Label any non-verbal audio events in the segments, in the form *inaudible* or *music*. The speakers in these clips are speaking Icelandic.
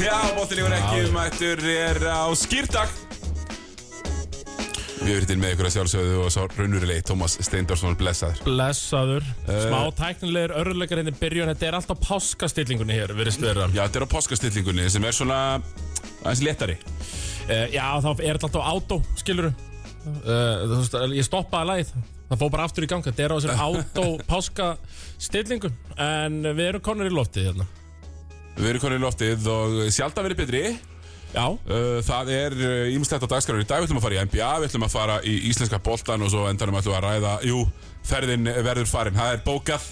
Þáttir yfir ekki umættur er á skýrtak Við erum hittin með ykkur að sjálfsögðu og svo raunurlegi Tómas Steindorsson blessaður Blessaður Smá tæknilegur örðuleikar hérna í byrjun Þetta er alltaf páskastillingunni hér, virðist vera Já, þetta er á páskastillingunni sem er svona aðeins léttari uh, Já, þá er þetta alltaf átó, skilur Eh, Þú veist, ég stoppaði lagið Það fór bara aftur í ganga Þetta er á *laughs* þessum átó páskastillingun En við erum konar í loftið hérna Við erum konið í loftið og sjálft að verið betri Já, Uh, Það er ímslegt á dagskráður í dag, við ætlum að fara í NBA, við ætlum að fara í íslenska boltan og svo endanum ætlum við að ræða, jú, ferðin verður farin, það er bókað,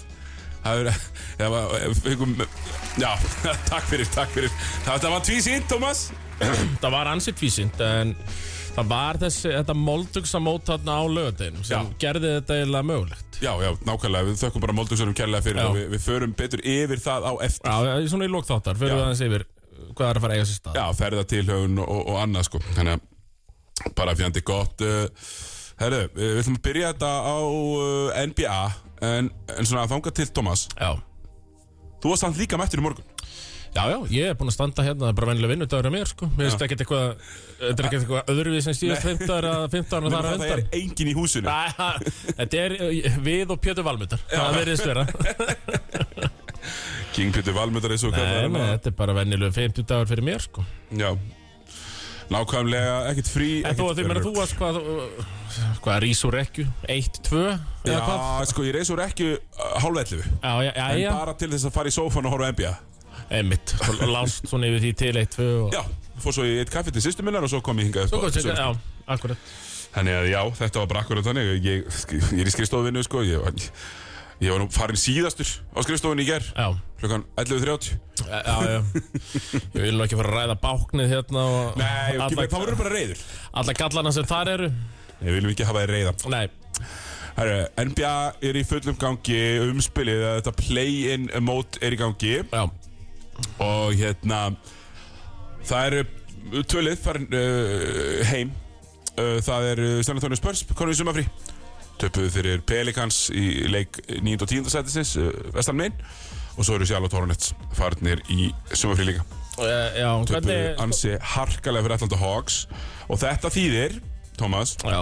það er, *laughs* það var, hugum, já, *laughs* takk fyrir, takk fyrir, þetta var tvísýnt, Tómas, það var ansitt vísind En það var þessi, þetta moldugsa mót þarna á lögadeinum Sem Já. gerði þetta eiginlega mögulegt já, já, nákvæmlega, við þökkum bara Moldugsunum kærlega fyrir Já. og við, við förum betur yfir það á eftir, Já, já, svona í lókþáttar, fyrir Já. við aðeins yfir hvað er að fara að eiga sér stað já, ferðatilhaugun og, og annað, sko, þannig að bara fjandi gott, uh, herru, uh, við ætlum að byrja þetta á uh, NBA, en, en svona þanga til Tómas, Já, Þú varst samt líka mættur í morgun já, já, ég er búinn að standa hérna, það er bara vennilega vinnudagur að mér, sko Mér finnst ekkert eitthvað, þetta er ekkert eitthvað öðruvís en síðast 15 að 15 að Nefnum þar að það er undan engin í húsinu Æ, ha, Þetta er eh, við og Pjötu Valmundar, það *laughs* verðist vera King Peter Valmundar eins og kallar Nei, hann nei, það. þetta er bara vennilega 50 dagur fyrir mér, sko Já Nákvæmlega, ekkert frí En þú, ekkert því meina örugg. þú varst hvað, eh, hvað, rís úr rekju, 1, 2 eða hvað? Já, sko, ég reis úr ekki hálfellu Já, já, já, En já, bara til þess að fara í sófan og horfa á NBA einmitt, Svo lást svona yfir því til 1, 2 og... Já, fór svo í eitt kaffi til sýstu minnar og svo kom ég hingað upp Svo á gott, sumarbústað. já, akkurat Þannig að já, þetta var bara akkurat þannig Ég, ég er í skrifstofinu, sko Ég, var- ég var nú farin síðastur á skrifstofinu í ger Já, Klukkan 11.30 já, *laughs* já Ég vil nú ekki fara að ræða báknið hérna og Nei, ok, alla, þá voru bara reyður alla gallana sem þar eru Við viljum ekki hafa þér reyðan Nei, Herru, NBA er í fullum gangi umspilið að þetta play-in mót er í gangi já, og hérna það eru tvölið farin uh, heim uh, það eru San Antonio Spurs konum í sumafrí töpuðu fyrir Pelicans í leik 9. og 10. sætisins uh, vestan megin og svo eru Sjálf og Tornets farnir í sumafrí líka Eh, já, töpuðu hvernig ansi harkalega fyrir Atlanta Hawks og þetta þýðir, Thomas Já,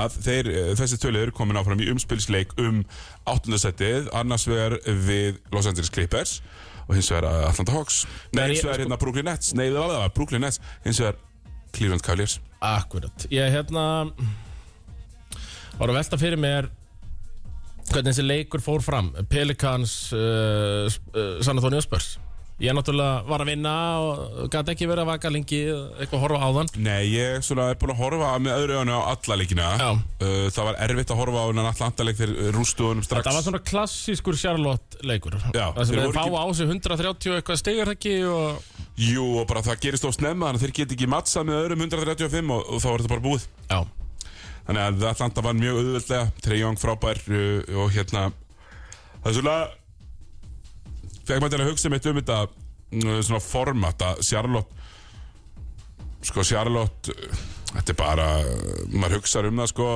að þeir, eh, þessi tölir komin áfram í umspilsleik um 8. setið annars vegar við Los Angeles Clippers og hins vegar eh, Atlanta Hawks Nei, nei, hins ég- vegar sko- hérna Brooklyn Nets nei, það var það, Brooklyn Nets hins vegar Cleveland Cavaliers akkurat Ég hérna var að velta fyrir mér hvernig þessi leikur fór fram Pelicans uh, uh, San Antonio Spurs Ég náttúrulega var að vinna og gæti ekki verið að vaka lengi eða eitthvað að horfa á þann nei, ég svona er búin að horfa með öðru öðinu á alla leikina Já. Uh, það var erfitt að horfa á hennan Atlanta leik þegar rústuðunum strax Það var svona klassískur Charlotte leikur Já, Það sem þeir þeir voru fá ekki- á sig 130 og eitthvað stegar ekki og jú, og bara það gerist of snemma þannig að þeir geti ekki matsað með öðrum 135 og, og þá var þetta bara búið Já, Þannig að Atlanta vann mjög auðveldlega Trey Young frábær uh, og hérna Það er svona Fekk maður til að hugsa mitt um þetta uh, svona format að Charlotte sko Charlotte uh, þetta er bara uh, maður hugsar um það sko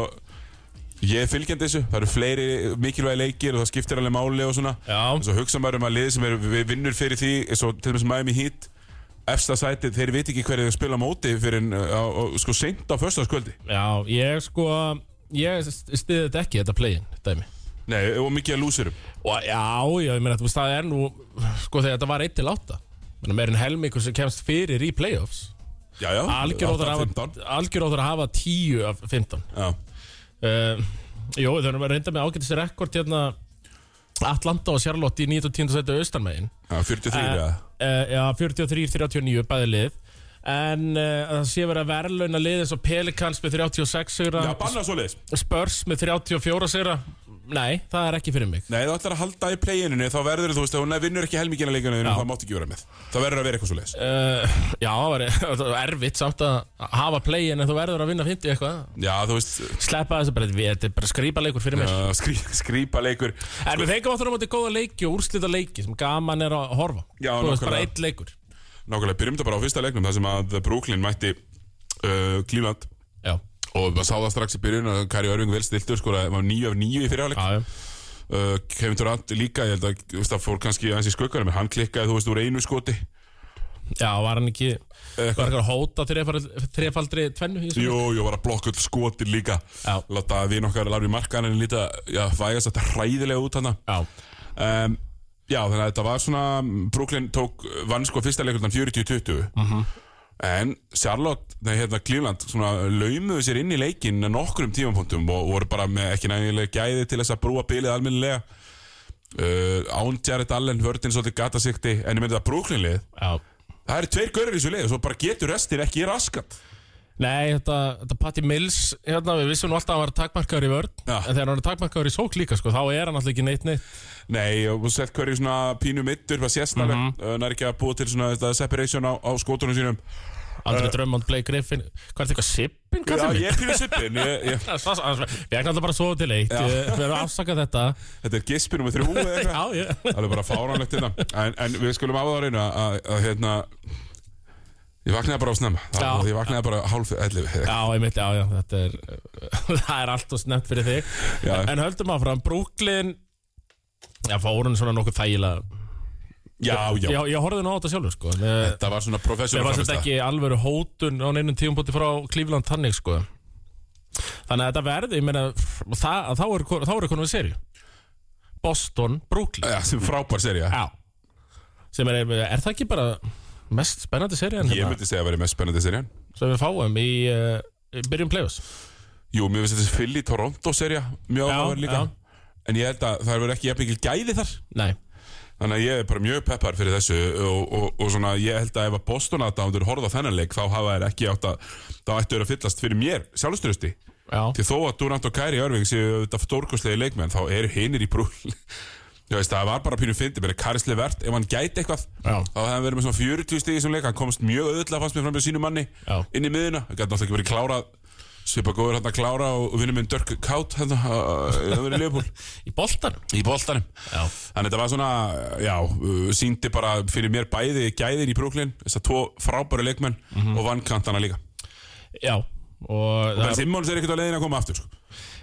ég er fylgjandi þessu, það eru fleiri mikilvægi leikir og það skiptir alveg máli og svona Já. en svo hugsa maður um að liði sem er, við vinnur fyrir því eins og til dæmis Miami Heat efsta sætið, þeir veit ekki hverju þeir spila á móti fyrir en, uh, á- á- sko seint á föstaskvöldi já, ég sko Ég stiði þetta ekki, þetta play-in dæmi Nei, og mikið að lúsurum Og já, já, ég meina, þú veist, það er nú Sko þegar þetta var 1 til 8 Menna meir en helmingur sem kemst fyrir í play-offs Já, já Algjör óþarf að 15. hafa- algjör óþarf að hafa 10 af 15 Já, uh, Jó, þau erum að reynda með ágætis rekord hérna Atlanta og Charlotte í 19. seti austanmegin já 43 Eh, eða eh, Já, 43-39 bæði lið En uh, það sé verið að verðlauna lið eins og Pelicans með 36 sigra Já, banna svo leiðis Spurs með 34 sigra Nei, það er ekki fyrir mig Nei, þú ætlar að halda í play-inunni Þá verður þú veist að hún vinnur ekki helmingina leikinu Já. Það máttu ekki vera með Það verður að vera eitthvað svo leiðis uh, Já, það var- *laughs* það var erfitt samt að hafa playin en þú verður að vinna 50 eitthvað Já, þú veist Sleppa þessu bara, við- þetta er bara skrýpaleikur fyrir mér uh, skrí, Skrýpa leikur En við fengum áttur á móti góða leiki og úrslita leiki sem gaman er að horfa Já, Þú veist nákvæmlega. bara eitt leikur Nákvæmlega, byrjum þetta bara á fyrsta leiknum Það sem að Brooklyn mætti uh, Cleveland Já, Og maður sá það strax í byrjun að Kari Örving vel stiltur sko, það var 9 af 9 í fyrirháleik já, já uh, Kevin Durant líka, ég held að þú veist, það fór kannski aðeins í skugganum en hann klikkaði, þú veist, úr einu skoti Já, var hann ekki Eitthvað. Var hann að hóta þrefaldri, þrefaldri tvennu í þessu Jú, jú, var að blokka öll skotin líka Já. Láta að við nokkar lári markaðan líta, já, vægast þetta hræðilega út hana Já, um, Já, þannig að þetta var svona Brooklyn tók, vann sko fyrsta leikurtan 40-20 En Charlotte, nei, hérna Cleveland svona laumuðu sér inn í leikinn að nokkrum tímapunktum og voru bara með ekki nægilega gæði til þess að brúa bilið almennilega uh, Án Jared Allen, vördin svolítið gatasikti en ég myndi að Brooklyn lið já Það eru tveir görður í þessu lið og svo bara getur restir ekki raskat Nei, þetta, þetta Patti Mills hérna, Við vissum nú alltaf að hann var takmarkaður í vörn Já. En þegar hann er takmarkaður í sók líka sko, Þá er hann alltaf ekki neitt neitt Nei, og sett hverju svona pínu mittur hvað sést alveg, Mhm. mm -hmm. nær ekki að búa til svona þetta separation á, á skótunum sínum Andri Drömmond, Blake Griffin Hvað er þetta eitthvað sippin? Eh. Já, ég er pínu sippin ég, ég, Við erum alltaf bara að sofa til eitt Já. Ég- Við erum að afsaka þetta Þetta er gispin um þrjú eða eitthvað Já, ég Það er bara fáránlegt hérna en, en við skulum á það á reyna að, að hérna Ég vaknaði bara á snemma Já. Það- Ég vaknaði bara hálf 11 Já, einmitt, já, já, þetta er *laughs* það er allt og snemt fyrir þig Já. en höldum áfram, Brooklyn já, fórun svona nokkuð þægilega Já, já, Eh, já, ég horfði nú á þetta sjálfur, sko mér Þetta var svona mér professional fannst þetta ekki alvöru hótun á neinum tíumpóti frá Cleveland Tannig, sko þannig að þetta verði, ég meina það, þá eru kon- þá eru konum við seri Boston, Brooklyn, Já, sem frábær serið já sem er, er það ekki bara mest spennandi seri en Ég hérna myndi segja að vera mest spennandi serið sem við fáum í uh, byrjum play-offs Jú, mér finnst þessi Philly Toronto serið Mjög Já, áhugaverð líka já. En ég held að það verður ekki jafn mikil gæði þar nei, Þannig að ég er bara mjög peppar fyrir þessu og, og, og svona ég held að ef að Boston aðdándur horfða á þennan leik þá hafa þær ekki átt að þá ættu þeir að fyllast fyrir mér sjálfströsti já Því þó að Durant og Kyrie Irving séu auðvitað stórkostlegi leikmenn þá eru hinir í brúl *laughs* Þú veist, það var bara pínu fyndi, mér er Karisli vert ef hann gæti eitthvað, Já. þá hefði hann verið með svona 40 stig í þessum leik, hann komst mjög auðvitað fannst mér fram með sínu manni Já. inn í miðuna hann gæti náttúrulega ekki verið klárað svipa góður hann að klára og vinna minn Dörk Kátt hérna, *laughs* það verið Leopold í boltanum í boltanum Já. Þannig þetta var svona, já, uh, síndi bara fyrir mér bæði gæðir í Brooklyn þessar tvo frábæru leikmenn Mhm. og vann kantana líka. Já og það Ben er, Simmons er ekkert á leiðin að koma aftur, sko.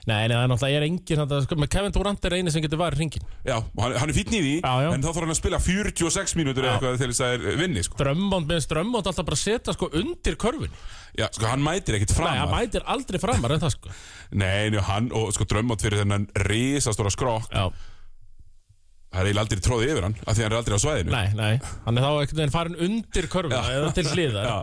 nei, nei, það er náttúrulega, ég er engin þetta, sko, með Kevin Durant er eini sem getur varð hringin Já, og hann, hann er fítn í því, Já, já. en þá þarf hann að spila 46 mínútur eða eitthvað til þess að það er vinni, sko. Drömmond, minnst Drömmond alltaf bara setja sko undir körfin Já, sko, hann mætir ekkert Nei, hann fram. mætir aldrei framar en það sko Nei, njá, hann og sko drömmot fyrir þennan risastóra skrokk, Já, það er eiginlega aldrei tróðið yfir hann, af því hann er aldrei á svæðinu. nei, nei, hann er þá einhvern veginn farin undir körfin eða til hliðar Já.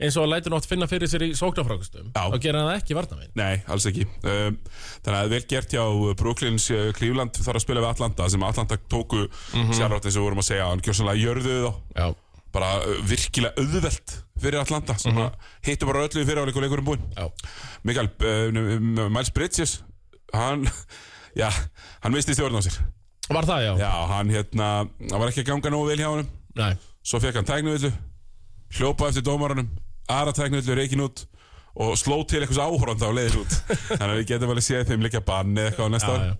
eins og hann lætur nátt finna fyrir sér í sóknarfrákustum Já. og gera hann það ekki varnavinn Nei, alls ekki um, Þannig að vel gert hjá Brooklyns uh, Cleveland þarf að spila við Atlanta sem Atlanta tóku mm Mhm. -hmm. sjálfrátt eins og við vorum að segja hann gjörsanlega jörðuðu þá Já, bara uh, virkilega auðvelt fyrir Atlanta sem Mhm. mm hittu bara öllu í fyriráleik og leikurinn búinn já, Mikael, uh, n- m- Miles Bridges hann, já, hann misti stjórn á sér var það já, Já, hann hérna, hann var ekki að ganga nógu vel hjá honum Nei, svo fekk hann tæknuvillu hljópa eftir dómarunum aðra tæknuvillu reikin út og sló til eitthvað áhoranda á leiðin út *laughs* þannig að við getum alveg séð þeim líka bann eða eitthvað á næsta já, ári já.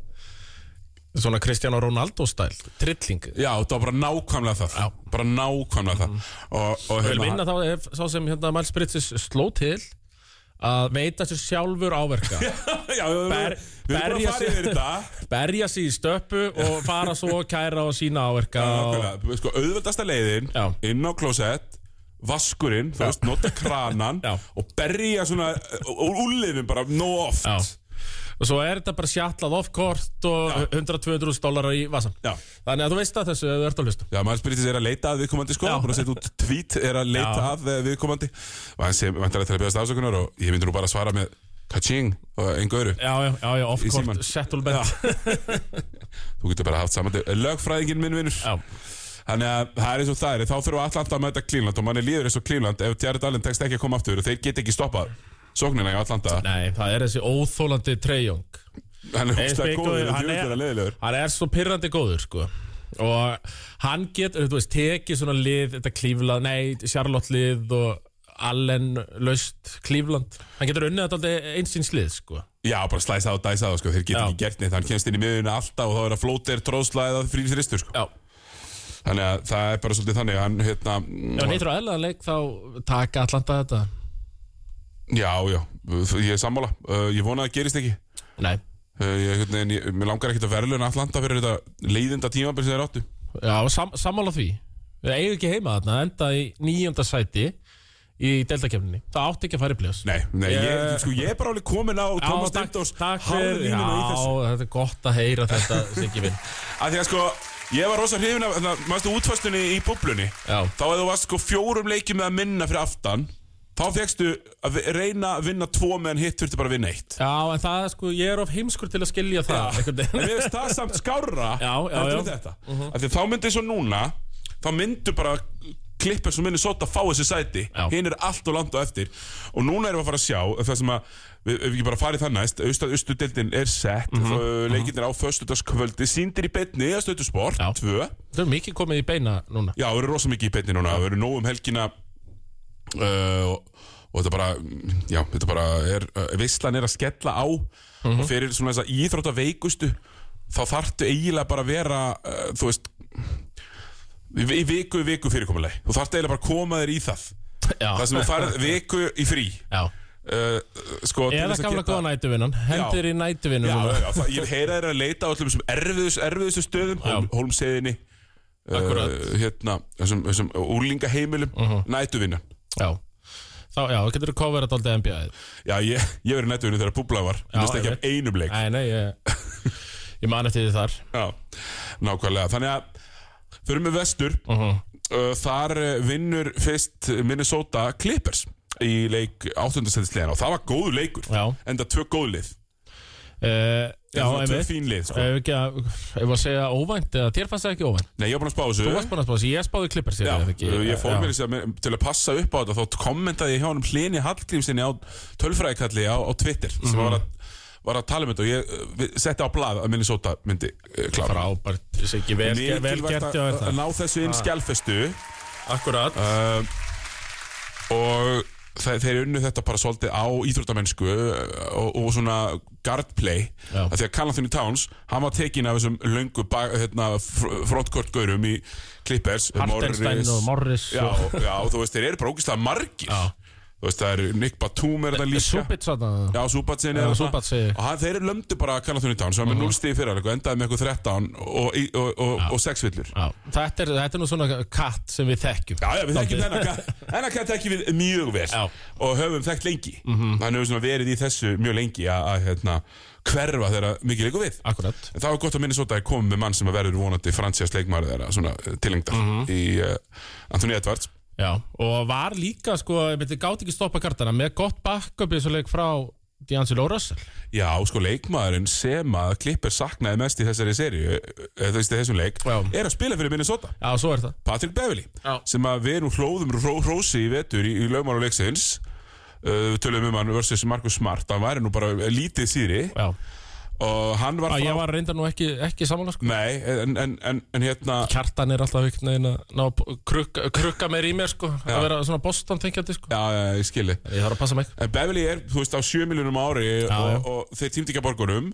Svona Cristiano Ronaldo stæl, trilling Já, þetta var bara nákvæmlega það Já. bara nákvæmlega það og, og Vil hérna- vinna þá ef sá sem hérna Miles Bridges sló til að veita sér sjálfur *laughs* áverka *laughs* Já, við erum Ber- við erum búin berja að fara sig- yfir þetta berja sig í stöppu og fara svo og kæra og sína áverka og... Nákvæmlega, sko, auðveldasta leiðin Já. inn á klósett vaskurinn, þú veist, nota kranan *laughs* Já. og berja svona uh, úr úlifin bara nóg oft Já. og svo er þetta bara sjallað off-kort og 100-200 dólarar í vasan Já. þannig að þú veist að þessu ef þú ert að hlusta Já, maður spyrir til þess er að leita að viðkomandi sko, Já. búin að setja út tweet er að leita Já. að eh, viðkomandi og hann sem vantar að beðast afsökunar og ég myndi nú bara að svara með kaching og engu öru já, já, já, já símann. off-kort, settlement já. *laughs* þú getur bara haft saman lögfræðingin minn vinnur Já. þannig að það er eins og það er þá fyrir Atlanta að mæta Klínland og manni líður eins og Klínland ef Jared Allen tekst ekki að koma aftur og þeir get ekki stoppað sóknina í Atlanta nei, það er þessi óþólandi treyjung hann er Eins úrstæða mikið- góður hann hann er- er leðilegur hann er svo pirrandi góður sko og hann getur, þú veist, tekið svona lið, þetta klíflað, nei, Charlotte lið og Allen laust klífland, hann getur unnið þetta aldrei einsins lið sko Já, bara slæsa og dæsa það sko, þeir get Já. ekki gert neitt hann kemst inn í miðuna alltaf og þá er að flóter, tróðsla eða frýfristur sko. Já, Þannig að það er bara svolítið þannig hann, hérna, ef hann heitir á eðlaðan leik þá taka Atlanta þetta Já, já, ég er sammála uh, Ég vona að það gerist ekki Nei, uh, ég, einhvern veginn- ég, Mér langar ekkert að verðlun Atlanta fyrir þetta leiðinda tímabil sem þeir áttu já, sam, sammála því Við eigum ekki heima þarna, enda í nýjönda sæti í deltakefninni. Það átti ekki að fara í pljós. Nei, nei, ég, Ég- sko, ég er bara alveg komin á Thomas Dindos takk fyrir. Já, hálflínuna í þessu þetta er gott að heyra þetta, Siggi *laughs* minn. að Því að sko, ég var rosa hrifin af þannig, Mastu útfæstunni í búblunni Já. Þá að þú varst sko fjórum leikjum með að minna fyrir aftan Þá fegstu að vi- reyna að vinna tvo meðan hitt þurfti bara að vinna eitt Já, en það, er sko, ég er of heimskur til að skilja það. einhvern En *laughs* veginn. mér finnst það samt skárra *laughs* Já, já, heldur já. Mhm. en þetta Af Því að þá myndi svo núna Þá myndu bara klippur sem minni sota fá þessi sæti Já. Hinn er allt og langt og eftir Og núna erum við að fara að sjá eh, Það sem að Við við ekki bara farið það næst Austu deildin er sett Mhm. mm -hmm. Leikindir á föstudagskvöldi Sýndir í beinni Það stötu sport Já. Tvö Þau er mikið komið í beina núna. Já, það eru rosa mikið í beinni núna Það eru nóg um helgina uh, og, og þetta bara mm, Já, þetta bara er uh, Veislan er að skella á Mhm. Og fyrir svona þess að íþrótta veikustu Þá þarftu eiginlega bara að vera uh, Þú veist Í í viku, í viku fyrirkomuleg Þú þarftu eiginlega bara að koma þér í það Já. Það sem þú farið viku í frí Já. uh, Sko til Eða þess að gamla geta- góða nætuvinnan. Hendir í nætuvinu Já, núna. já, það, ég heyra þér að leita á öllum þessum erfiðus, erfiðustu stöðum Hólm, Hólmseðinni uh, Akkúrat. hérna, þessum, þessum úlingaheimilum Uh-huh. nætuvinnan Já. Þá, já, þú getur þú coverað alltaf NBA-ið. Já, ég, ég verið nætuvinni þegar Búbla var Ég veist ekki ég af einum leik Nei, nei, ég, ég man eftir því þar. Já, nákvæmlega Þannig að förum við vestur Uh-huh. Mhm. uh, Þar uh, vinnur fyrst Minnesota Clippers í leik áttundasættislegan og það var góður leikur Já. enda tvö góð lið Uh, já, Svona tvö einmitt. Eh, fín lið sko. Ef ekki að, ef að segja óvænt eða þér fannst það ekki óvænt Nei, ég var búin að spá þessu Þú varst bara að spá þessi, ég spáði klippar sér Já, eða ekki, eh, ég fór mér Já. þess að segja til að passa upp á þetta þá kommentaði ég hjá honum Hlini Hallgrímsinni á tölfræðikalli á, á Twitter Mhm. sem var, að, var að tala um þetta og ég uh, við- setti á blað að Minnesota myndi uh, klára Frábært, Siggi, vel, vel Mikilvægt gert að já er að það Ah. ná þessu inn skjálfestu Akkurat um, og þe þeir unnu þetta bara svolítið á íþróttamennsku uh, og, og svona guard play Já. að því að Callum Anthony Towns hann var tekin af þessum löngu ba- hérna, fr- frontcourt gaurum í Clippers Hartenstein og Morris Já, og já, þú veist, þeir eru bara ógislega margir Já. Þú veist, það eru Nick Batum er það Eh, líka Súbit svona Já, Súbatsin Já, er Zubac, segi ég. Og hann, þeir lömdu bara að kalla þunni tán Svo hann með 0 stíði fyrir alveg sko, Endaði með eitthvað 13 og, og, og, og, og 6 villur Já, þetta er, þetta er nú svona katt sem við þekkjum Já, já, við þekkjum þennan *laughs* katt- Þennan kann þekkjum við mjög vel Já. Mhm. Og höfum þekkt lengi Hann hefur svona verið í þessu mjög lengi að, að hérna, hverfa þeirra mikið leikur við Akkurat En það var gott að Minnesota er komið með mann sem að verður vonandi fransjast leikmaður þeirra svona tilengdar Mhm. í uh, Anthony Edwards Já, og var líka sko, við gátt ekki stoppa kartana með gott backup í þessu leik frá D'Angelo Russell Já, sko, leikmaðurinn sem að klippir saknaði mest í þessari seríu, eh, þú veist, í þessum leik, Já. er að spila fyrir Minnesota. Já, svo er það Patrick Beverly, Já. sem að við erum hlóðum ró, rósi í vetur í, í lögmánu leiksins, uh, tölum um hann versus Marcus Smart, hann væri nú bara lítið síðri Já, og hann var Að frá... ég var reyndar nú ekki, ekki samanlega sko Nei, en, en, en, en hérna... Kjartan er alltaf einhvern veginn að ná að krukka, krukka mér í mér sko að vera svona bostan tengjandi sko Já, já, ég skilji. Ég þarf að passa mig En Beverly er, þú veist, á 7 miljonum ári já. og, og þeir tímdi ekki að borgunum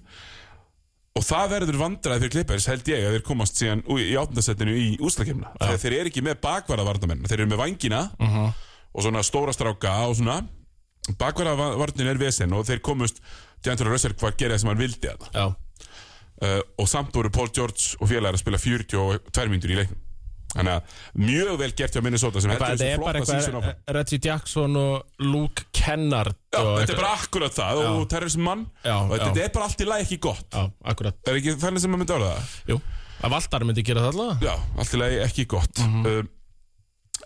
og það verður vandræði fyrir Clippers held ég að þeir komast síðan úr- í áttundasettinu í úslakefna þegar þeir eru ekki með bakvarðavarnamenn þeir eru með vangina Mhm. og svona stóra stráka og svona bakvarðavarnin er vesen og þeir komust D'Angelo Russell hvað gerði sem hann vildi að Já, uh, og samt voru Paul George og félagar að spila 42 mínútur í leiknum þannig að mjög vel gert hjá Minnesota sem heldur Hvað, þetta þessu er bara flotta sísun áfram eitthvað Reggie Jackson og Luke Kennard Já, og þetta er bara akkurat það og terrorism mann Já, og þetta já. er bara allt í lagi ekki gott Já, akkurat Er ekki þannig sem maður myndi orða það? Jú, að Valdar myndi gera það allavega Já, allt í lagi ekki gott Mhm. um,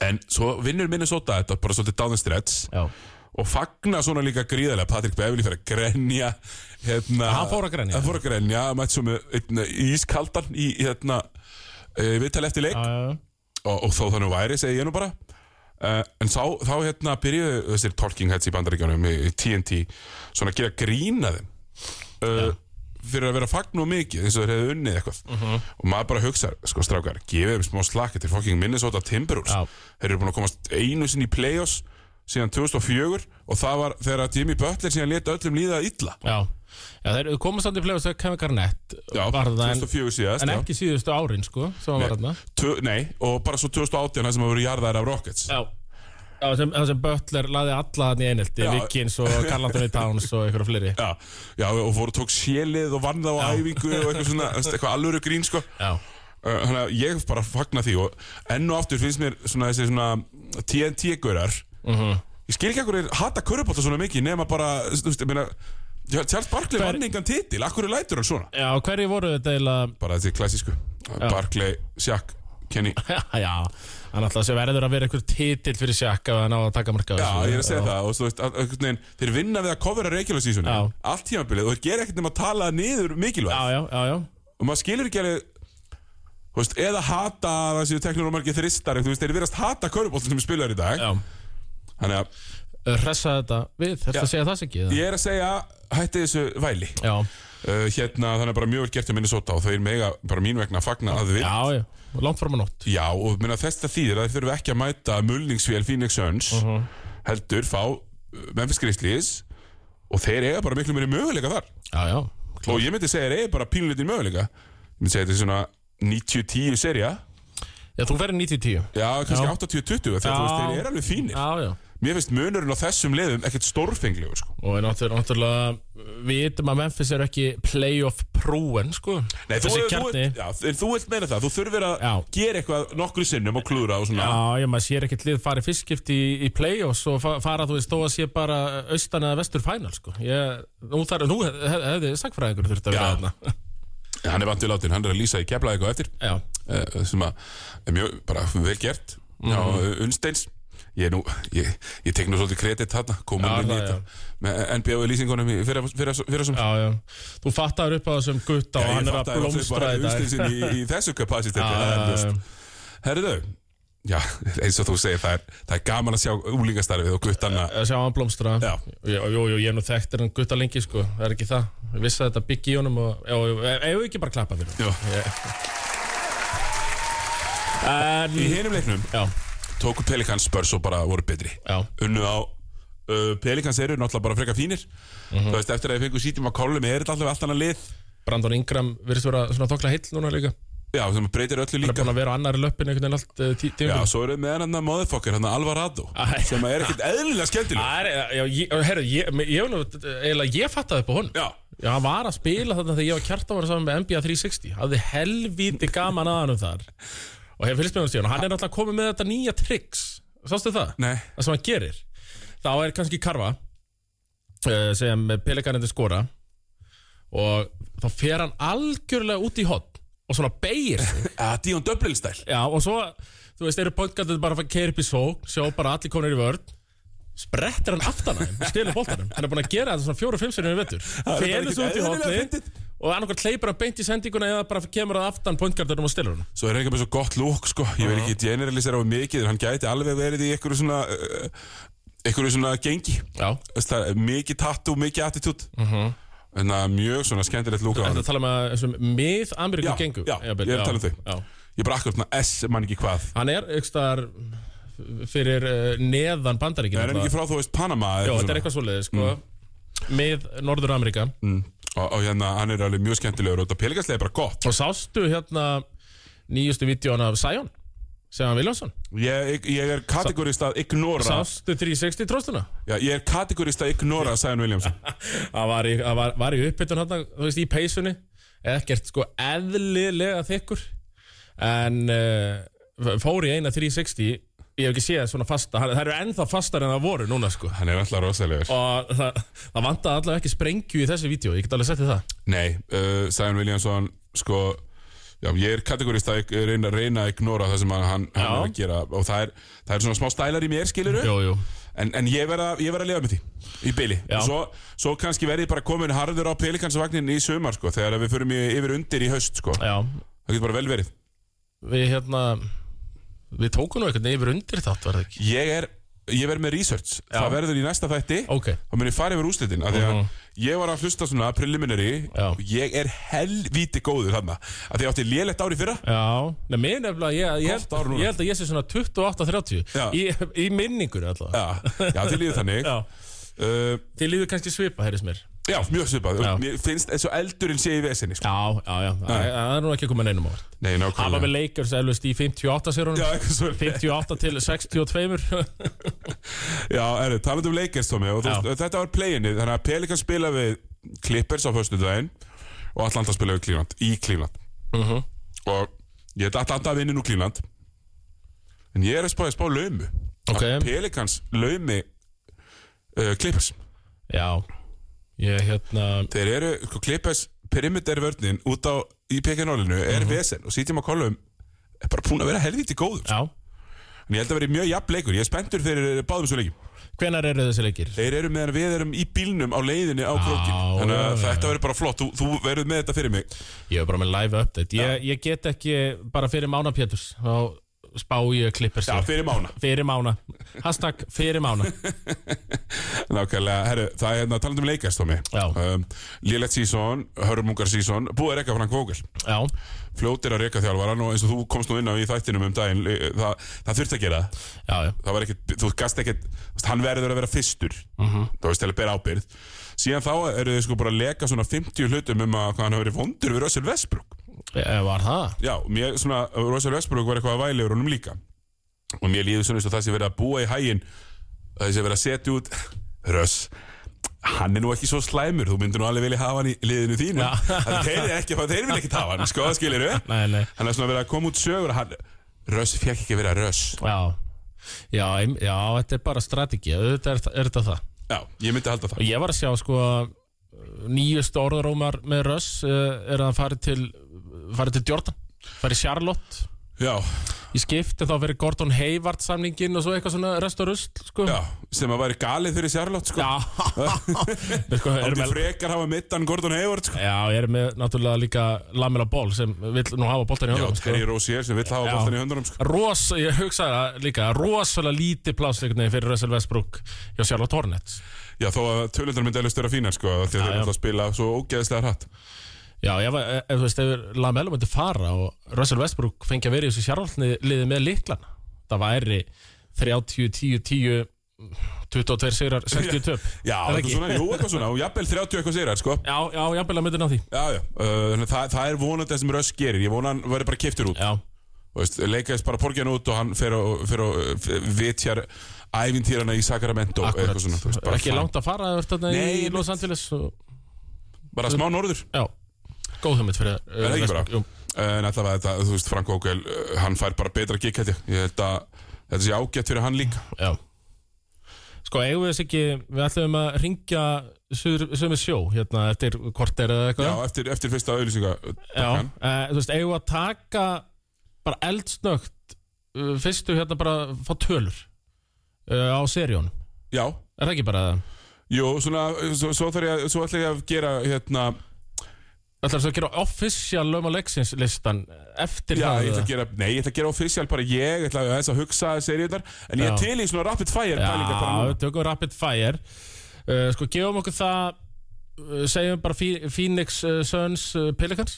En svo vinnur Minnesota þetta bara svolítið down the stretch Já, og fagna svona líka gríðarlega Patrick Beverly fyrir að grenja hérna, hann fór að grenja? Hann fór að grenja, mætti svo með einn ískaldan í hérna, eh, viðtal eftir leik já, og, og þó þannig væri, segi ég nú bara uh, en sá, þá hérna byrjuðu þessir talking heads í bandaríkjánum í í TNT svona að gera grína þeim uh, fyrir að vera fagn og mikið eins og þeir hefðu unnið eitthvað Mhm. og maður bara hugsa, sko strákar, gefið þeim smá slakki til fucking Minnesota Timberwolves Já. þeir eru búin að komast einu sinni í playoffs síðan 2004 og það var þegar að Jimmy Butler síðan leta öllum líða illa já Já, þeir komast þannig flegur þegar Kevin Garnett Já, var það en, 2004 síðast en já. ekki síðustu árin sko sem hann var þarna Tvö- Nei, og bara svo 2018 það sem að voru jarðaðir af Rockets Já Það sem, það sem Butler laði alla hann í einhelti Já. Vikins og Karl Anthony Towns og einhverja fleiri Já, já og fóru tók sélið og vann það á æfingu og eitthvað svona, veist, eitthvað alvöru grín sko Já, Uh, Þannig að ég bara fagna því og enn og aftur finnst mér svona þessi svona TNT-görar Ég skil ekki að hverju hata körubólta svona mikið nema bara, þú veist, ég meina Já, Charles Barkley Hver- vann engan titil, akkur er lætur hann svona? Já, hverju voru þetta eiginlega *laughs* Bara þessi klassísku Barkley, Shaq, Kenny Já, hann alltaf sem verður að vera einhver titill fyrir sjakk ef hann á að taka sko. marka á Já, þessu. ég er að segja það og þú veist, að, einhvern veginn, þeir vinna við að covera regular season Já. allt tímabilið og þeir gera ekkert nema að tala niður mikilvægt Já, já, já, já og maður skilur ekki alveg þú veist, eða hata að það séu teknur og margir þristar, þú veist, þeir virast hata körubóltum sem spilaður í dag, Já, þannig að hressa þetta við, þetta að segja það sem ekki ég er að segja, hætti þessu væli Já, uh, hérna, þannig að bara mjög vel gert hjá Minnesota og þau er mega, bara mín vegna að fagna að við, já, já, langt fram á nótt já, og minna þesta þýðir að þeir þurfum ekki að mæta mulningsvél Phoenix Suns, Mhm. heldur fá uh, Memphis Grizzlies og þeir eiga bara miklu meiri möguleika þar Já, já, og ég myndi segja þeir eiga bara pínlítið möguleika ég myndi segja þetta er svona 90-10 serja já, þú verður 90-10 Já, kannski Já. 80-20 þegar Já. þú veist, þeir eru alveg fínir Já, já Mér finnst munurinn á þessum liðum ekkert stórfenglegu sko. Og er náttúrulega, náttúrulega, við vitum að Memphis er ekki playoff prúen, sko Nei, þú, Þessi þú, kjarni ert- já, en þú vilt meina það, þú þurfir að Já. gera eitthvað nokkru sinnum og klúra og svona Já, já, maður sér ekkert lið farið fyrstskipt í, í playoffs og fa fara, þú veist, þó að sé bara austan eða vestur final, sko ég, Nú, þar, nú hef, hef, hefði sagfræðingur þurft að Já. vera *laughs* þarna Hann er vant við látin, hann er að lýsa í keflaði eitthvað eftir Já, eh, sem að er mjög, bara vel gert Já, Mhm. Unnsteins Ég, er nú, ég, ég tek nú svolítið kredit þarna Já, komunum í það, þetta með NBA-lýsingunum fyrir, fyrir, fyrir sem já, já Þú fattar upp á þessum gutta og hann er að blómstra í dag Unnsteinsin í, í *laughs* þessu kapasiteti Já, það er já, ljóst. já. Herðu, já, *laughs* eins og þú segir, það er, það er gaman að sjá úlingastarfið og guttanna. að sjá hann blómstra Já. Jú, jú, jú, ég er nú þekktir hann gutta lengi sko Það er ekki það, ég vissi að þetta byggi í honum og já, jú, ef við ekki bara klappa fyrir honum. Já. En, Í hinum leiknum já, tóku Pelikans spörs og bara voru betri. já, Unnu á uh, Pelikans eru náttúrulega bara frekar fínir. Þú veist, eftir að ég fengu sítið maður kálum er þetta alltaf allt annað lið. Brandon Ingram virðist vera svona þokla heill núna líka Já, sem breytir öllu Hann er líka. búin að vera á annari löppin einhvern veginn allt uh, tí Já, tíma svo eruð með hann að motherfucker, hann að Alvarado, Æ. sem er ekkert eðlilega skemmtileg. Það er, já, ég- herru, ég, ég, ég, vil nú- eiginlega ég fattaði upp á honum Já, Já, hann var að spila þarna þegar ég var kjartan var saman með NBA 360 Hafði helvíti gaman að hann um þar Og hef fylgst með hann síðan Og hann er náttúrulega komið með þetta nýja tricks Sástu það? nei, Það sem hann gerir Þá er kannski karfa uh, Sem pelikanindi skora Og þá fer hann algjörlega út í hot Og svona beigir sig að Díón Döblilstæl. Já, og svo, þú veist, eru pointgardið bara að keira upp í sók, sjá bara allir konur í vörn sprettir hann aftan að þeim stilur boltanum, hann er búin að gera þetta svona fjóra-fimm sinni í vettur, er bara felur svo út í ekkert eðlilega hotni fyndið. og annarkvært hleypur hann beint í sendinguna eða bara kemur að aftan pointgardinum og stilur hann Svo er hann ekki með svo gott lúk sko Ég vil ekki generalisera á mikið En hann gæti alveg verið í einhverju svona uh, Einhverju svona gengi Já, Þess, það er Mikið tattoo, mikið attitút En það er mjög svona skemmtilegt lúk á Mhm. þetta hann er að tala með þessum mið-Ameríku Já, gengu já, jafnvel, ég er að tala um þau. já. Ég bara akkur svona S, mann ekki hvað Hann er aukstar fyrir uh, neðan bandaríkinn Er hann ekki Mm. náttúrulega. frá þú veist Panama Jó, þetta er eitthvað svoleiðið, sko mið-Norður-Ameríka mm. og, og hérna, hann er alveg mjög skemmtilegur Og þetta pelgastlega er bara gott Og sástu hérna nýjustu vídjón af Sion Segan Viljánsson Ég, ég er kategorist að ignora Sástu 360 tróstuna já, Ég er kategorist að ignora Sæðan Williamson Það var í, það var, var í uppbytun hérna, þú veist, í peysunni Ekkert sko eðlilega þykkur En uh, fór í eina 360 Ég hef ekki séð svona fasta Það það eru ennþá fastar en það voru núna sko Hann er alltaf rosalegur Og það, það vantaði allavega ekki sprengju í þessi vídeo Ég get alveg sett í það Nei, uh, Sæðan Williamson sko, já, ég er kategorist að ig- reyna, reyna að ignora það sem að hann, hann Já. er að gera og það er, það er svona smá stælar í mér skilur Jú, jú en, en ég verð að, ég verð að lifa með því í byli, Já. svo, svo kannski verði ég bara komin harður á pelikansvagnin í sumar sko, þegar við förum í, yfir undir í haust sko. Já, það getur bara vel verið við hérna Við tókum nú eitthvað neyfur undir þátt, var það ekki? ég er, ég verð með research það verður í næsta þætti Ok, þá mun ég fara yfir úslitin af því að ég var að hlusta svona preliminary Mhm. Já. og ég er helvíti góður þarna af því að ég átti lélegt ári fyrra Já, nei, mér nefnilega, ég, ég, Gott ár held, núna. ég held að ég sé svona 28-30 Já. í, í minningur allavega. Já, já þið líður þannig *laughs* Já. Uh, Þið líður kannski svipa, heyrðis mér. já, mjög svipað Já. Mér finnst eins og eldurinn sé í vesinni sko. Já, já, já, það það er nú ekki að koma neinum á það. Nei, Hann var nákvæmlega með Lakers elvist í 58 Já, sérunum, eitthvað svo 58 til 62. Já, erðu, talandi um Lakers, Tómi og þú, Já. Þetta var play-inni, þannig að Pelikan spila við Clippers á föstudaginn og Atlanta spila við Cleveland, í Cleveland Mhm. og Ég hef alltaf að vinna nú Klíland En ég er að spá, ég spá laumu Ok. Að Pelikans laumi uh, Klippers *laughs* Já Ég hérna Þeir eru, sko, Klippers perimeter vörnin út á í pekinólinu er Mhm. vesen og sítjum að kollum er bara búin að vera helviti góður Já En ég held að vera mjög jafn leikur, ég er spenntur fyrir báðum svo leikum Hvenær eru þessi leikir? Þeir eru meðan við erum í bílnum á leiðinni á krókin Já, Þannig að já, já. þetta verður bara flott, þú, þú verður með þetta fyrir mig Ég er bara með live update Ég, ég get ekki bara fyrir Mána Péturs Þá spá ég klippir Já, fyrir mána Fyrir Mána Hashtag fyrir *laughs* Mána Nákvæmlega, herru, það er hérna talandi um leikast á mig Já. um, Lillet sísón, hörmungar sísón Búið að reka Frank Vogel Já Fljótir að reka þjálfaran og eins og þú komst nú inn á í þættinum um daginn eh, Það, það þurfti að gera það. Já, já það var ekkit, Þú gast ekkit, þú veist, hann verður að vera fyrstur Mhm. -hmm. Það veist, til að bera ábyrgð Síðan þá eru þau sko bara að leka svona 50 hlutum um að hvað hann hafa verið vondur við Russell Westbrook e, Var það? Já, mér svona, Russell Westbrook var eitthvað að væli yfir honum líka og mér líður svona eins og það sem verið að búa í hægin það sem verið að setja út Russ, hann er nú ekki svo slæmur þú myndir nú alveg vilja hafa hann í liðinu þínu Það þeir eru ekki, þeir vilja ekki hafa hann sko, það skilir við Nei, nei hann er svona verið að koma út sögur hann, Russ fekk ekki að vera Russ Já Já, ein- já þetta er bara strategi Þetta er, er þetta það Já, ég myndi að halda Og það ég var að sjá sko nýjustu orðrómar með Russ uh, er að hann fari til fari til Jordan, fari í Charlotte Já, í skipti þá fyrir Gordon Hayward samningin og svo eitthvað svona rest og rusl sko. já, sem að væri galið fyrir Charlotte sko. Já. *laughs* Við sko, Átti erum með, frekar hafa mittan Gordon Hayward sko. Já, ég er með náttúrulega líka Lamela Ball sem vill nú hafa boltan í Já, höndum Terry sko. Rozier sem vill hafa Já. bóttan í höndunum sko. Ros, ég hugsaði það líka rosalega lítið plásleikni fyrir Russell Westbrook hjá Charlotte Hornets Já, þó að tölundar myndi alveg störa fínar sko, af því að þeir já. eru að spila svo ógeðslega hratt. Já, ef, ef, ef þú veist, ef Lamelo myndi fara og Russell Westbrook fengi að vera í þessu sjárhaldni liðið með líklan það væri 30, 10, 10 22 sigrar, 60 töp *laughs* Já, Er það eitthvað ekki? svona, jú, eitthvað svona, og jafnvel 30 eitthvað sér sko. Já, já, jafnvel að myndi ná því Já, já, uh, þannig að það, það er vonandi það sem Röss gerir, ég vona hann verður bara kiptur út. Já, Þú Veist, leikaðist bara porgjan út og hann fer og, fer og eh, vitjar ævintýrana í Sacramento. akkurat eitthvað svona, þú veist, bara Ekki fæn. langt að fara ef þarna Nei, í einmitt. Los Angeles og, Bara smá norður. Já, góð hugmynd fyrir eh, Er það ekki bara? Jú, En alltaf að þetta, þú veist, Frank Vogel, eh, hann fær bara betra gikk, held ég. Ég held að þetta sé ágætt fyrir hann líka. já Sko, eigum við þess ekki, við ætlum að ringja sömu sjó, hérna, eftir korter eða eitthvað Já, eftir, eftir fyrsta auðlýsinga. Já, uh, þú veist, eigum við að taka bara eldsnögt uh, fyrstu hérna bara að fá tölur uh, á seríónum Já, Er það ekki bara jú, svona, svo, svo, þarf ég, að- svo ætla ég að gera, hérna, Ætlar þess að gera official lögum og leiksins listan eftir Já, það ég ætla eða? að gera, nei, ég ætla að gera official bara ég, ég ætla að, að hugsa seríunar en ég er Já. til í svona rapid fire pælingar bara Já, núna við tökum rapid fire uh, Sko, gefum okkur það uh, segjum bara Phi- Phoenix uh, Suns uh, Pelicans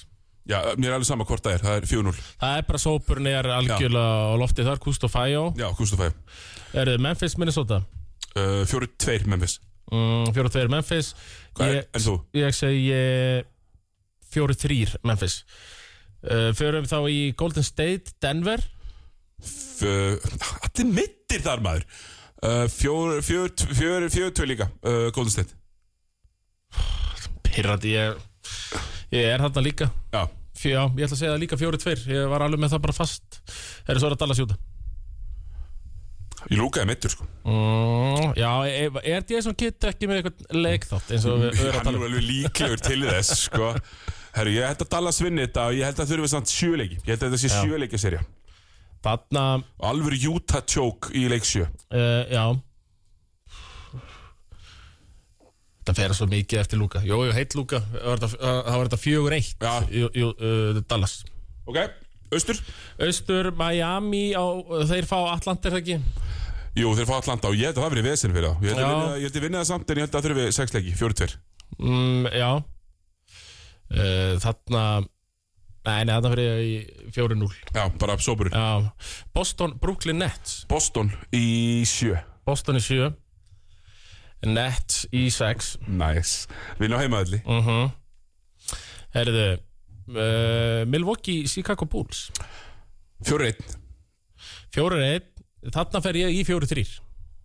Já, mér er alveg sama hvort það er, það er 4-0 Það er bara sópurinn er algjörlega á lofti þar, Kust og Fajó Já, Kustafæ, Er þið Memphis, Minnesota? uh, 4-2 Memphis Mm, 4-2 Memphis Hvað er, en þú? Ég segi 4-3 Memphis uh, Förum þá í Golden State, Denver F- uh, Allir mittir þar maður uh, 4-2 líka, uh, Golden State Pirrandi, ég, ég er þarna líka Já, Fjó, Já, ég ætla að segja það líka 4-2 Ég var alveg með það bara fast Er svo er að Dallas Júta ég lúkaði mittur sko mm, Já, er, er því sem kitt ekki með eitthvað leikþátt eins og við Hann erum að er tala um? alveg líklegur til þess sko *laughs* Herru, ég held að Dallas vinni þetta og ég held að þurfi samt sjöleiki Ég held að þetta sé sjöleiki serja Þarna, Alvöru Utah tjók í leik sjö uh, já Það fer svo mikið eftir Lúka Jó, jú, heitt Lúka Það var þetta- það var þetta 4-1 Já. Jú, jú, uh, Dallas Ok, austur Austur, Miami á, Þeir fá Atlant er það ekki Jú, þeir fá Atlanta og ég held að það verið vesen fyrir þá Ég held að Já. vinna- ég held að vinna það samt en ég held að þurfi sex leiki, fjóri tver mm, Já uh, Þarna Nei, nei, þarna fyrir ég í 4-0 Já, bara sóburinn Já Boston, Brooklyn Nets Boston í sjö Boston í 7 Nets í 6 Næs Vinna á heimaðalli uh Herðu uh, Milwaukee, Chicago Bulls Fjóri einn 4-1 Þarna fer ég í 4-3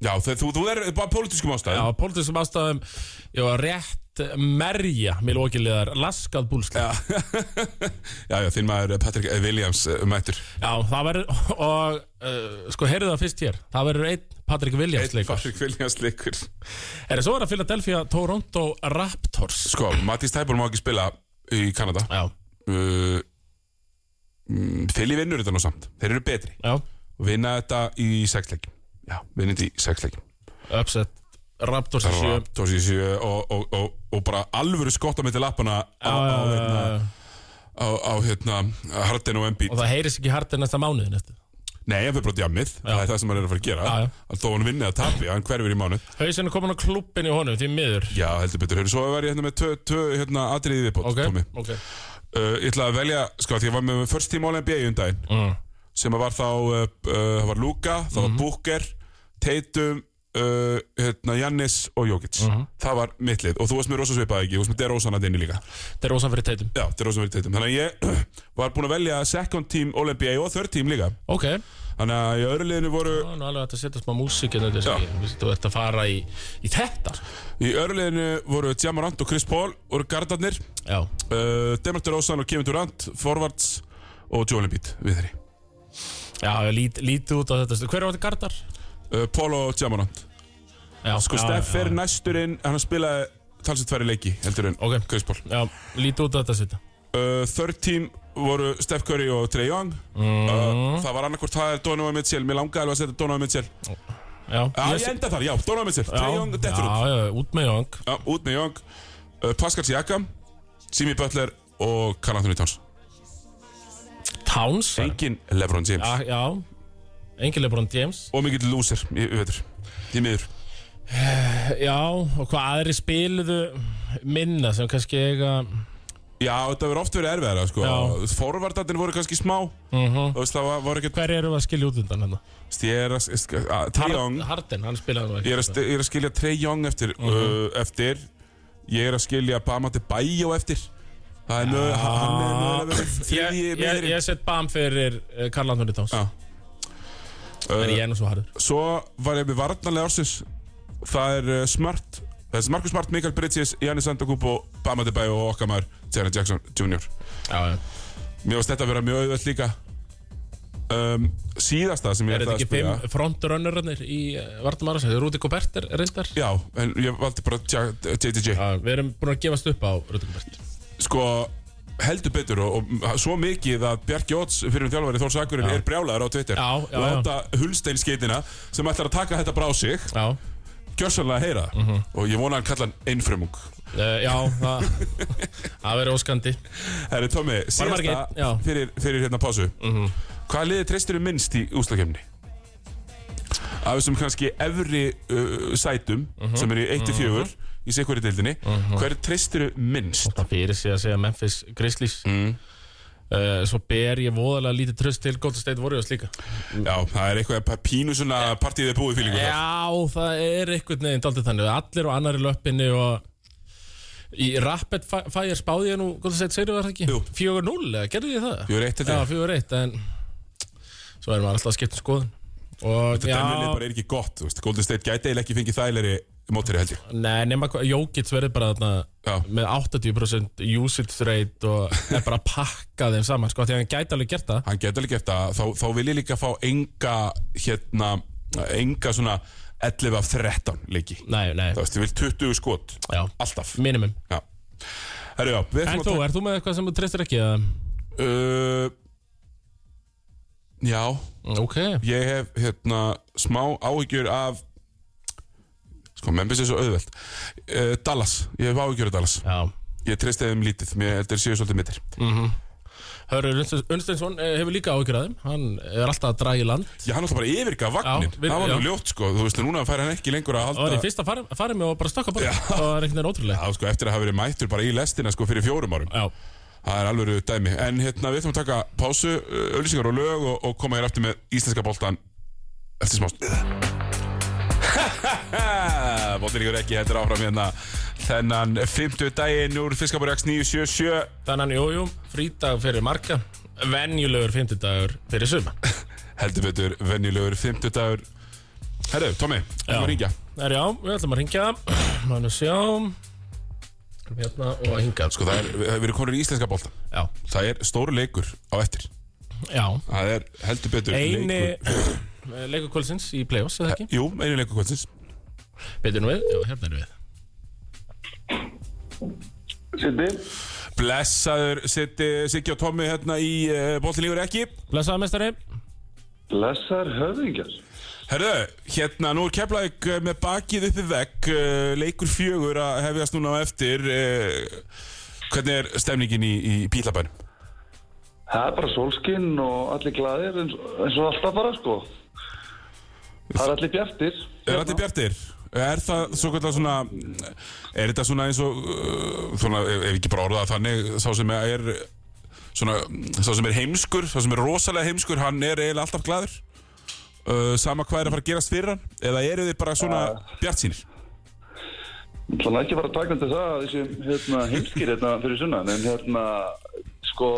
Já, þe- þú, þú er bara pólitískum Já, ástæðum pólitískum ástæðum Ég var rétt merja Mér lókilegar laskað búlskap Já, já, já, þinn maður eh, Patrick eh, Williams eh, mættur Já, það verður *laughs* Og uh, sko, heyrðu það fyrst hér Það verður einn Patrick Williams Einn leikur Patrick Williams leikur Er það svo er að Philadelphia Toronto Raptors Sko, Matís Tæból má ekki spila í Kanada Já, uh, mm, Fili vinnur þetta nú samt Þeir eru betri já, og vinna þetta í sexleikum Já, vinna þetta í sexleikum upset Raptors í sjö Raptors í sjö og, og, og, og bara alvöru skotta mitt í lappana á, á, hérna, Uh, á, á hérna Harden og Embiid Og það heyrist ekki hardir næsta mánuðin eftir Nei, ef við bara djammið, það er það sem hann er að fara að gera Já, já. Þó hann vinni að tapi, hann hverfur í mánu Hauðsinn er komin á klubbin í honum, því miður Já, heldur betur, hefur svo að vera hérna með tvö, tvö hérna, atriði viðbót Ok, Tommy. ok uh, Ég ætla að velja, sko, því ég var með first team all NBA um daginn mm. sem að var þá, uh, uh, það var Luka, það Mhm. var Booker, Tatum, uh, hérna, Jannis og Jokic Mhm. Það var mitt lið og þú varst með rosa svipað ekki, þú varst með DeRozan að inni líka Það er ósann fyrir teitum Já, DeRozan verið Tatum, þannig að ég *clears throat* var búinn að velja second team All-NBA og third team líka Ok, Þannig að í öðru liðinu voru, það er nú alveg hægt að setja smá músíkinn undir Já. sig. Þú veist, Þú ert að fara í, í þetta í öðru liðinu voru Jamarant og Chris Paul, voru gardarnir Já, uh, Demar DeRozan og Kevin Durant, forwards og Joel Embiid við þeirri já, já lít, lítið út á þetta Hver er þetta gardar? uh, Paul og Jamarant Já, Sko já, Steff já, er já. næstur inn, hann spilaði talsið tværi leiki, heldur en Ok. Chris Paul Já, lítið út á þetta setja uh, Third team voru Steph Curry og Trae Young Mhm. uh, Það var annarkvort það er Donovan Mitchell Mér langaði alveg að setja Donovan Mitchell Já, Já, ég enda þar, já, Donovan Mitchell Trae Young, dettur út Já, já, út með Young Já, út með Young uh, Pascal Siakam, Jimmy Butler og Karl Anthony Towns Towns Engin Lebron James Já, já Engil er brúin James Og mikill loser, ég veitur Því miður Já, og hvað aðri spiluðu minna sem kannski eiga Já, þetta verður oft verið erfiðara sko. Já. Forvardarnir voru kannski smá mm -hmm. Þú veist, það var, var ekkert Hver eru að skilja út undan hérna? Stjera, Trae Young Harden, hann spilaði nú ekki Ég er að, st- ég er að skilja Trey Young eftir, uh, eftir Ég er að skilja Bama til Bæjó eftir Það er mög, hann er mög að vera Ah. Ég, þriðji ég, miðurinn. ég set bam fyrir eh, Karl Anthony Towns Já. En Uh, ég er nú svo harður Svo var ég með varnarlega ársins Það er uh, Smart Það er Markus Smart, Mikael Bridges, Jannis Antokúpo Bama til Bæjó og okkar maður Jaren Jackson Jr. já, já. Mér varst þetta að vera mjög auðvöld líka um, Síðasta sem ég Er ætlaði þetta að ekki spyrja- fimm frontrunnerarnir í eh, Vartamara Rúti Gobert er reyndar Já, en ég valdi bara Ja- JTJ Já, Við erum búin að gefast upp á Rúti Gobert sko heldur betur og, og svo mikið að Bjarki Óts fyrir um þjálfari Þórs Akurinn er brjálaður á Twitter Já, já, já. láta hulsteinskeitina sem ætlar að taka þetta brá sig Já, gjörsanlega að heyra mm Mhm. -hmm. og ég vona að hann kalla hann einfrumung Eh, já *laughs* það Það verður óskandi Herri Tommi, margir síðasta einn? Já. Mhm. fyrir, fyrir hérna pásu mm -hmm. Hvaða liði treystir minnst í úslakefni? Af þessum kannski efri uh, sætum Mhm. sem eru í 1-4 í sikveri deildinni hver treystir minnst? Það fyrir sig að segja Memphis Grizzlies mm. Svo ber ég voðalega lítið tröst til Golden State Warriors líka Já, það er eitthvað pínu svona partíðið búið um fílingur þar. Já, það er einhvern veginn daldið þannig Allir og annar í löppinni og Í Rapid Fi- Fire spáði ég nú Góð að segja, segir það ekki? Jú. 4-0, eða gerði ég það? 4-1 held ég. Já, 4-1, en Svo er maður alltaf að skipta um skoðun Og Þetta dæmilið bara er ekki gott, þú veist, Golden State gæti eiginlega ekki fengið þægilegri mótari held ég. Nei, nema hvað, Jókits verður bara þarna Já. með 80% usage rate og er bara að pakka þeim saman sko, því að hann gæti alveg gert það Hann gæti alveg gert það, þá, þá vil ég líka fá enga, hérna, enga svona 11 af 13 leiki. Nei, nei, Þú veist, ég vil 20 skot, já, alltaf. minimum Já. Herru, já, við En ætlum þú, er þú með eitthvað sem þú treystir ekki? eða? Uh, já, Ok, ég hef, hérna, smá áhyggjur af, sko, Memphis er svo auðvelt. Uh, Dallas, ég hef áhyggjur af Dallas. já Ég treysti þeim lítið, mér heldur séu svolítið mittir. Hörður Unnsteinsson eh, hefur líka ágjörðum Hann er alltaf að draga í land Já, hann alltaf bara yfirgaf vagnin Já, við- Það var nú já. ljótt, sko Þú veist, núna fær hann ekki lengur að Það var í halda fyrsta farin, farin með og bara stökka bara Já. Það var einhvern veginn ótrúlega Já, sko, eftir að hafa verið mættur bara í lestina, sko, fyrir fjórum árum Já, Það er alveg dæmi En hérna, við ætlum að taka pásu, öllisingar og lög og, og koma hér aftur með íslenska boltan Eftir smást *laughs* Bóttiríkur ekki heldur áfram hérna Þennan 50 daginn úr Fiskabur X977 þannig jú, jú, frídag fyrir marga Venjulegur fimmtudagur fyrir suma Heldur betur, venjulegur 50 dagur Herru, Tommy, við erum að ringja Það er já, við ætlum að ringja Mánu sjá Skulum Hérna og að hinga Sko, það er, við við erum konur í íslenska bolta Já, Það er stóru leikur á eftir já Það er heldur betur Eini leikur eh, *clears throat* leikur kvöldsins í play-offs eða ekki Jú, einu leikur kvöldsins Betur nú við, já, hérna erum við Sindi, Blessaður Sitti, Siggi og Tommi hérna í uh, Bóltinlíkur ekki Blessaða mestari blessar höfðingjar. Herðu, hérna, nú er Keflæk með bakið uppi vekk uh, Leikur fjögur að hefjast núna á eftir uh, Hvernig er stemningin í, í Pílabænum? Það er bara sólskinn og allir glaðir eins, eins og alltaf bara sko. Það er allir bjartir. Er þetta bjartir? Er það svo kallar svona Er þetta svona eins og uh, svona, ef ef ekki bara orða það þannig Sá sem er svona, Sá sem er heimskur, sá sem er rosalega heimskur Hann er eiginlega alltaf glaður uh, Sama hvað er að fara að gerast fyrir hann Eða eru þið bara svona bjart sínir? Þannig að ekki fara að taka undir það að þessum hérna, heimskir hérna, fyrir sunnan. En hérna, sko,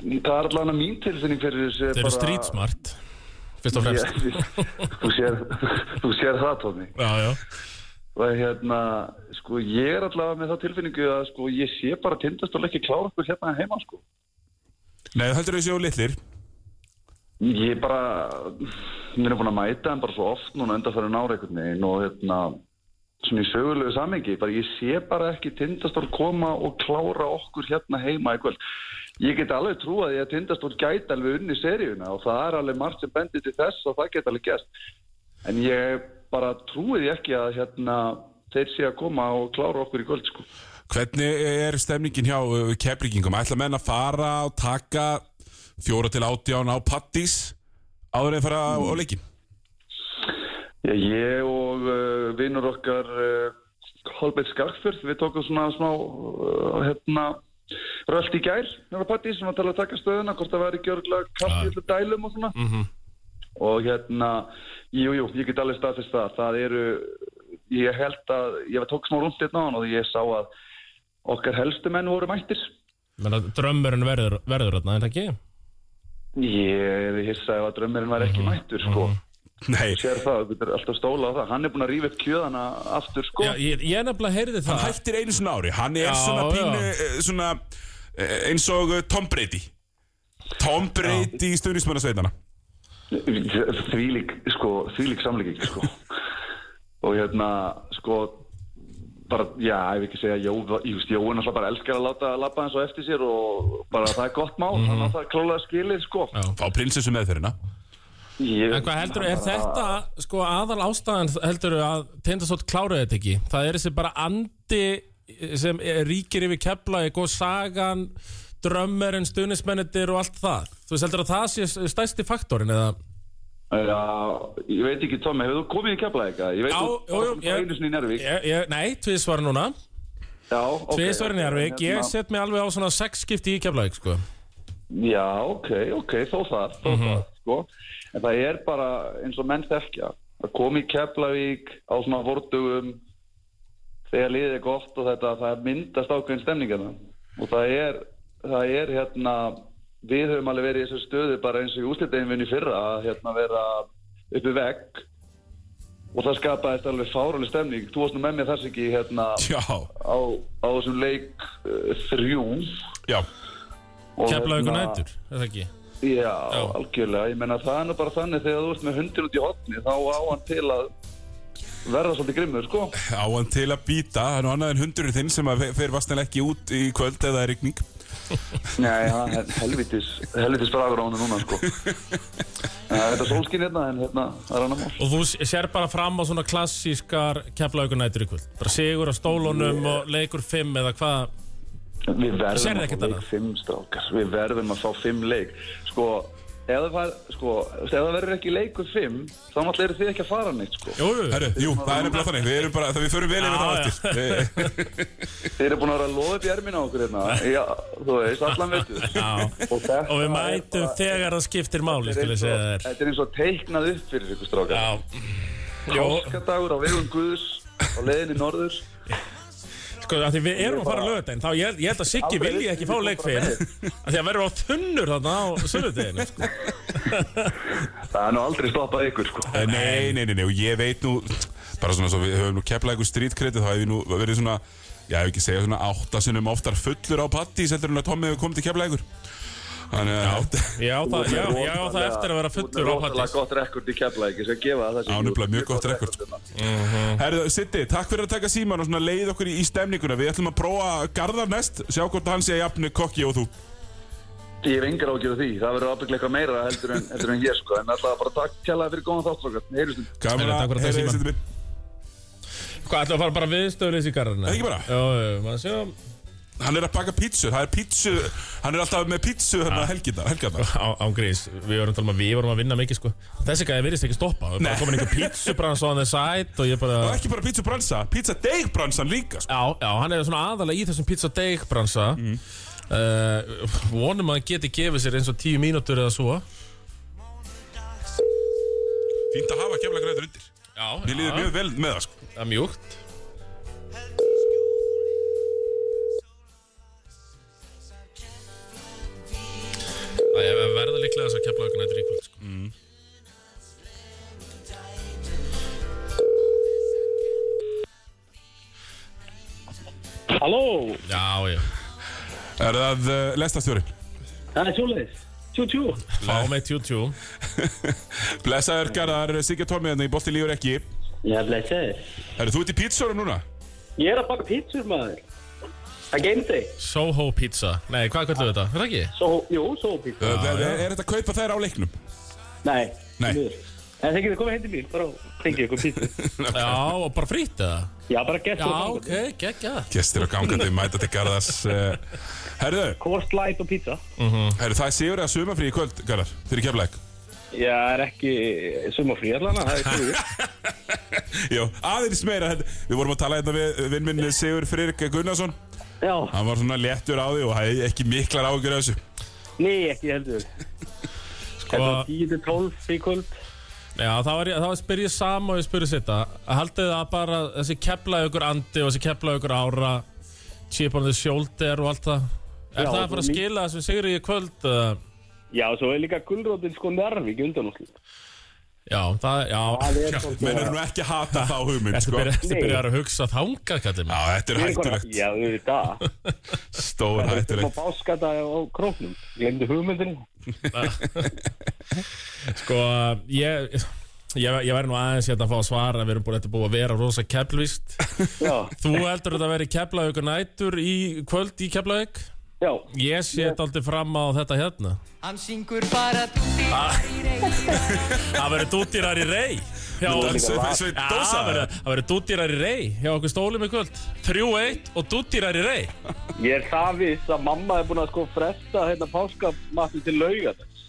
það er allan að mín tilfinning fyrir þessu. Þeir eru streetsmart Fyrst og fremst Ég, þú, sér, þú sér það, Tómi. Já, já og hérna, sko, ég er allavega með þá tilfinningu að, sko, ég sé bara tindast og ekki klára okkur hérna heima, sko. Nei, heldur þau séu litlir Ég er bara, mér er búin að mæta en bara svo oft núna undanfæri nára einhvern veginn og hérna, svona í sögulegu samengi, bara ég sé bara ekki tindastór koma og klára okkur hérna heima í kvöld. Ég get alveg trú að ég að tindastór gæti alveg unni seríuna og það er alveg margt sem bendir til þess og það get alveg gæst. En ég bara trúi því ekki að hérna þeir sé að koma og klára okkur í kvöld, sko. Hvernig er stemningin hjá uh, Keflvíkingum? Ætla menn að fara og taka Fjóra til átján á pattís Áður en fara á, Mm. á leikin? Já, ég og uh, vinnur okkar uh, Holbert Skarkfjörð, við tókum svona smá uh, hérna, rölt í gær nára patti sem var að tala að taka stöðuna hvort það væri gjörgla kaffi Ja. ja. dælum og svona Mhm. og hérna, jú, jú, ég get alveg staðfist það það eru, ég held að ég tók smá rúmt hérna á hann og ég sá að okkar helstu menn voru mættir Menna drömmurinn verður, verður þarna, er það ekki? ég er hissa ef að drömmurinn var ekki mættur sko, Nei, sér það, þú getur alltaf stóla á það hann er búin að rífa upp kjöðana aftur sko Já, ég, ég nefnilega heyrði það hann hættir einu svona ári hann er Já, svona pínu já. eh, svona, eh, eins og eh, Tom Brady Tom Brady í stuðnismannasveitana þvílík sko, þvílík samlíking sko. og hérna sko bara, já, ef ekki segja Jó, ég veist, Jói náttúrulega bara elskar að láta labba hans og eftir sér og bara það er gott mál þannig að það er klólega skilið, sko Mhm. Já. fá prinsessu meðferðina ég, En hvað heldur, er þetta sko aðal ástæðan heldur að Tindastótt kláraði þetta ekki? Það er þessi bara andi sem ríkir yfir keflaði, góð sagan drömmerinn, stuðnismennitir og allt það. Þú veist heldur að það sé stæsti faktorin eða? Já, ég veit ekki, Tommi, hefur þú komið í kefla eitthvað? Ég veit Já, jú, þú- jú, þú- ég- einu sinni í Njárvík Ég, ég, nei, tvísvar núna. Já, ok Tvísvar í Njárvík. Hérna- Ég set mig alveg á svona sex skipti í keflaði, sko. Já, ok, ok, þó það, þó það, sko. En það er bara eins og menn þekkja. Að koma í Keflavík á svona vordugum þegar liðið er gott og þetta, það myndast ákveðin stemningina. Og það er, það er hérna, við höfum alveg verið í þessu stöðu bara eins og í úslitaðinvinni fyrra að hérna vera uppi vekk og það skapaðist alveg fáraleg stemning. Þú varst nú með mér þess ekki hérna já, á, á þessum leik uh, þrjú. já, og Keflaði ykkur hérna- nætur, er það ekki? Já, algjörlega, ég meina það er nú bara þannig þegar þú ert með hundin út í hotni þá á hann til að verða svolítið grimmur, sko á hann til að býta það er nú annað en hundurinn þinn sem að fe- fer vastanlega ekki út í kvöld eða er rigning Nei, hann er helvitis, helvitis bragur á hann núna, sko Það er þetta sólskinn hérna, en hérna, það er annar mál Og þú sér bara fram á svona klassískar keflaugunætur í kvöld. Bara sigur á stólunum og leikur fimm eða hvað. Við verðum Sérðu að ekkert fá leik annað? fimm strákar, við verðum að fá fimm leik Sko, ef það, fær- sko, ef það verður ekki leikur fimm þá náttúrulega eru þið ekki að fara neitt, sko Jú, jú. Herru, jú, það er nefnilega þannig við erum bara, það við förum vel yfir það á Já, eftir Eh, Þeir eru búin að vera að loða upp í ermina á *laughs* okkur hérna Já, þú veist, allan veitur Og, þetta Og við er mætum bara- þegar það skiptir máli, Þetta skulle er ég eins og- segja þér. Þetta er eins og teiknað upp fyrir ykkur strákar Já. Jó, Páskadagur á vegum Guðs á leiðinni norður Sko, af því við erum að fara lögudaginn, þá ég, held- ég held að Siggi Aldrei vilji ekki fá vissi ég leikfið bara af því að verður á þunnur þarna á sunnudeginu sko. Það er nú aldrei stoppað ykkur sko Eh, Nei, nei, nei, nei, og ég veit nú bara svona svo við höfum nú keflað einhver strítkriti þá hef ég nú verið svona já, ef ekki segja svona áttasunum oftar fullur á patti heldur en að Tommi hefur komið til keflað ykkur Þannig að þetta Ég á það, já, ég á það Rosalega- eftir að vera Þú fullur ert á rosalega pattis gott rekord í kefla ekki sem gefa það þessi Já, nefnilega mjög gott rekord, sko. *laughs* Herðu, Sitti, takk fyrir að taka síman og svona leið okkur í, í stemninguna Við ætlum að prófa Garðar næst Sjá hvort hann sé að jafni kokki og þú Ég hef engar ágjörð því, það verður ábygglega eitthvað meira heldur en, heldur en ég sko En alltaf bara takk kjallaði fyrir góðan þáttrókar, heyrjustum Gaman Heyrðu, takk að heyra þig, Siddi minn. fyrir að taka símann. Hvað, ætlum við að fara bara viðstöðlis í garðinu? Ekki bara? Jó, jó, maður sjá Hann er að baka pítsu, það er pítsu Hann er alltaf með pítsu Ah. hérna helgina, helgina. Á, ángrís, við vorum talað um að við vorum að vinna mikið sko Þessi gæði virðist ekki stoppa Það er bara komin einhver pítsubrans on the side og ég bara Og ekki bara pítsu bransa, pítsa deigbransan líka sko. Já, já, hann er svona aðalega í þessum pizza deg bransa Mhm. mm. Vonum að hann geti gefið sér eins og tíu mínútur eða svo Fínt að hafa kemla græður undir Já, Mér líður mjög vel með það sko. Það er mjúkt Það er verða líklega þess að kepla okkur nættur í kvöld sko. mm. Halló, Já, já Er það uh, lestastjóri? það er svoleiðis. Tjú, tjú. Fá með tjú tjú Blessaður Garðar, Sigga Tómi hérna í Bolti Lífur ekki Já, blessaðir. Herðu, þú ert í pítsurum núna? Ég er að baka pítsur, maður. Það geimdi. Soho pizza Nei, hvað kallum við þetta? Er það ekki? Svo, jú, svo pítsur. Já, er, Eh, er þetta að kaupa þær á leiknum? Nei. Nei. miður. En þeir getur komið heim til mín, bara og fengið ykkur *laughs* pítsur. Já, og bara frýtt eða? Já, bara gett Já, og fangur. ok, geggja Gestir og gangandi mæta til Garðars uh, Herðu, Hvort light og pítsa. Herru, það er sigur eða sumafrí í kvöld, Garðar, fyrir keflæk. Já, er ekki sumafrí allan, það er *laughs* skrúið. Jó, aðeins meira, þetta- við vorum að tala hérna við vinnminn Sigur Fririk Gunnarsson. Já, Hann var svona léttur á því og hafði ekki miklar ágjur af þessu. nei, ekki heldur. sko, Þetta er 10-12 í kvöld. Já, þá var, ég, þá spyr ég sama og ég spyrir þetta Haldið það bara þessi kepla ykkur andi og þessi kepla ykkur ára Chip on the shoulder og allt það Er Já, það að og fara að mí- skila þessum sigri í kvöld? eða? Já, svo er líka gullrótin sko nærvík undan úr. Já, það, já Það er svolítið. Menn er nú ekki að hata þá hugmynd, Ertu sko. byrjar, ertu Nei. byrjar að hugsa þangað, kallið Já, mig þetta er hættulegt, Já, auðvitað. stór Þetta er smá hættulegt. báskata á króknum. Glemdu hugmyndinu. *laughs* Sko, ég, ég, ég væri nú aðeins hérna að fá að svara Við erum búin þetta búið að vera rosa keplvist Já, *laughs* Þú heldur þetta að vera keplaðugur nætur í kvöld í keplaðug já. Ég set aldrei fram á þetta hérna Hann syngur bara dúddi Það verður dútýrar í rey hjá Það er okkur svo- svo Já, dósa það verður- það verður dútýrar í rey hjá okkur stólum í kvöld 3-1 og dútýrar í rey Ég er það viss að mamma er búin að sko fresta hérna páskamattin til laugadags.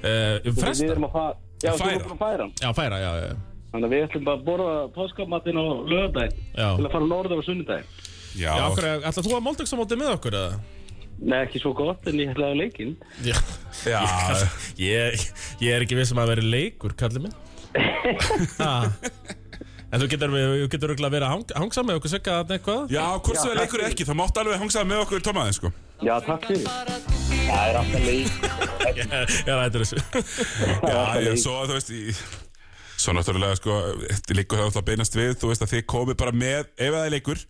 uh, Við Fresta? erum að fara... Já, Að þú færa. erum búin að færa hann. Já, færa, já, já Þannig að við ætlum bara að borða páskamattin á laugardaginn Já. til að fara norður á sunnudaginn. Já, Já, okkur, ætla þú að Moldöksamóti með okkur eða? Nei, ekki svo gott en ég ætlaði leikinn. Já, já, *laughs* ég, ég er ekki vissum að vera leikur, kallið minn Ha. En þú getur, eh, þú getur örugglega að vera hang, hangsam með okkur sökka þarna eitthvað já, hvort sem það leikur eða ekki, þá mátt alveg hangsaða með okkur tómaði, sko. Já, takk fyrir. Það er alltaf leik. Ég *laughs* ég er hættur þessu Já, ég svo að þú veist í, Svo náttúrulega sko Liggur það alltaf beinast við Þú veist að þið komið bara með Ef það er leikur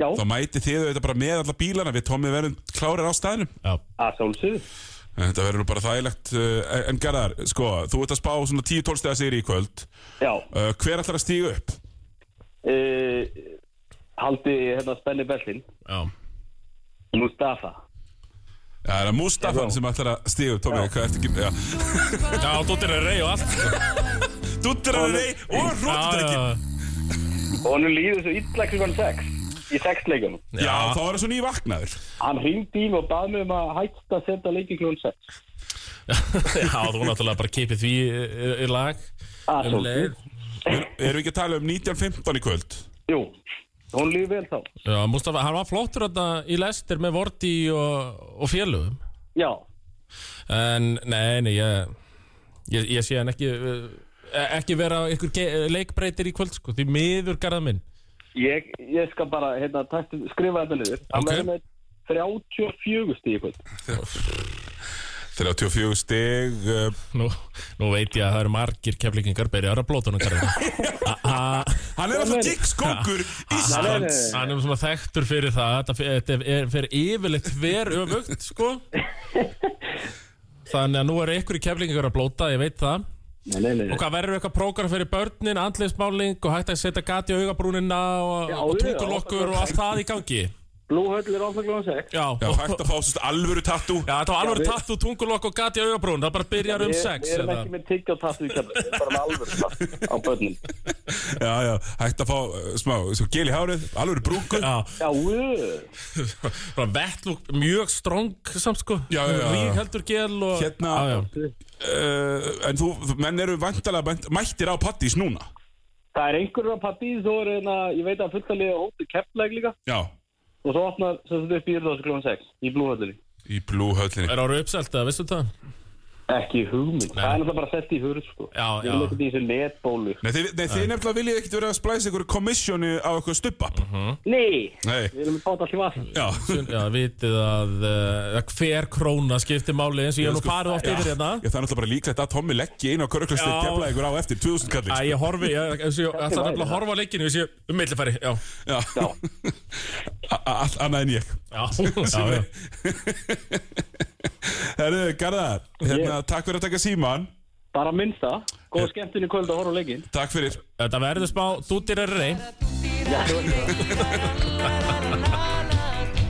Já. Þá mæti þið auðvitað bara með alla bílana Við tómið verðum klárir á staðnum Já, Að sjálfsögðu. En Þetta verður nú bara þægilegt uh, En Garðar, sko Þú ert að spá svona 10-12 stegar sigri í kvöld Já. uh, Hver ætlar að stíga upp? Uh, haldi hérna spenni Berlin. já Mustafa. Já, það er Mustafan sem ætlar að stíga upp Tómið, hvað ertu ekki já. Já, dóttir er rey og allt Dúttir að rey og Já, róttir já, ekki já. Og hann líður svo illa klukkan 6 í 6 leikunum. Já, þá er það svona í vaknaður Hann hringdi í mig og bað mig um að hætta að senda leiki klukkan 6. Já, þú náttúrulega bara kipið því í, í lag Að um leið sjálfsögðu. Er- Erum við ekki að tala um 19.15 í kvöld? Jú, hún líður vel þá. Já, Mustafa, hann var flottur þarna í lestir með Vorti og, og félögum Já, En, nei, nei, ég, ég, ég eh, sé hann ekki, eh, ekki vera ykkur ge- leikbreytir í kvöld, sko Því miður garða minn Ég, ég skal bara hérna, takt, skrifa þetta niður. Það Ok. verður með 34 stíð í kvöld. 34 stig uh, Nú, nú veit ég að það eru margir keflingingar byrjar að blóta hann Hann Hann er alltaf gigskókur nei, Íslands nei. hann er svona þekktur fyrir það Þetta fer- Þetta er- fer yfirleitt hver öfugt sko Þannig að nú eru ykkur keflingingar að blóta Ég veit það Nei, nei, nei. Og hvað verður eitthvað prógram fyrir börnin, andliðsmáling og hægt að setja gati á augabrúnina og, Já, og já, tungulokkur og allt það í gangi Blúhöll er áfækla um 6. Já, Já, og- hægt að fá sérst alvöru tattu já þetta var alveg við- tattu, tungulokk og gati á augabrún það bara byrjar um sex Við erum eða- ekki með tyggja og tattu í kemur. Við erum bara með alvöru tattu á börnum. Já, já, hægt að fá uh, smá svo gel í hárið, alvöru brúku Já, Já, uuu. bara vettlúk mjög strong samt sko Já, já, já. Rík heldur gel og Hérna- já, já. uh, En þú, þú- menn eru vantalega bent- mættir á pattís núna Það er einhverjur á pappís og er hérna, ég veit að fulltalið og hóttu keppleg líka. Já, Og svo opnar sem þetta upp í Írðásu klukkan 6 í blúhöllinni. í blúhöllinni Er ára uppselt eða, veistu það? Ekki hugmynd. Það er náttúrulega bara sett í hurð, sko. Já, Við já. erum ekkert í þessu netbólu. Nei, þið, nei, þið nefnilega viljið ekkert vera að splæsa ykkur komissjónu á eitthvað stubbap Nei! Nei, Við erum að báta allir vatn. já, Já, vitið að uh, hver króna skiptir máli eins og ég hef nú farið oft yfir hérna sko- Já, það er náttúrulega bara líklegt að Tommi leggji inn á köruklastir Já. keflaði ykkur á eftir 2000 Æ, kallir ég horfi, ég, eins og ég ætla nefnilega að horfa á leikinu eins og ég um millifæri, já Já, *laughs* A- a- allt annað en ég Já, já, já. Herðu, Garðar, hérna, takk fyrir að taka síman Bara minnst það. Góða skemmtun í kvöld að horfa á leikinn. Takk fyrir Þetta verður smá dútirarri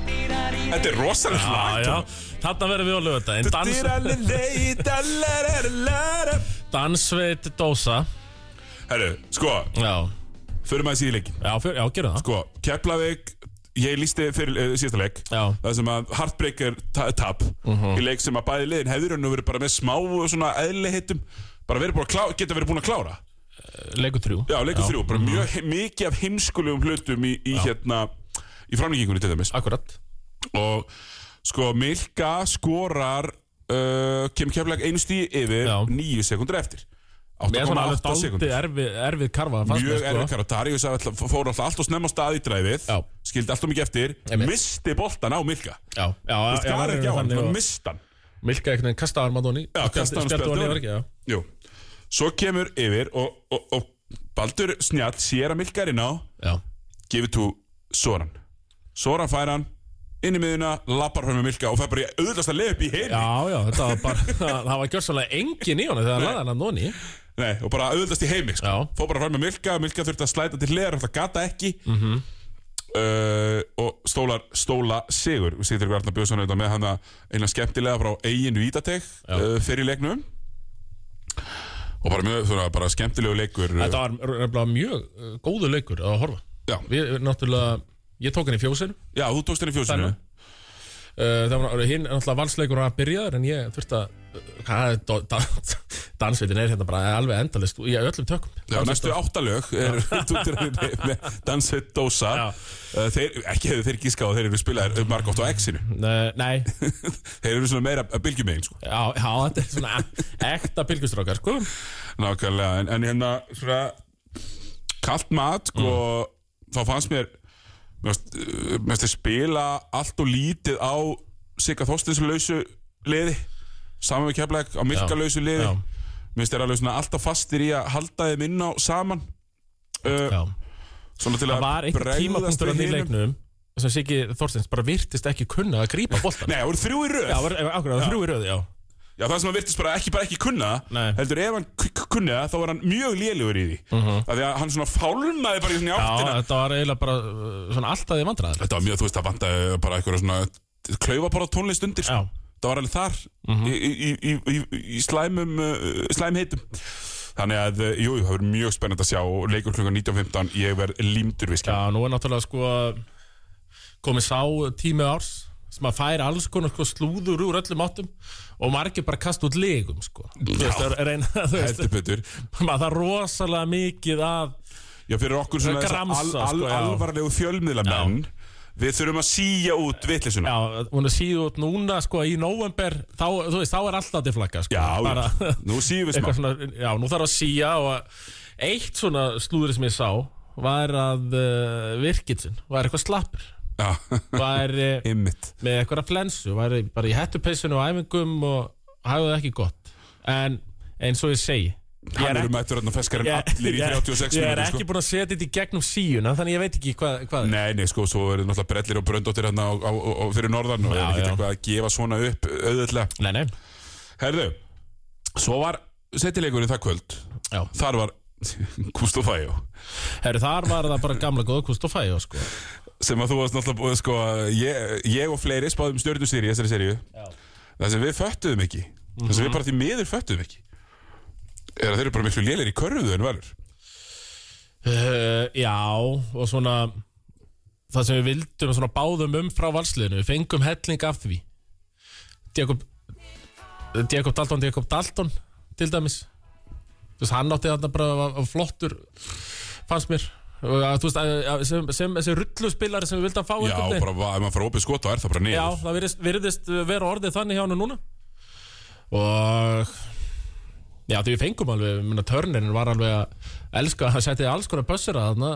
Þetta er rosalega Já, slag já, þarna verður við á lögudaginn Dans, Dansveit Dósa Herru, sko, Já, förum að þessi í leikin já, fjör, já, gerum það Sko, Keflavík Ég lísti fyrir uh, síðasta leik Já. Mhm. Það sem að Heartbreaker ta tap Í leik sem að bæði liðin hefur nú verið bara með smá og svona eðliheitum Bara verið búin að klára, geta verið búin að klára Leikur trjú Já, leikur þrjú, bara Mhm. mjög, mikið af heimskulegum hlutum í, í hérna Í framlengingunni til dæmis Akkurat Og sko, Milka skorar uh, Kim Keflavík einu stíð yfir Já. Níu sekundur eftir Mér er svona alveg 8,8 daldi sekundur erfið, erfið karfa fannst mér, Mjög sko. erfið kara Darius alltaf- fór alltaf allt og snemma á stað í dræfið Já. Skildi allt og mikið eftir Einmitt. Misti boltan á Milka Já, já, Það já, er já, ekki á hann, þannig hann og- misti hann Milka einhvern veginn kastaði Armadoni Já, kastaði hann og Spjaldi spjaldi honum honum. yfir, ekki, já. Jú, svo kemur yfir og, og, og Baldur Snjall sér að Milka er inn á Já, Gefið tú Soran Soran fær hann inn í miðuna, lappar hann með Milka og fær bara í auðvitaðst að leið upp í heim já, já, þetta var bara *laughs* Það var gjörsalega engin í honum þegar hann laði hann að noni Nei, og bara auðvitaðst í heimi sko. Já. fór bara fram með Milka, Milka þurfti að slæta til hliðar alltaf gata ekki -hmm. Mhm. uh, og stólar stóla sigur, við sýttir ykkur Arnar Björnsson auðvitað með hann eina skemmtilega frá eiginu ítateg uh, fyrir leiknum og bara mjög svona, bara skemmtilegu leikur Þetta var nefnilega mjög uh, góður leikur að horfa Já. Við, við náttúrulega, ég tók hann í fjósinu uh, Já, þú tókst henni fjósinu Þennan. Það var eh, hinn náttúrulega valsleikur að byrjaður en ég þurfti að uh, hvað er do- dans- *laughs* Dansveitin er hérna bara alveg endalist í öllum tökum Já, næstu áttalög er *laughs* tútir með, með Dansveit Dósa Já. Uh, þeir, ekki hefur þeir gískað þeir eru spilaðir margótt á X-inu Nei, nei, *laughs* þeir eru svona meira að bylgjum megin sko. já, já, þetta er svona ekta pilgustrákar, sko Nákvæmlega, en, en hérna svona kalt mat og Mm. þá fannst mér mér fannst- uh, mér fannst þeir spila allt og lítið á Sigga Þorstins lausu liði saman við keflæk á Milka Já, lausu liði já. mér finnst þeir alveg svona alltaf fastir í að halda þeim inn á saman uh, Já, svona til það að var einhver bregðast tímapunktur við að því hinum. leiknum sem Siggi Þorstins bara virtist ekki kunna að grípa boltan Nei, það voru þrjú í röð Já, var, eh, akkurat, þrjú í röði, já Já, það sem hann virtist bara ekki, bara ekki kunna það, Nei. Heldur ef hann k- k- kunni það Þá var hann mjög lélugur í því uh Mhm. -huh. Því að hann svona fálmaði bara í svona í Já, áttina þetta var eiginlega bara uh, svona alltaf í vandræðar Þetta var mjög, þú veist, það vantaði bara einhverja svona Klaufaborða tónlist undir sko. Já. Mhm. Það var alveg þar í, í, í, í, í slæmum uh, Slæmheitum Þannig að, uh, jú, jú, það verður mjög spennandi að sjá og Leikur klukkan 19.15, ég verð límdur við skjá Já, nú er náttúrulega sko komið sá tími árs sem að færa alls konar sko slúður úr öllum áttum og margir bara kasta út legum sko. Þú veist, það er eina, *laughs* þú veist, Heldur betur maður það er rosalega mikið að Já, fyrir okkur svona Það þessa gramsa, al, al, sko, já. alvarlegu fjölmiðla menn Við þurfum að síja út vitlisuna já, hún er síðu út núna sko í nóvember, þá, þú veist, þá er alltaf til flagga sko. Já, bara, *laughs* já, nú síðum við smá eitthvað svona, já, nú þarf að síja og eitt svona slúður sem ég sá var að uh, virkitsinn var eitthvað slappur Já, *laughs* var eh, ymmit með eitthvað flensu var bara í hættupissinu og æfingum og hafði það ekki gott en eins og ég segi ég Hann er eru ekki, mættur þarna feskar en ég, allir í ég, 36 ég er minúti ekki sko. búin að setja þetta í gegnum síuna þannig ég veit ekki hvað, hvað er. Nei, nei, sko, svo verður náttúrulega brellir og bröndóttir hérna á, á, á, á, fyrir norðan og Já, er ekkert já. eitthvað að gefa svona upp auðvitað nei, nei, Herðu, svo var settileikurinn það kvöld já Þar var *laughs* Gustaf Fajó Heru, þar var það bara gamla góða kúst og fæjó sko. sem að þú varst náttúrulega búið sko að ég, ég og fleiri spáðum stjörnustýri í þessari seríu það sem við föttuðum ekki það Mhm. sem við bara því miður föttuðum ekki er að þeir eru bara miklu lélir í körfuðu en valur uh, já og svona það sem við vildum svona báðum um frá valsliðinu við fengum helling af því Jakob Jakob Dalton, Jakob Dalton til dæmis þú veist, hann átti þarna bara að- að flottur fannst mér Og að, þú veist, að, að, sem, sem þessi rulluspillari sem við vildum að fá já, einhvern veginn. bara va- ef maður fara opið skot þá er það bara niður Já, það virðist, virðist vera orðið þannig hjá hann núna Og Já, því við fengum alveg, minna törnin var alveg að elska, hann setti alls konar bössera þarna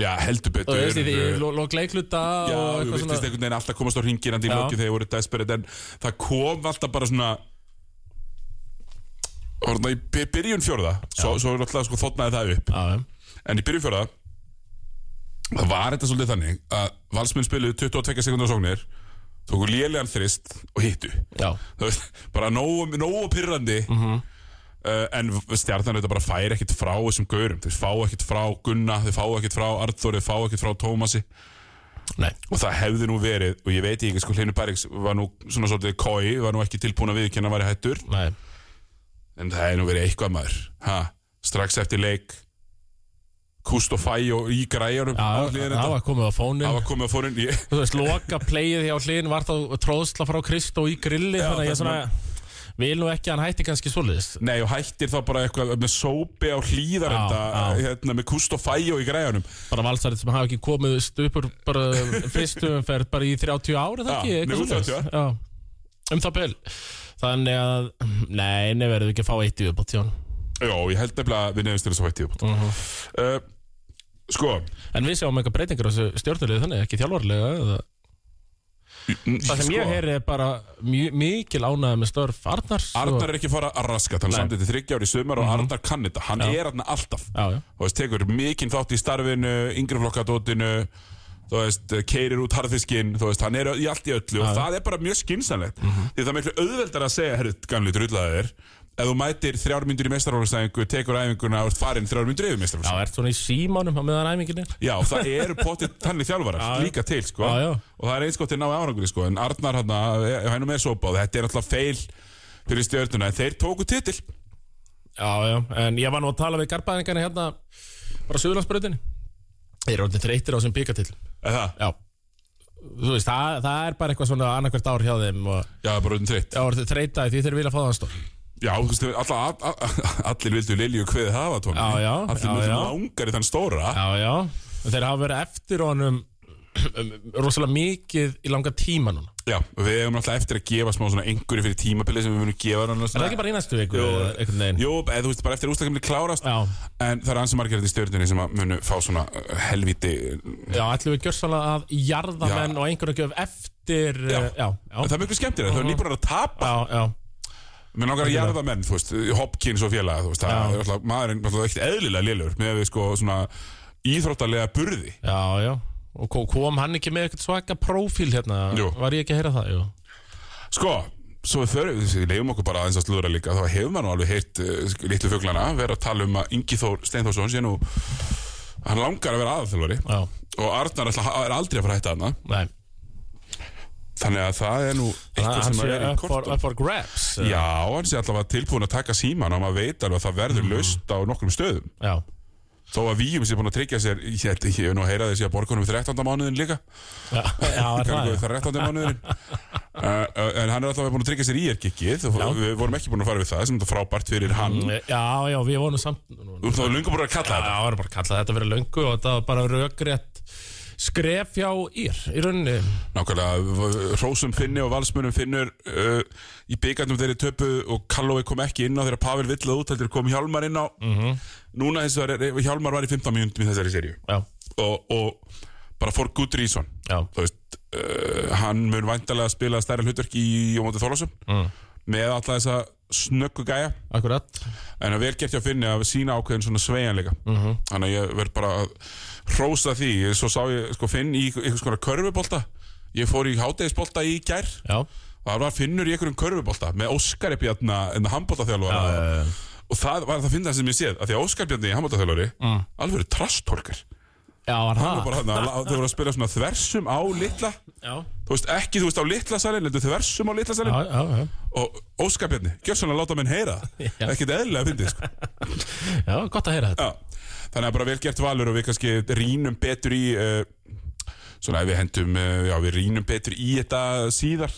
já heldur og betur þú veist, í því uh, lo- lók leikluta já, við og eitthvað viltist svona einhvern veginn alltaf komast á ringirandi í Já. loki þegar voru desperate en það kom alltaf bara svona orðna í by- byrjun fjórða svo, svo er alltaf sko þotnaði það upp Já, já. En í byrjun fjórða Það var þetta svolítið þannig að Valsmenn spiluðu 22 sekundar sóknir Tóku lélegan þrist og hittu Já, Þú veist, Bara nógu, nógu pyrrandi Mhm. uh, En stjarnan auðvitað bara fær ekkit frá þessum gaurum Þeir fá ekkit frá Gunna, þeir fá ekkit frá Arþór Þeir fá ekkit frá Tómasi nei, Og það hefði nú verið, og ég veit ekki sko Hlynur Bergs var nú svona svolítið kói Var nú ekki tilbúin að viðkynna var í hættur nei En það hefði nú verið eitthvað maður ha, Strax eftir leik Kúst og fæ og í græjarum á Já, hliðina. það var komið á fónin Það var komið að fórinn ég, Þú veist, loka playið hjá hlýn var þá tróðsla frá Kristó í grilli Já, Þannig það að ég svona vil nú ekki að hann hætti kannski svoleiðis Nei og hættir þá bara eitthvað með sópi á hlýðar Já, já. hérna, með kúst og fæjó í græjanum bara valsarið sem hafa ekki komið upp úr bara *laughs* fyrstu umferð bara í 30 ára það Já, ekki, nú 30 eitthvað svoleiðis. Já, um það byl þannig að, nei, nei verðum við ekki að fá eitt í uppátt hjá hann Jó, ég held nefnilega að við nefnist til þess að hætti upp Mhm. uh, Sko, en við sjáum eitthvað breytingar á þessu stjórnulega þannig, ekki þjálfarlega eða. það sem sko, ég heyri er bara mjö, mikil ánæði með störf Arnars og- Arnar er ekki að fara að raska Hann samdi til þryggja ári í sumar og Arnar kann þetta Hann er hann alltaf Mhm. Já, já. Þú veist, tekur mikinn þátt í starfinu Yngri flokkadótinu Þú veist, keirir út harðfiskinn Þú veist, hann er í allt í öllu Og það er bara mjög skinsanlegt Mhm. Því það er miklu auðveldar að segja Herru, gamli drullaðir Ef þú mætir þrjár myndur í mestarhólasæðingu Tekur æfinguna og ert farinn þrjár myndur yfir mestarhólasæðingu já, ert svona í símanum á meðan æmingin er Já, það eru potið þannig þjálfarar líka til sko Já, já. og það er eins gott til náðu árangri sko en Arnar hann, hann er með sopa og þetta er alltaf feil fyrir stjörnuna en þeir tóku titil Já, já, en ég var nú að tala við garbaðingarna hérna bara á Suðurlandsbrautinni Þeir eru orðin þreytir á þessum byggatillum Eða, Já Þú veist, það, það er bara eitthvað svona annarkvært ár hjá þeim og Já, bara um þreitt já, orðið þreita í því þeir vilja fá það stór Já, þú veist, alla, a- a- allir vildu Lilju kveðið hafa tóni Já, já, Allir já, vildu já. langar í þann stóra Já, já, en þeir hafa verið eftir honum *clears throat* um, rosalega mikið í langa tíma núna Er Já, og við eigum alltaf eftir að gefa smá svona einhverju fyrir tímabilið sem við munum gefa hann það ekki bara í næstu viku Jú. eða einhvern veginn? Jú, eða þú veist, bara eftir að úrslakamli klárast Já. En það er ansi margir þetta í stjörnunni sem að munu fá svona uh, helvíti Já, ætlum við gjörsanlega að jarða menn og einhvern veginn eftir Já. uh, já, Það já, er miklu skemmtir, það er nýbúin að tapa já, já. Mér langar að jarða menn, þú veist, Hopkins og félaga, þú veist, það er alltaf, maðurinn alltaf ekkert eðlilega lélur með við sko svona íþróttalega burði. já, já. Og ko- kom hann ekki með eitthvað svaka prófíl hérna? Jú. Var ég ekki að heyra það? Jú. Sko, svo við förum, við leiðum okkur bara aðeins að slúðra líka, þá hefur maður nú alveg heyrt uh, litlu fuglana vera að tala um að Ingi Þór Steinþórsson sé nú, hann langar að vera aðalþjálfari Já, og Arnar ætla, er aldrei að fara að hætta hana, nei þannig að það er nú eitthvað Hann sem sé er í up for, kortum. up for grabs eh, Já, hann sé alltaf að tilbúin að taka síman og maður veit alveg að það verður Mm. laust á nokkrum stöðum. já. Þó að Víum sé búin að tryggja sér, ég held ekki, ég hef nú að heyra þessi að borgunum 13. mánuðin líka. Já, já, er það, Kanningu já. við 13. *laughs* mánuðurinn uh, En hann er alltaf búin að tryggja sér í er gikkið Við vorum ekki búin að fara við það sem þetta er frábært fyrir hann Mm. Þú Já, já, við vonum samt Já, ert þá lunga búin að kalla það var bara að kalla þetta fyrir löngu og þetta var bara rökrétt skref hjá ír í rauninni Nákvæmlega, Rósum Finni og Valsmunum Finnur uh, í byggarnum þeirri töpu og Kallói kom ekki inn á þeirra Pavel villað út heldur kom Hjálmar inn á Mhm. Núna hins vegar, er- Hjálmar var í 15 mínúndum í þessari serju Já, og, og bara for good reason já, Þú veist, uh, hann mun væntalega spila stærra hlutverk í Jómóti Þorlásum mm. með alla þessa snöggu gæja akkurat en að vel gert hjá Finni að sína ákveðin svona sveigjanleika -hmm. Mhm. þannig að ég verð bara að hrósa því, Ég- svo sá ég sko Finn í ykkur- einhvers konar körfubolta ég fór í hátegisbolta í gær Já, og það var Finnur í einhverjum körfubolta með Óskar upp í hérna handboltaþjálfara Já, já, já. og það var það að finna sem ég séð að því að Óskar Bjarni í handboltaþjálfari mm. alveg er trastólkar já, var Það var það bara þarna, la- þau voru að spila svona þversum á litla Já, Þú veist, ekki, þú veist, á litla salin, heldur þversum á litla já, salin já, já, Og Óskar Bjarni, gjör svona að láta menn heyra *laughs* það Ekkert eðlilega að fyndið, sko já, gott að heyra þetta Já, þannig að bara vel gert valur og við kannski rínum betur í uh, Svona ef við hendum, uh, já, við rínum betur í þetta síðar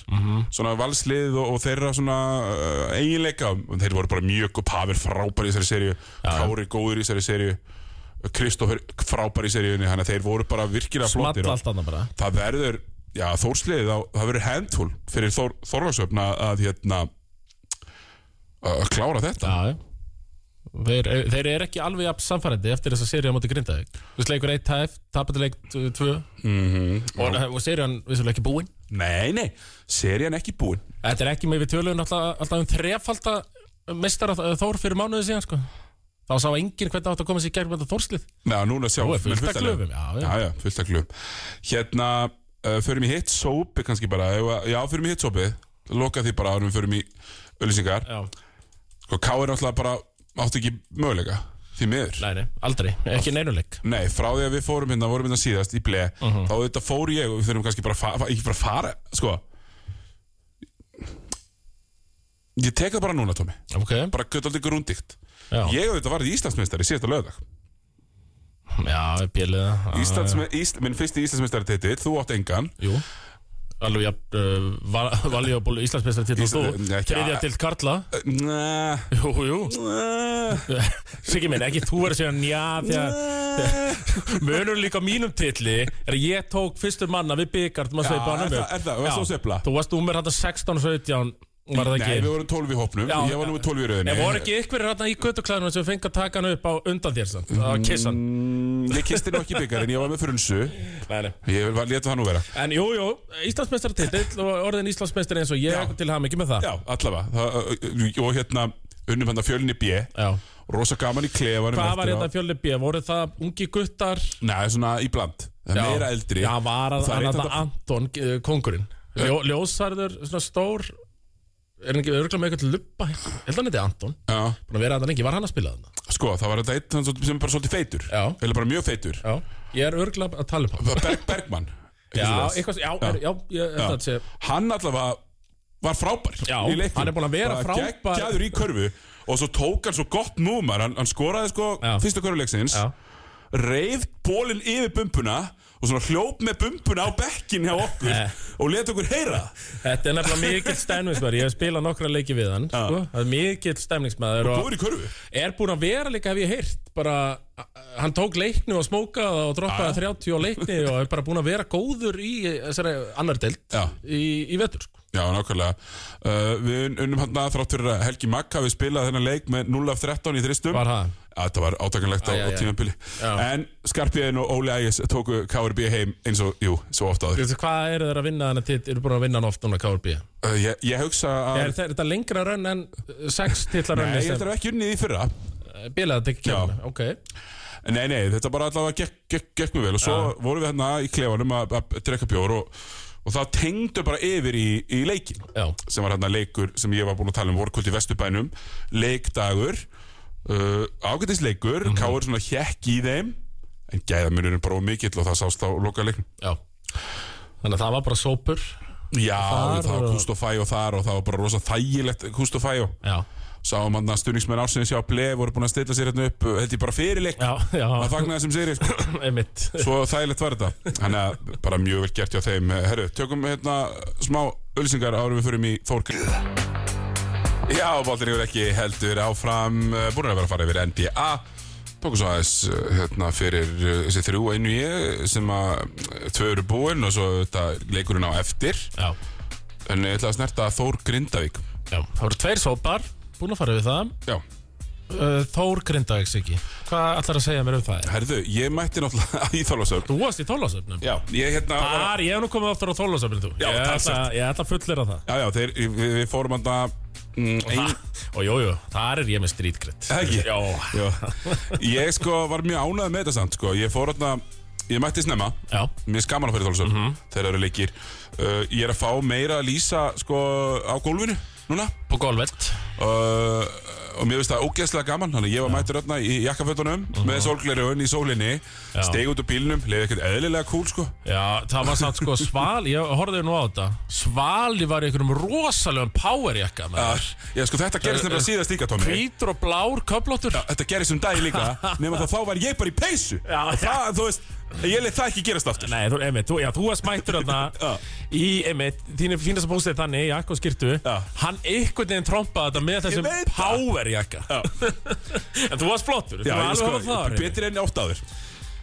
Svona valslið og, og þeirra svona uh, eiginleika Og Þeir voru bara mjög og Pavel frábær í þessari seríu Kári góður í þessari seríu Kristófer frábær í seríunni Þannig að þeir voru bara virkilega flottir Small og- allt annað bara það verður já, þórsliðið, á, það verður handful fyrir Þór, Þorlagsöfn að, að hérna að klára þetta Já, já Þeir, þeir eru ekki alveg jafn samfærandi eftir þessa séri á móti Grindavík Þú veist leikur 1 tæf, tapandi leik 2 og, og seriðan vissulega ekki búinn Mhm. Nei, nei, serían ekki búin Þetta er ekki með við tölun alltaf, alltaf um þrefalda mestara Þór fyrir mánuði síðan sko. Þá sá enginn hvernig átt að koma sér í gegn með þetta Þórslið Ná, núna sjá Nú er fullt menn af glufum, liðum. já, já. já, já, fullt að glöfum Hérna, uh, förum í hitt sópi kannski bara, ef að- já, förum í hitt sópi loka því bara, árum förum í öllisingar, Já, sko, K er náttúrulega bara átti ekki möguleika, því miður nei, nei, aldrei, ekki neinuleik Nei, frá því að við fórum hérna, vorum hérna síðast í ble Mhm. Þá þetta fór ég og við þurfum kannski bara að fara, ekki bara að fara, sko Ég tek það bara núna, Tómi Ok, Bara göttaldi grúndíkt já, Ég auðvitað varði Íslandsmeistari síðasta lögðag já, bjöliða Íslandsme, Ísl, Minn fyrsti Íslandsmeistari titill, þú átt engan Jú, alveg jafn uh, val, valjóból Íslandsmeistar til og Ísland- þú Nei, ekki- Þriðja til Karla Næ, Jú, jú, *laughs* Siggi minn, ekki þú verður að segja njá Þegar munur líka á mínum titli Er að ég tók fyrstur manna við byggart um að Já, sveipa er hann um það- er það? Varst þú að sveifla? Þú varst úmur hann 16-17 Var það Nei, við ekki? vorum 12 í hópnum Já, Ég var já. nú 12 í rauðinni En voru ekki ykkur hann í göttuklæðinu sem fengi að taka hann upp á undan þér samt Að kissa hann Mm, Ég kisti nú ekki byggar en ég var með frunsu Nei, nei. Ég var, leta það nú vera En jú, jú, Íslandsmeistar titill og orðin Íslandsmeistar eins og ég Já. til ham ekki með það Já, allavega það, Og hérna, unnum hann fjölni B Já. Rosa gaman í klefanum Hvað var hérna? eftir á. þetta fjölni B? Voru það ungi guttar? Nei, svona íbland Það er Já. meira eldri Já, var að, Það er hann eitt að þetta- Anton, eh, kongurinn Ljó, Ljósarður, svona stór Er hann ekki örgulega með eitthvað til luppa Held hann heiti Anton, Já, búin að vera þetta lengi Var hann að spila þarna? sko, það var þetta eitt hann svo- sem er bara svolítið feitur Já. Eller bara mjög feitur Já, ég er örgulega að tala um hann Berg, Bergmann Já, eitthvað svoleiðis. eitthvað, já, er, já, ég, já. Sé, Hann allavega var frábær Já, í leiknum. hann er búinn að vera Bara frábær. Geggjaður í körfu Og svo tók hann svo gott númar Hann, hann skoraði sko Já. fyrsta körfuleiksins já. Reif bólinn yfir bumbuna Og svona hljóp með bumbuna á bekkin hjá okkur Eh. Og let okkur heyra Þetta er nefnilega mikill stæmningsmaður Ég hef spilað nokkra leiki við hann Já. sko. Það er mikill stæmningsmaður og Góður í körfu er búin að vera líka hef ég heyrt bara, a- a- hann tók leikni og smókaði og droppaði 30 á leikni og er bara búin að vera góður í eh, þessari annar deild Já. í, í vetur sko. Já, nákvæmlega uh, Við unnum hann að þrátt fyrir að Helgi Magg hafi spilað þennan leik með 0 af 13 í þristum Var það? Já, Þetta var átakanlegt á, Æ, á æ, æ. tímanbili Já. En Skarpiðin og Óli Ægis tóku KRB heim eins og, jú, svo oft áður uh, Veistu, Hvað eru þeir að vinna þannig til, eru búin að vinna hann oft núna KRB? Eh, ég, ég hugsa að Er þe- er þetta lengra raun en 6 titla raun Nei, ég held að það ekki unnið í fyrra Bilaði þetta ekki Já. kemur, ok Nei, nei, þetta bara allavega gekk, gekk, gekk mjög vel Og svo vorum við hérna í klefanum að, að drekka bjór og, og það tengdu bara yfir í, í leikin Já, sem var hérna leikur sem ég var búinn að tala um vorkvöld í Vesturbænum, leikdagur uh, ágætisleikur Mhm. mm -hmm. Káur svona hjekk í þeim en gæðamunurinn bara of mikill og það sást á loka leiknum. já Þannig að það var bara sópur Já, Þar það var og- Kustofæjó þar og það var bara rosa þægilegt Kustofæjó Já, sáum hann að stuðningsmenn ársins hjá Ble voru búin að stilla sér hérna upp, held ég bara fyrirleik já, já *laughs* að fagna þessum séri, sko. Einmitt svo þægilegt var þetta þannig að bara mjög vel gert hjá þeim herru, tökum hérna smá ölsingar árum við fyrir mig Þórkir eh, Já, Bóttir hefur ekki heldur áfram búin að vera að fara yfir NBA tókum svo aðeins uh, hérna, fyrir uh, þessi þrjú einu ég sem að uh, tvö eru búin og svo þetta, leikurinn á eftir Já, en ég ætla að snerta Þór Grindavík já, það voru tveir sópar Búin að fara við það Já, Uh, Þór Grindavík Siggi Hvað ætlar að segja mér um það? herðu, ég mætti náttúrulega *laughs* í Þorlásöfn Þú varst í þólasöfnum Já, ég hérna var að- Þar, ég hef nú komið oftar á þólasöfnum þú Já, ég, ætla, talsvert. ég ætla að fullera það Já, já, þeir, við, við fórum hann að mm, Og jújú, jú, þar er ég með strítgritt Ekki? Já, Já. Ég sko var mjög ánægð með þetta samt sko. Ég fór hérna, ég mætti snemma já, Mér skaman að fara í Þólasöfn Mhm. Þeir eru leikir uh, Ég er að fá meira að lýsa sko, á gólfinu núna på golvet uh, Og mér finnst það ógeðslega gaman Þannig að ég var mættur hérna í jakkafötunum Með sólgleri í sólinni Mhm. Já. Steig út úr bílnum, leiði ekkert eðlilega kúl sko. Já, það var samt sko sval Ég horfði nú á þetta Svali var í einhverjum rosalegum powerjakka uh, maður. Já, sko þetta gerist nefnilega síðast líka, Tommy Hvítur og blár köflóttur Þetta gerist um dag *laughs* líka Nefn að þá var ég bara í peysu Já, Og það, þú veist, ég leið það ekki gerast aftur Nei, þú, emi, þú, já, þú varst mættur *laughs* þarna Já. í, emi, þínu fínasta bústið þannig, jakk og skirtu Já. hann einhvern veginn trompaði þetta með þessum veit það. powerjakka *laughs* en þú varst flottur, þú Já, var ég alveg sko, sko, það Reyni. betur enn átt áður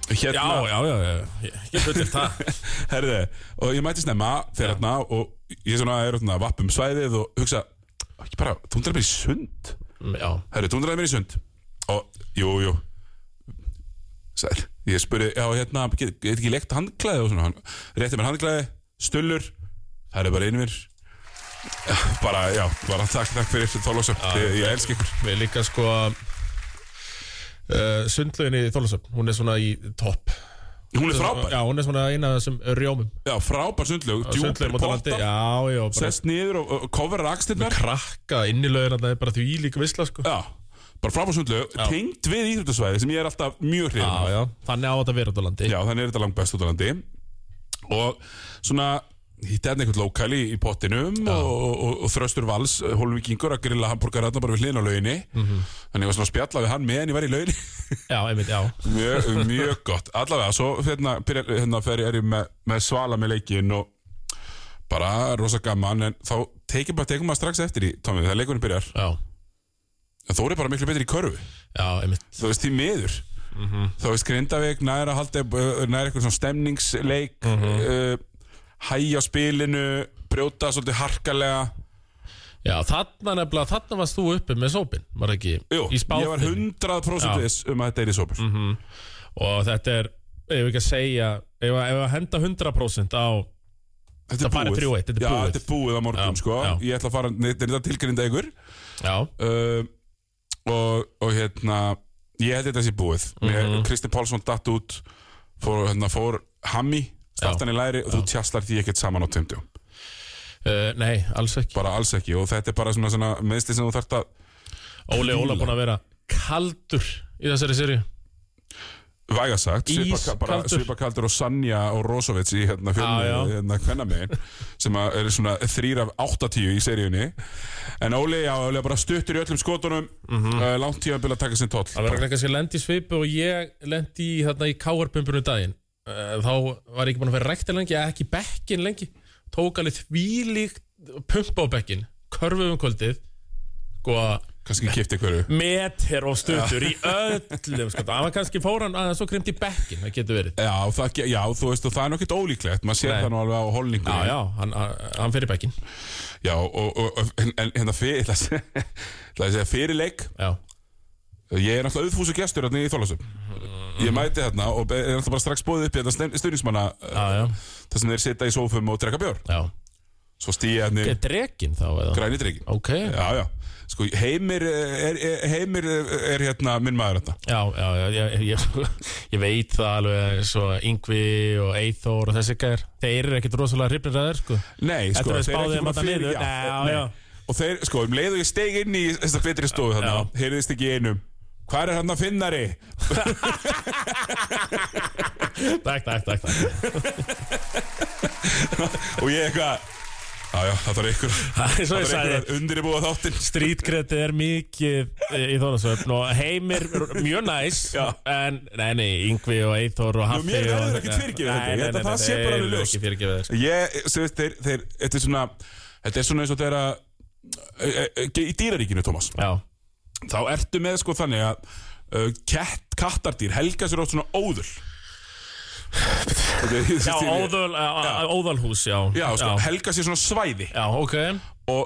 Já, Hérna, já, já, já, ég get fullir það *laughs* herði, og ég mætti snemma fyrir hérna og ég svona er hérna vapp um svæðið og hugsa, ekki bara, þú hundraði mér í sund *laughs* Mm, Já, Herri, þú hundraði mér í sund og, jú, jú Sæl, ég spurði, já, hérna, get, get ekki lekt handklæði og svona, hann rétti mér handklæði, stullur, það er bara einu mér bara, já, bara takk, takk fyrir þólasöp, ég, ég elski ykkur við líka sko uh, sundlögin í Þólasöfn, hún er svona í topp Hún er frábær, Já, hún er svona eina af þessum rjómum já, frábær sundlög, djúpir Sundlaugin út á landi, potta Já, já, bara sest niður og, og coverar axtirnar krakka inn í lögin það er bara því líka visla sko Já, bara frábársundlu Tengt við íþjóttasvæði sem ég er alltaf mjög hrifin Já, af. já, þannig á þetta að vera út á landi já, þannig er þetta langt best út á landi Og svona hitti hérna einhvern lokal í, í pottinum og, og, og Þröstur Vals, eh, hólvíkingur að grilla hambúrgar hérna bara við hliðin á lauginni Þannig ég var svona að spjalla við hann með en ég var í lauginni Já, einmitt, já *laughs* mjög, mjög gott Allavega, svo hérna, byrjar, hérna fer ég er ég með, með svala með leikin og bara rosa gaman en þá tekum bara, tekum maður strax eftir í Tommy, þegar leikurinn byrjar Já, en Þóri er bara miklu betri í körfu já, einmitt þú veist, því miður Mhm. þú veist, Grindavík næra haldi næra eitthvað eh, svona stemningsleik mm Mhm. hægja á spilinu brjóta svolítið harkalega Já, þarna nefnilega, þarna varst þú uppi með sópin Var ekki Jú, í ég var spáðin 100% Já. Mhm. viss um að þetta er í sópur Og þetta er, ef við ekki að segja Ef að ef að henda 100% á Þetta Það bara 3-1, þetta er Já, búið. þetta er búið á morgun, Já, sko já. Ég ætla að fara, þetta er þetta tilgrinda ykkur Já, uh, og, og hérna Ég held þetta sé búið mm Mhm. Kristinn Pálsson datt út Fór, hérna, fór Hammi Startan í læri og þú tjastlar því ekkert saman á tveimtjum uh, nei, alls ekki bara alls ekki og þetta er bara svona, svona meðsli sem þú þarft að Óli Óla búin að vera kaldur í þessari seri væga sagt svipa, Ískaldur. bara, svipa kaldur og Sanja og Rosovits í hérna fjölni Já, já. hérna hvernamegin sem að eru svona þrýr af 80 í seríunni en Óli, já, Óli er bara stuttur í öllum skotunum mm Mhm. -hmm. uh, langt tíma að taka sinn tóll Það verður kannski lendi í svipu og ég lendi í, þarna, í káarbumbunum daginn Eh, Þá var ég ekki búin að vera rektin lengi eða Ekki í bekkin lengi Tók alveg þvílíkt pumpa á bekkin Körfum um kvöldið Góða kannski kipti hverju meter og stuttur í öllum sko. Það var kannski fóran aðeins og grimt í bekkin það getur verið já, það, ge- já, þú veist, og það er nokkert ólíklegt maður sér Nei. það nú alveg á holningu Já, já, hann, hann fer í bekkin já og, og, og en, en hérna fyrir, ætla að segja- ætla að segja fyrir leik Já, Ég er náttúrulega auðfúsu gestur hérna í Þorlásum Ég mæti hérna og be- er náttúrulega bara strax bóðið upp í hérna þetta styrningsmanna já, já, eh, þar sem þeir sita í sófum og drekka bjór já. Svo stíja hérna Er drekin þá eða? græni drengi Ok, já, Já, já Sko, Heimir eh, er, er, heimir eh, er hérna minn maður hérna já, já ég, ég, ég veit það alveg svo Yngvi og Eithor og þessi gær Þeir eru ekkit rosalega hrifnir að þeir sko Nei, Þetta sko, er þeir eru við spáðum ekki búin þetta að fyrir niður. já, Já, nei. já. Og þeir, sko, um leið og ég steig inn í þessa betri stofu þarna Heyrðist ekki í einum Hvar er hann að finnari? Takk, takk, takk, *laughs* takk. og ég eitthvað Já, já, það þarf ykkur *laughs* Það er svo Það ég þarf sagði ykkur að undirbúa þáttinn Strítkreti er mikið eh, í þóðansöfn og heimir r- mjög næs Já. en, nei, nei, Yngvi og Eithor og Haffi mér og- verður ekkert fyrirgefið þetta. Nei, Ég nei, held að nei, það sé bara nei, þeir alveg eru ljóst. ekki fyrirgefið, sko. Ég, þú veist, þeir, þeir, þetta er svona Þetta er svona eins og þeirra e, e, e, eh, Í dýraríkinu, Tómas Já, Þá ertu með sko þannig að uh, kett, kattardýr helga sér oft svona óður Já, óðal, uh, Já. óðalhús, já Já, sko, já. helga sér svona svæði já ok og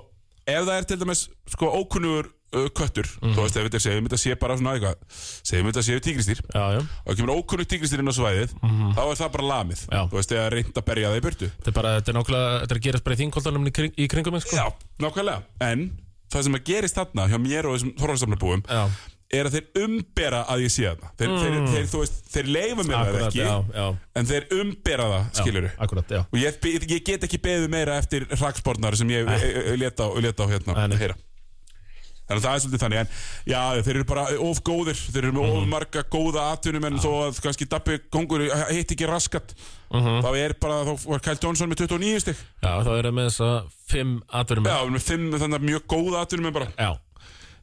ef það er til dæmis sko ókunnugur uh, köttur Mhm. þú veist, ef þetta segjum þetta sé bara svona eitthvað segjum þetta séu tígristýr Já, já og kemur ókunnug tígristýr inn á svæðið þá er það bara lamið Mhm. Já. þú veist, eða reynd að berja það í burtu Þetta er bara, þetta er nákvæmlega, þetta er að gerast bara í þingkoltanum í, kring, í kringum mig, sko Já, nákvæmlega En það sem að gerist þarna hjá mér og þessum Þorvaldsafnabúum Já. Mm. er að þeir umbera að ég sé þarna Þeir, þeir, þeir, þú veist, þeir leifa mér það Akkurat, ekki já, já. En þeir umbera það, skilur við Akkurat, já Og ég, ég get ekki beðið meira eftir hraksbornar sem ég leta á, leta á hérna Nei, nei. heyra. Þannig að það er svolítið þannig En já, þeir eru bara of góðir Þeir eru með Mhm. of marga góða atvinnum En þó að kannski Dabbi Kongur hitt ekki raskat Mhm. Þá er bara, þá var Kyle Johnson með 29 stig Já, þá eru með þessa fimm atverjum Já, með fimm, þannig að mjög góða atvinnum En bara já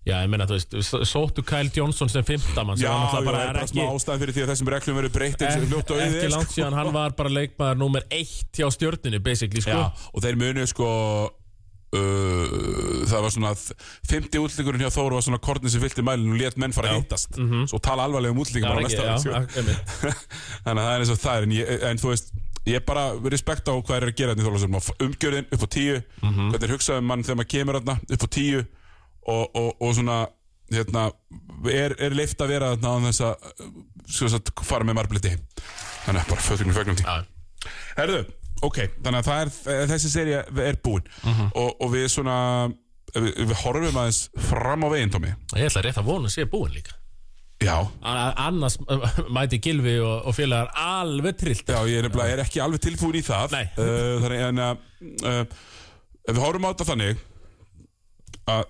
Já, ég meina, þú veist, s- sóttu Kyle Johnson sem fimmtamann sem Já, hann það náttúrulega er bara, er smá ekki Eh, ástæðan fyrir því að þessum reglum verður breytt eins og fljótt og auðið sko. ekki er, langt sko. síðan hann var bara leikmaður númer eitt hjá stjörninu basically sko Já, og þeir munu sko uh, það var svona að 50 útlíkurinn hjá Þóru var svona kornin sem fyllti mælinn og let menn fara að hittast svo tala alvarlega um útlíkum Já, bara á Mhm. ekki, næsta ári, já, sko. ak- einmitt. þannig að það er eins og það er en, ég, en þú veist ég bara respekt á hvað er að gera þetta í Þorlásum umgjörðin upp á tíu hvernig er hugsað um mann þegar maður kemur þarna upp á tíu og, og, og svona hérna, er, er leift að vera þarna á þess að sem sagt, fara með marbliti þannig að bara fötum í fegnum tíu Já. Herðu, ok, þannig að það er, þessi serið er búin og, og við svona við, við horfum aðeins fram á veginn, Tómi Ég ætla rétt að vona að sé búin líka Já, A- Annars *laughs* uh, mæti Gilvi og, og félagar alveg trillt Já, ég er, nefnilega, er ekki alveg tilbúin í það Nei. uh, Þannig en að uh, ef Við horfum á þetta þannig að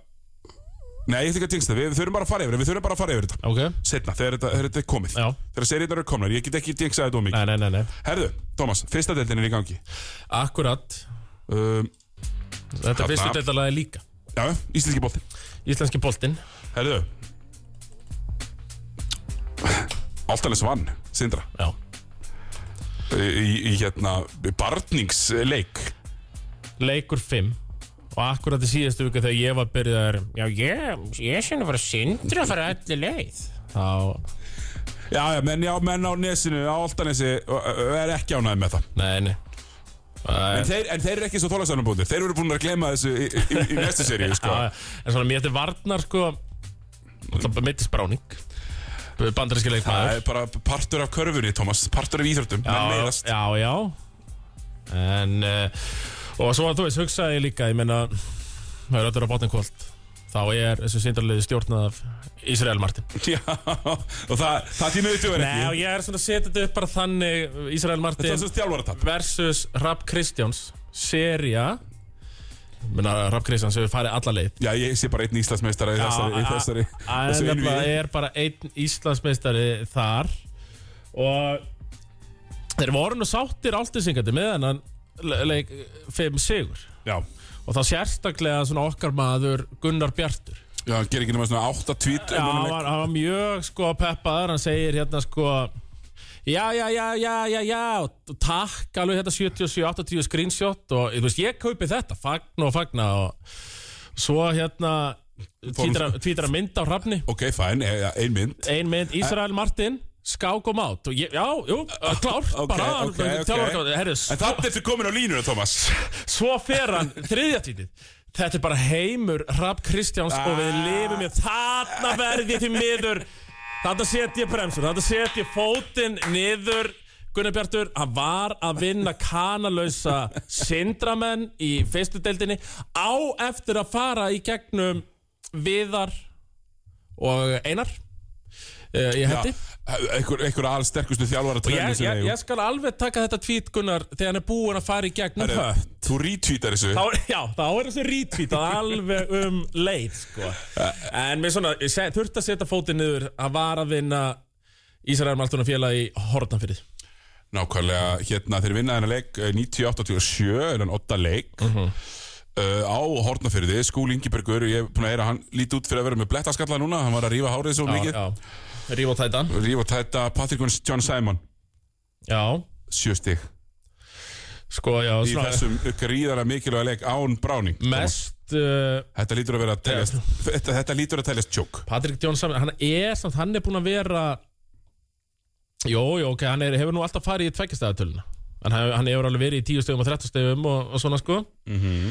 Nei, ég ætla ekki að tingsta Við, við þurfum bara að fara yfir þetta, Við þurfum bara að fara yfir þetta Ok Setna, þegar þetta, þegar þetta er komið Já. Þegar seriðnar eru komnar Ég get ekki tingsta þetta of mikið Nei, nei, nei, nei Herðu, Tómas, fyrsta deildin er í gangi Akkurat um, Þetta Þarna. er fyrstu deildalagi líka Já, íslenski bóttin Íslenski boltinn Herðu Altanes vann, Sindra Já Í, í, í hérna, barningsleik leikur 5 og akkurat í síðastu viku þegar ég var byrjaðar já ég, ég sinni að fara sindri að fara öllu leið þá, Já, já, menn, já, menn á nesinu, á Altanesi ö, ö, er ekki ánæði með það nei, nei En en, þeir, en þeir eru ekki svo þólagsæðanbúndi Þeir eru búin að gleyma þessu í, í, í næstu seríu sko. á, en svona mér þetta varnar sko það mittist bráning bandaríski Það leikmaður er bara partur af körfunni, Thomas Partur af íþróttum, menn já, meiðast *laughs* já, já en uh, og svo að þú veist, hugsaði ég líka ég meina, það er öllu á bátnum kvöld þá er þessu sindarliði stjórnað af Ísrael Martin Já, og það, það tímur við tjóður Nei, og ekki ég er svona að setja þetta upp bara þannig Ísrael Það Martin er svo stjálfaratap versus Rapp Kristjáns seria Menna, Rapp Kristjáns hefur farið alla leið Já, ég sé bara einn Íslandsmeistara í þessari, í þessari, að- þessu að- innvíði. nefnilega er bara einn Íslandsmeistari þar og þeir voru nú sáttir áltisingandi með hennan le- leik 5 sigur Já, og þá sérstaklega svona okkar maður Gunnar Bjartur já, hann gerir ekki nema svona átta tvít Já, hann var, hann var mjög sko peppaður, hann segir hérna sko Já, já, já, já, já, já og takk alveg hérna þetta 77-80 screenshot og þú veist, ég kaupi þetta fagna og fagna og svo hérna tvítra mynd á hrafni Ok, fæn, e- ein mynd ein mynd, Ísrael Martin skák og mát og ég, já, jú, klárt Ah, Ok, bara, ok, ok. þjálfarkóð, herri, En það er fyrir komin á línuna, Thomas svo fer hann *laughs* þriðja tvítið Þetta er bara heimur Rapp Kristjáns og við lifum ég Þarna verð ég til miður Þarna set ég bremsur Þarna set ég fótinn niður Gunnar Bjartur, hann var að vinna kanalösa sindramenn í fyrstu deildinni á eftir að fara í gegnum Viðar og Einar uh, ég hætti Einhver, einhver alsterkustu þjálfara og ég, trennir ég, ég skal alveg taka þetta tvít Gunnar þegar hann er búinn að fara í gegnum hött Þú retweetar þessu þá, já, þá er þessi rítvíta alveg um leið sko. en mér svona, ég seg- þurfti að setja fótinn niður að var að vinna Ísrael Maltuna félag í Hortanfyrði Nákvæmlega, hérna þeir vinna þennan leik eh, 90-87, þennan 8 leik Mhm. uh, á Hortnafyrði Skúli Ingebergur, ég er búin að eira hann líti út fyrir að vera með blettaskalla núna, hann var að rífa hárið svo mikið, Ríf og tætan rífa tæta Patrick John Simon, Já, sjö stig Sko, já, í svona Mm. þessum gríðarlega mikilvæga leik án Browning Mest uh, þetta lítur að vera að teljast þetta, þetta lítur að teljast tjók Patrick Jones hann er samt, hann er búinn að vera Jó, jó, ok, hann er, hefur nú alltaf farið í tveggistæðatöluna En hann, hann hefur alveg verið í 10 stegum og 13 stegum og, og svona sko uh,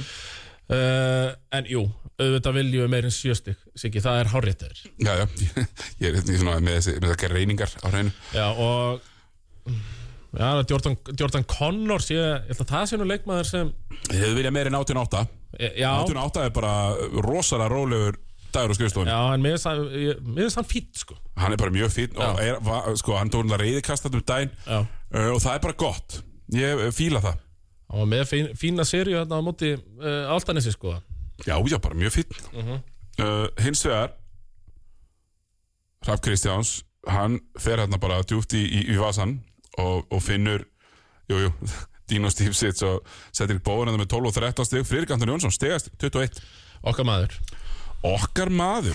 En jú, auðvitað viljum við meir en 7 stygg Siggi, það er háréttur já, já, *laughs* ég er hérna í svona með, þessi, með þessar greiningar á hreinu Já, og Já, Jordan, Jordan Connors ég, ég held að það sé nú leikmaður sem þið hefur viljað meira en 18-8 Já, 18-8 er bara rosalega rólegur dagur á skrifstofunni já en mér finnst hann- ég- mér finnst hann fýtt sko hann er bara mjög fín og er, va, sko, hann tók hann reyðikast þetta um daginn Já. uh, og það er bara gott ég uh, fíla það Hann var með fín, fína sériu hérna á móti uh, Altanesi sko já, já, bara mjög fín uh, hins vegar Raff Kristjáns hann fer hérna bara djúpt í, í, í vasan og, og finnur jú, *laughs* jú, Dino Stífsits og Cedric Bowen hérna með 12 og 13 stig Friðrik Anton Jónsson stigast 21 Okkar maður okkar maður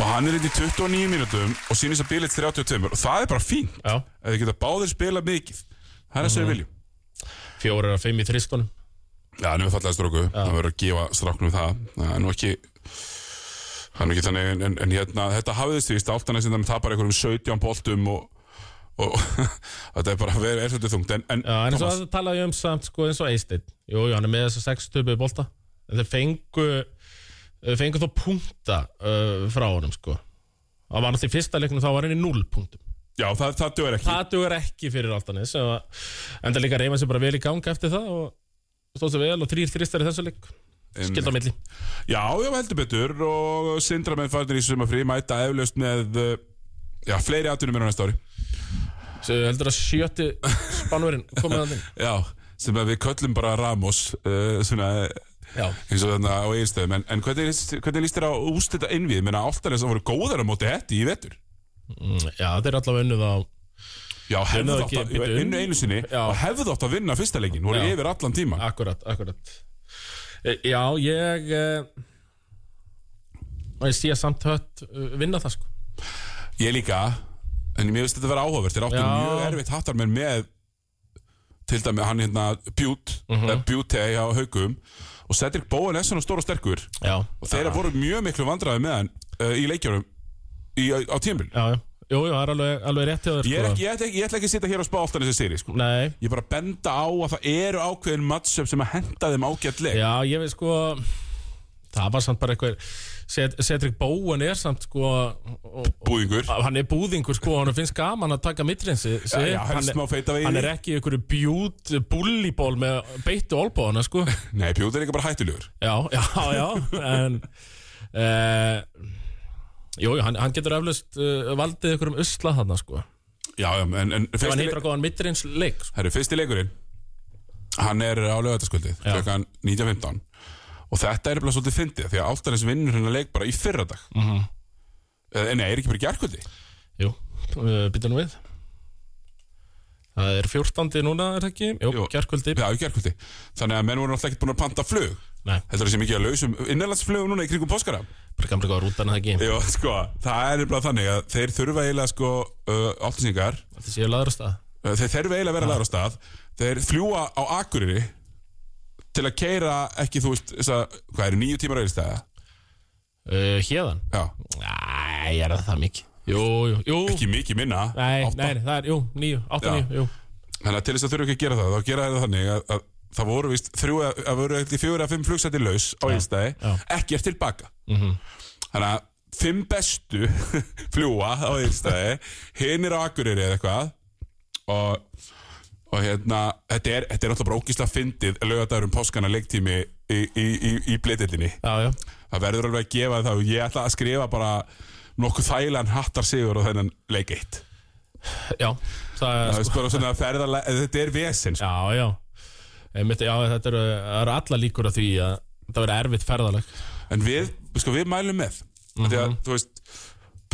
og hann er inn í 29 mínútum og sýnir þess að bílits 32 og það er bara fínt Já, ef þið geta báðir spila mikið það er að Mhm. segja viljum fjórar að fimm í þristunum já, hann er fallaði stróku, það verður að gefa stráknum það það er nú ekki það er nú ekki þannig, en, en, en hérna þetta hafiðist því, stáltan er sem þannig tapar einhverjum 17 boltum og, og *laughs* þetta er bara að vera erföldu þungt en, en, Já, en eins og Thomas, það talaði ég um samt sko eins og Eisteinn Jú, jú, hann er með þess að sex töpu í bolta En þeir fengu þeir fengu þó punkta uh, frá honum sko Það var náttúrulega í fyrsta leiknum þá var hann í 0 punktum já, það, það duður ekki Það dugur ekki fyrir Altanis En það líka reyma sér bara vel í gang eftir það og stóð sér vel og þrýr þrýstar í þessu leik Skilt á milli Já, já, heldur betur og sindramenn farnir í sumafrí mæta eflaust með uh, já, fleiri atvinnum en á næsta ári Svo heldur að sjötti spannverinn komið að þinn Já, sem að við köllum bara Ramos uh, svona Já, eins og þarna á eiginstöðum en, en hvernig, líst- hvernig líst þér á ústita innvið? Menna áltanir sem voru góðar á móti hetti í vetur Mm, já þetta er allavega unnið á Já, hefðu það þátt ekki að bíddu. vinna einu sinni Já. og hefðu þátt að vinna fyrsta leikin voru Já. yfir allan tíma Akkurat, akkurat E, Já, ég eh, og ég sé samt hött eh, vinna það sko Ég líka, en mér finnst þetta að vera áhugavert Þeir áttu Já. mjög erfitt hattar menn með til dæmi hann hérna Bjút, mm Mhm. -hmm. Bjúte á haugum og Cedric Bowen er svona stór og sterkur Já, og þeir voru mjög miklu vandræði með hann uh, í leikjörum í, á, á tímbil já, já, jú, jú, það er alveg, alveg rétt hjá þér Ég, er sko. ekki, ég, ætla ekki, ég ætla ekki að sitja hér og spá alltaf þessi séri sko. Nei, Ég er bara að benda á að það eru ákveðin matchup sem að henda þeim ágætleg já, ég veit sko það var samt bara eitthvað Ced- Cedric Bowen er samt sko og, Búðingur og, hann er búðingur sko og hann finnst gaman að taka mittrinsi Já, já, hann er hann, smá feitavegi. hann er ekki í einhverju bjút bulliból með beittu olbóðana sko Nei, Bjút er líka bara hættulegur Já, já, já En uh, Jú, jú, hann, hann getur eflaust uh, valdið ykkur um usla þarna sko Ef Já, já, en, en hann fyrsti, heitir að góðan mittrins leik sko. Herru, fyrsti leikurinn Hann er á lögataskvöldið Já. Klokkan 19.15 Og þetta er bara svolítið fyndið Því að Altanes vinnur hennar leik bara í fyrradag mm Mhm. -hmm. Nei, er ekki bara í gerkvöldi Jú, uh, býtum nú við Það er 14. núna, er það ekki? Jú, Jú. jú. gerkvöldi Já, í gerkvöldi Þannig að menn voru alltaf ekkert búin að panta flug Nei, Heldur þessi mikið að lausum innanlandsflug núna í kringum póskara bara gamla góða rútan er það ekki Jó, sko, það er bara þannig að þeir þurfa eiginlega sko uh, Altanesingar Þetta séu laður að stað uh, Þeir þurfa eiginlega að vera laður á stað Þeir fljúa á Akureyri Til að keira ekki, þú veist, þess hvað eru nýju tímar auðvistæða? uh, Hérðan? Já, Æ, ég er það það mikið Jú, jú, jú ekki mikið minna Nei, átta. nei, það er, jú, níu, átta, Já. níu, jú Þannig að til þess að þurfa ekki að gera það, þá gera það þannig að, að það voru vist þrjú, að að voru eitthvað fjögur að fimm flugsætti laus á einstæði, já. Mhm. ekki er tilbaka. Mm -hmm. Þannig að fimm bestu *laughs* fljúa á einstæði, hinn er á Akureyri eða eitthvað og, og hérna, þetta er, þetta er náttúrulega bara ógísla fyndið lögadagur um páskana leiktími í, í, í, í bleitillinni. Já, já, Það verður alveg að gefa það og ég ætla að skrifa bara nokkuð þælan hattar sigur á þennan leik eitt. já Það er Það er bara svona ferðalega, þetta er vesen sko. Já, já Einmitt, já, þetta eru, það eru alla líkur að því að það verður erfitt ferðaleg En við, sko, við mælum með mm Þegar, þú veist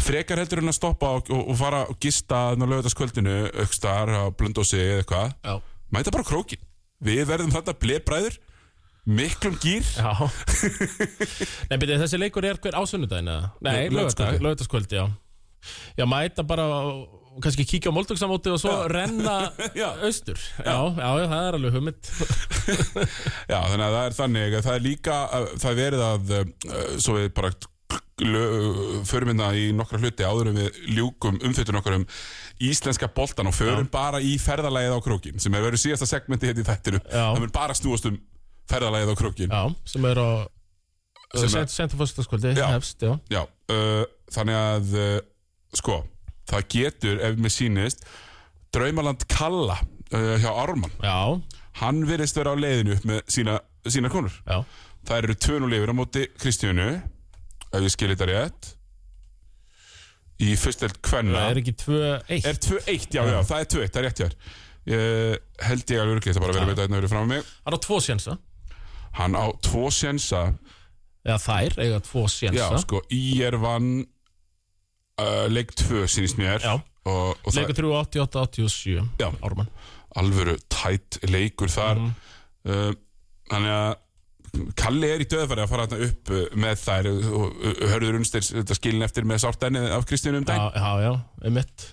Frekar heldur en að stoppa og, og, og fara og gista Ná lögutaskvöldinu, aukstar á blöndósi eða eitthvað Já, Mæta bara á krókin Við verðum þetta blebræður Miklum gýr *laughs* Nei, byrja, þessi leikur er hver ásunnudaginn eða? Nei, Laugardagskvöldi. lögutaskvöldi, já Já, mæta bara og kannski kíkja á Moldóksamóti og svo renna *laughs* Já. austur já. Já, já, það er *laughs* alveg hugmynd Já, þannig að það er þannig að það er líka að það er verið að uh, svo við bara glö- förum hérna í nokkra hluti áður en við ljúkum umfytun okkar um íslenska boltan og förum bara í ferðalægið á krókin sem er verið síðasta segmenti hérna í þættinu Já. það mun bara snúast um ferðalægið á krókin Já, sem er á Sem er- Sent, Sent og fórstaskvöldi, Já. hefst, já Já, uh, þannig að uh, sko, það getur ef mér sýnist Draumaland Kalla uh, hjá Ármann Já, hann virðist vera á leiðinu upp með sína, sína konur já, það eru tvönu lifur á móti Kristjánu ef ég skil þetta rétt í fyrstelt kvenna það er er, ekki 2-1 2-1, já, já, það er 2-1, það er rétt hér uh, held ég alveg örugglega, þetta bara verið að veita hérna verið fram mig Hann á 2 sjensa hann á tvo sjensa Eða þær eiga 2 já, sjensa sko, IR vann uh, leik 2 sínist mér Já. og, og það Leikur 3, 88, 87 Já. Ármann alvöru tætt leikur þar Mhm. uh, þannig að Kalli er í döðfæri að fara þarna upp uh, með þær og uh, hörður unnstins þetta skilin eftir með sárt ennið af Kristjánu um dag Já, já, já, einmitt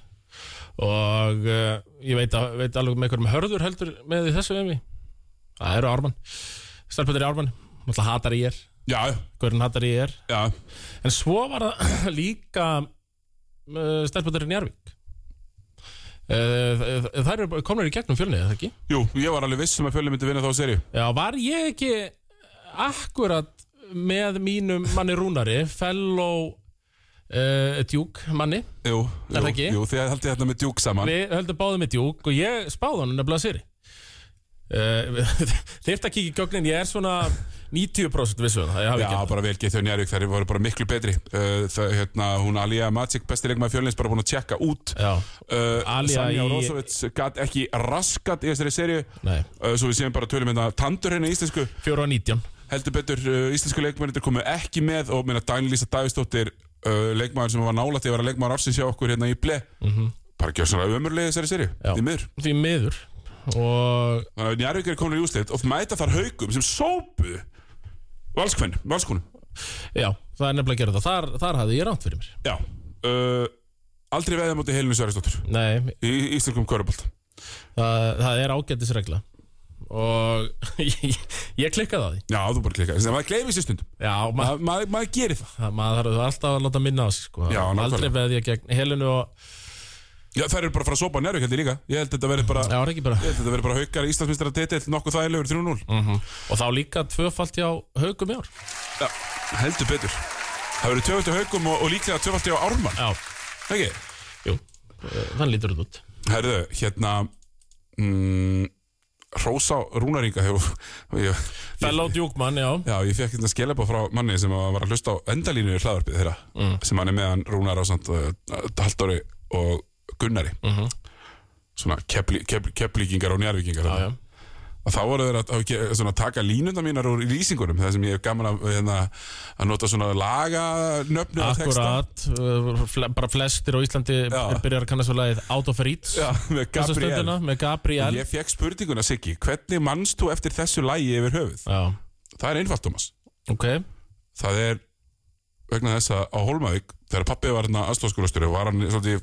Og uh, ég veit, að, veit alveg með hverjum hörður heldur með í þessu vemi Það eru Ármann Stelpundir í Ármann Náttúrulega hatar í er já, Hverjum hatar í er já, En svo var það *clears throat* líka uh, Stelpundir í Njárvík Uh, það eru komnir í gegnum fjölni, eða ekki? jú, ég var alveg viss um að fjölum myndi vinna þá seri Já, var ég ekki akkurat með mínum manni Rúnari, fellow uh, Duke manni jú, Er það jú, ekki? jú, því að haldið þetta með djúk saman Við höldum báðum með djúk og ég spáði hann nefnilega sér *laughs* uh, Þeirft að kíkja í gögnin, ég er svona 90% vissu um það, ég hafi Já, ekki bara vel getið Njárvík, þær voru bara miklu betri uh, það, hérna, hún Alija Matsik, besti leikmaður fjölins bara búin að tjekka út Já, uh, Alija Sanja í- Rósovits gat ekki raskat í þessari seri uh, nei, svo við séum bara tölum hérna tandur hérna íslensku 4 og 19 heldur betur uh, íslensku leikmennir komu ekki með og minna Dænlísa Davistóttir uh, leikmaður sem var nálægt í að vera leikmaður ársins hjá okkur hérna í ble bara gjör svona ömurlega þessari seri Mhm. Já. því miður Því miður Og þannig að Njarvík er komin í úslit og mæta þar haugum sem sópu valskvenn, valskunum já, það er nefnilega að gera það Þar, þar hafði ég ránt fyrir mér já uh, aldrei veðið mútið Helinu Sverrisdóttir Nei, í íslenskum körubolt það, það er ágættisregla Og *laughs* ég, ég klikkaði á því já þú bara klikkaði, Þannig að maður gleyfið sér stundum Já, maður Ma- maður maður gerir það maður þarf alltaf að láta minna á sig sko. Já, nákvæmlega. Aldrei veðja gegn Helenu og já, þær eru bara að fara að sópa Njarvík heldur líka ég held þetta verið bara Já, er ekki bara ég held þetta verið bara haukar íslensmistrar titill nokkuð þægilegur 3-0 Mhm. Og þá líka tvöfalt hjá haugum í ár Já, heldur betur Það verður tvöfaldi á haugum og, og líklega tvöfaldi á ármann Já, Ekki? jú, eh, þann lítur þetta út Herðu, hérna mm, Rósa Rúnaringa hefur ég, Fellow Djúkmann, já Já, ég fekk hérna skelebá frá manni sem var að hlusta á endalínu í hlaðarpið þeirra Mm. sem hann er meðan Rúnar ásand uh, Haldóri og Gunnari Mhm. Svona kepli, kepli, keplíkingar og njárvíkingar Já, já, að þá voru þeir að, að, ge- svona, taka línuna mínar úr lýsingunum það sem ég hef gaman að, hérna, að nota svona laganöfnu og texta. akkurat eh, fle bara flestir á Íslandi Já. byrjar að kannast við lagið Out of Reach Já, með þessa Gabriel stundina með Gabriel Ég fekk spurninguna, Siggi, hvernig manst þú eftir þessu lægi yfir höfuð? Já, Það er einfalt, Thomas ok, Það er vegna þess að á Holmavík þegar pappi var hérna aðstofskólastöru var hann svolítið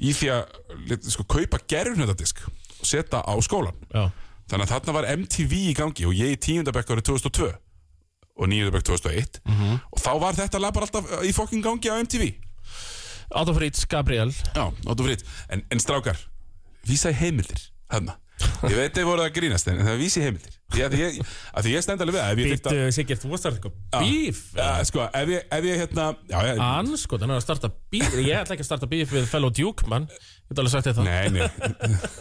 í því að lit- sko, kaupa gerfnöndadisk og setja á skólan já, þannig að þarna var MTV í gangi og ég í tíundabekk árið 2002 og níundabekk 2001 og þá var þetta lag bara alltaf í fokkin gangi á MTV Out of Reach, Gabriel Já, áttu fritt En, en strákar, vísa í heimildir Hanna Ég veit þið voru að grínast en það er vísi í heimildir Því að ég, að því ég stend alveg við það, Ef ég þyrfti að Sigurd, þú varst það eitthvað Bíf Já, sko, ef ég, ef ég hérna Já, já, Ah. Anskot, hann er að starta bíf Ég ætla ekki að starta bíf við Fellow Djúkmann Ég get alveg sagt þetta nei, *laughs* nei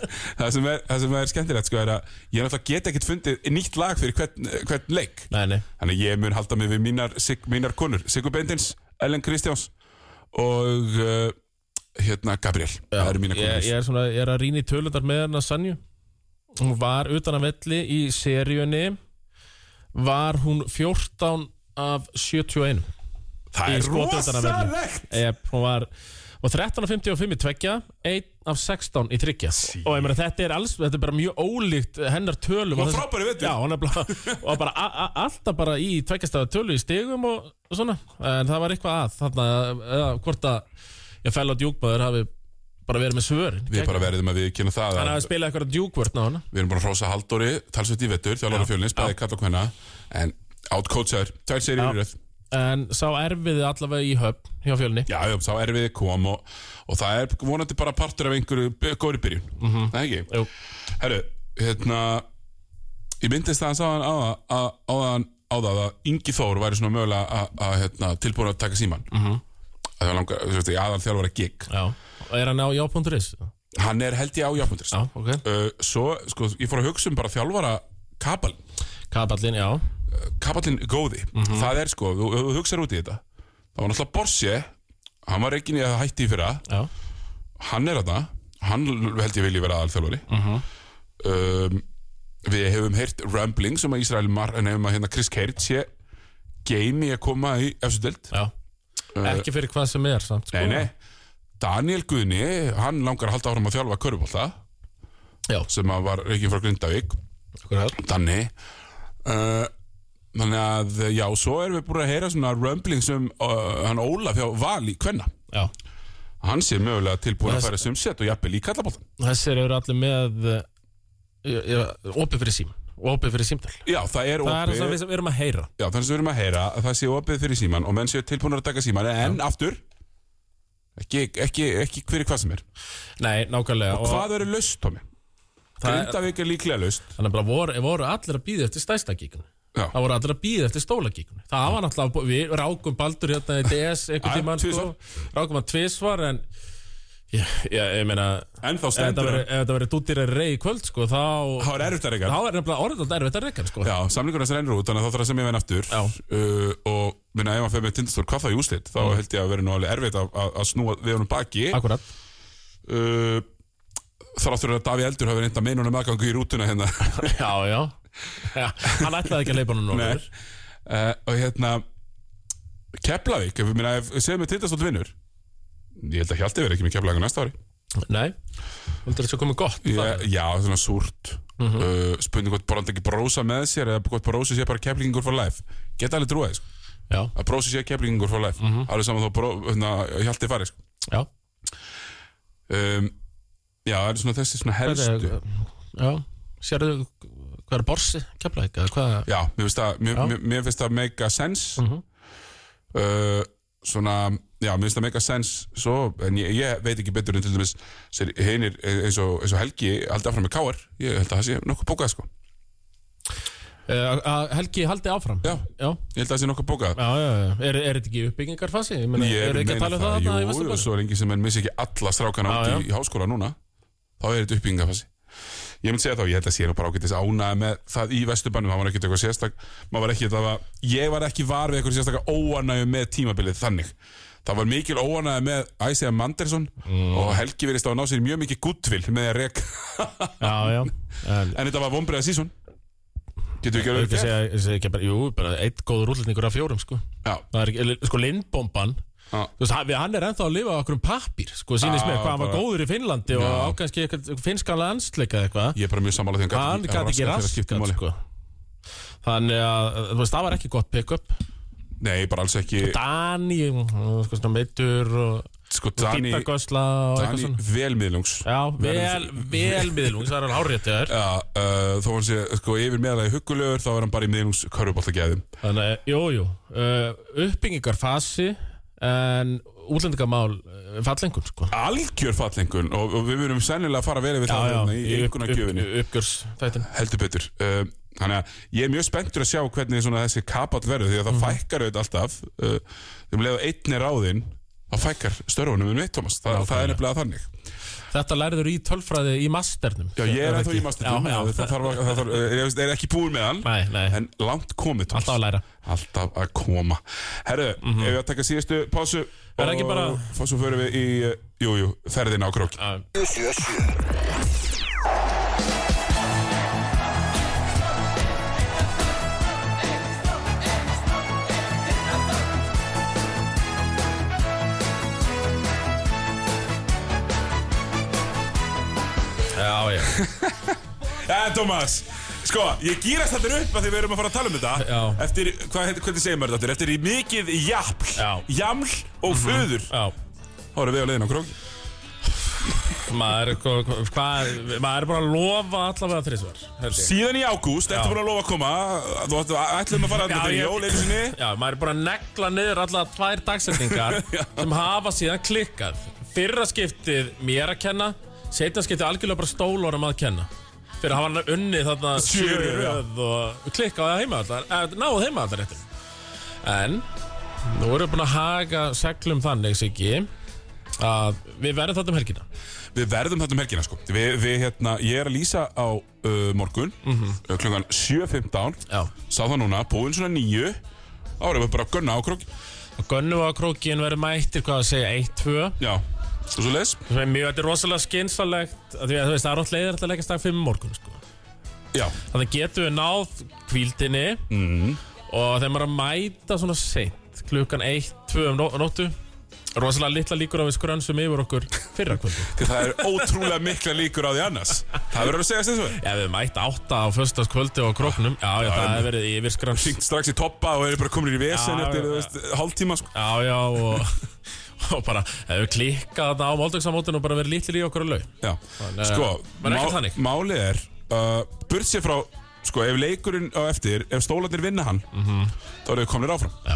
það, sem er, það sem er skemmtilegt sko er að Ég náttúrulega get ekkert fundið nýtt lag fyrir hvern, hvern leik Nei, nei, Þannig að ég mun halda mig við mínar, sig, mínar konur Sigur Bendins, Ellen Kristjáns Og uh, hérna Gabriel Það eru mínar konur ég, ég, er svona, ég er að rýna í tölundar með hennar Sanju Hún var utan að velli í seríunni Var hún 14 af 71 Það í er skotum utan af velli. rosalegt Ef, Hún var og 13 af 55 í tveggja 1 af 16 í tryggja og ég meina þetta er alls, þetta er bara mjög ólíkt hennar tölum Hún var og þessi- frábæri vetur. Já, hún er bara, og bara a, a, alltaf bara í tveggjastafa tölu í stigum og, og svona en það var eitthvað að þarna, eða hvort að ég fæla að djúkmaður hafi bara verið með svör Við bara verðum að við kynna það hann að hafi spilað eitthvað djúkvörn á hana Við erum búin að hrósa Halldóri, talsveit í vettur Þjálfara fjölins, bæði kall og hvenna En outcoachaður, tvær sér í röð en sá erfiði allavega í höfn hjá fjölni Já, já, þá er við kom og, og það er vonandi bara partur af einhverju b- góðri byrjun mm -hmm. Það er ekki? Mhm. Jú. Herru, hérna Ég myndist það að hann áðan á það að Ingi Þór væri svona mögulega að- að hérna, tilbúin að taka síman mm Mhm. -hmm. Það var langar, þú veist, aðal þjálfara gig já, og er hann á já.is Hann er held ég á jafnmyndir já, ok, uh, Svo, sko, ég fór að hugsa um bara þjálfara kapal, kapallin, já kapalinn góði Það er sko, þú, þú hugsar út í þetta Það var náttúrulega Borsi Hann var reikin í að hætti í fyrra já, hann er aðna hann held ég vilji vera aðalþjálfari um, við hefum heyrt rambling sem að Ísrael Mar en hefum að hérna Chris Kerr sé geimi að koma í efstudeld já ekki fyrir hvað sem er samt, sko. Eh. nei, nei, Daniel Guðni hann langar að halda áfram að þjálfa körfbólta Já. sem að var ekki frá Grindavík Akkurat. Danni uh, þannig að já, svo erum við búin að heyra svona rambling sem uh, hann Ólaf hjá Vali, hvenna já, hann sé mögulega tilbúin að Það- færa sem set og jafnvel í kallabóltan þessir eru allir með eh, já, já, opið fyrir sím opið fyrir símtal Já, það er það er opið- það sem við- sem við erum að heyra Já, þannig sem við erum að heyra að það sé opið fyrir síman og menn séu tilbúinir að taka síman en aftur ekki, ekki, ekki hver er hvað sem er nei, nákvæmlega og Hvað eru laust, Tómi? það er- Grindavík er líklega laust Þannig að bara voru, voru allir að býða eftir stæsta gíkunni Já. Það voru allir að býða eftir stóla gíkunni Það var náttúrulega, við rákum baldur hérna í DS Já, einhvern tímann sko, tvisvar. Rákum hann tvisvar en Já, já, ég meina En þá Ef þetta stendur verið- það ef þetta verið dúttir að rey í kvöld sko, þá, Það er erfitt að þá reyka er nefnilega orðið alltaf erfitt að reyka sko. Já, samlingur þess rennur út þannig að þá þarf að semja við hann aftur Já. uh, og minna ef hann fer með tindastór hvað það í úslit þá held ég að vera nú alveg erfitt að, að, að snúa við honum baki Akkurat *laughs* uh, Þráttur að Daví Eldur hafi reynda meina honum aðgangu í rútuna hérna Já, já Já, Hann ætlaði ekki að leipa hann nú Nei. uh, og hérna Keflavík, ef við minna, ef segjum við tindastótt vinnur ég held að Hjalti verið ekki með Keflavík á næsta ári Nei Vildur þetta komið gott ég, já, svona súrt mm -hmm. uh, spurning hvort Brand ekki brósa með sér eða hvort brósa sé bara keflingur for life geta alveg trúið, sko. Já, að brósa sé keflingur for life alveg saman þó bró, hérna, Hjalti farið sko. já um, já, það er svona þessi svona Þetta helstu er- Já, sérðu hvað er borsi, keflaðik hvað... já, mér finnst það mér, Já. mér, mér finnst það make a sense uh, svona já, mér finnst það make a sense svo, en ég, ég veit ekki betur en til dæmis sér- hinir eh, eins og, eins og Helgi aldrei áfram með káar, ég held að það sé nokkuð bókað sko, Eh, að Helgi haldi áfram Já. já ég held að það sé nokkuð bókað Já, já, já, er, er þetta ekki uppbyggingarfasi? Ég meina, ég er ekki að tala um það þarna í jú, Vesturbænum? svo lengi sem menn missi ekki alla strákana Já, út já. í, í háskóla núna þá er þetta uppbyggingafasi ég myndi segja þá, ég held að sé nú bara ágætis ánað með það í vesturbannum, það var ekkert eitthvað sérstak maður var ekki, það var, ég var ekki var við eitthvað sérstaka óanægju með tímabilið þannig það var mikil óanægju með Æsja Mandersson Mm. og Helgi verist á að ná sér í mjög mikið gudvill með að rek *laughs* Já, já, en en þetta var vonbreiða sísón getur við ekki að ekki vera að segja, ég segi ekki bara, jú, bara eitt góður útlendingur af fjórum, sko Já, Það er ekki, sko, Lindbomban Já. Þú veist, hann- hann er ennþá að lifa á okkur um pappir, sko, sýnist Já, mér hvað hann var bara- góður í Finnlandi og á kannski eitthvað finskanlega ansleika eitthvað ég er bara mjög sammála því hann gat Hann ekki- gæti ekki raskaði þegar það skipti raskat, máli. sko Þannig að, þú veist, það var ekki gott pick-up Nei, bara alls ekki Dani, sko, svona meittur og Sko, Dani, fýtagösla og eitthvað Dani svona velmiðlungs Já, vel, vel miðlungs, það er hann hárétt þér Já, uh, þó hann sé sko yfir meðalagi huggulegur þá er hann bara í miðlungs körfubóltagæðum Þannig, að, jú, jú, uh, uppbyggingarfasi en útlendingamál uh, fallengun, sko. Algjör fallengun og, og við verum sennilega að fara verið við það hérna í upp, einhverjum upp, gjöfinni uppgjörs þættin. heldur betur Eh, Þannig að ég er mjög spenntur að sjá hvernig svona þessi kapall verður því að það Mhm. fækkar auðvitað alltaf uh, þegar leiðu einn er áðinn þá fækkar störfunum um mitt, Thomas Þa, það er nefnilega þannig Þetta læriður í tölfræði í masternum. Já, ég er ennþá í Já, já, mastertum það þarf að, það þarf, eh, ég veist, er ekki búin með hann Nei, nei. en langt komið, Thomas alltaf að læra. Alltaf að koma Herru, mm ef við að taka síðustu pásu Mhm. Er það ekki og bara- f- Svo förum við í, eh, jú, jú, ferðina á krók Já, já. En Eh, Thomas, sko, ég gýrast þetta upp að því við erum að fara að tala um þetta Já. Eftir, hvað, heit- hvernig segir maður þetta? aftur? Eftir í mikið japl, Já. jaml og föður já. Þá Þá erum við á leiðin á krók Maður, er- hva- hva- hvað- maður er bara að lofa allavega þrísvar held ég. Síðan í ágúst, ertu búin að lofa að koma Þú ættu- ætluðum að fara að Já, þetta ég- jól einu sinni Já, maður er bara að negla niður allavega tvær dagsetningar *laughs* Já. sem hafa síðan klikkað Fyrra skiptið mér að kenna Seinna skiptið algjörlega bara stólórum að kenna Fyrir að hafa hann unnið þarna Sjö, sjö í já. röð og klikkaði heima allar Náðu heima allar réttum En nú erum við búin að haga seglum þannig Siggi að við verðum þarna um helgina Við verðum þetta um helgina sko Við, við hérna, ég er að lýsa á uh, morgun uh, Klungan 7.15 Mhm. Já Sá það núna, búinn svona 9 Þá erum við bara að gunna á krók Og gönnum við á krókin verðum mættir hvað að segja 1-2 Já, og svo leis Sem er mjög, þetta er rosalega skynsalegt að því að þú veist, það er alltaf leiðir að leggja stað 5 morgun sko. Já, þannig að getum við náð kvíldinni mm. Mhm. og þegar maður er að mæta svona seint klukkan 1, 2 um nó- nóttu rosalega litla líkur á við skrönsum yfir okkur fyrra kvöldu *laughs* því það er ótrúlega mikla líkur á því annars Það verður að segja þess að ef við mæta 8 á föstas kvöldu á króknum já, já, það en- hefur verið yfir skröns Syngt strax í toppa og eru bara komin í vesen Já, eftir, já, þú já. veist, hálftíma sko já, já, og, *laughs* og bara ef við klikkað þarna á máldagsamótinu og bara verið litlir í okkur að laug Já, Þannig að- sko, Var ekki þannig? málið er uh, Burt sér frá, sko, ef leikurinn á eftir Ef stólarnir vinna hann Mhm. Þá eru við kominir áfram já,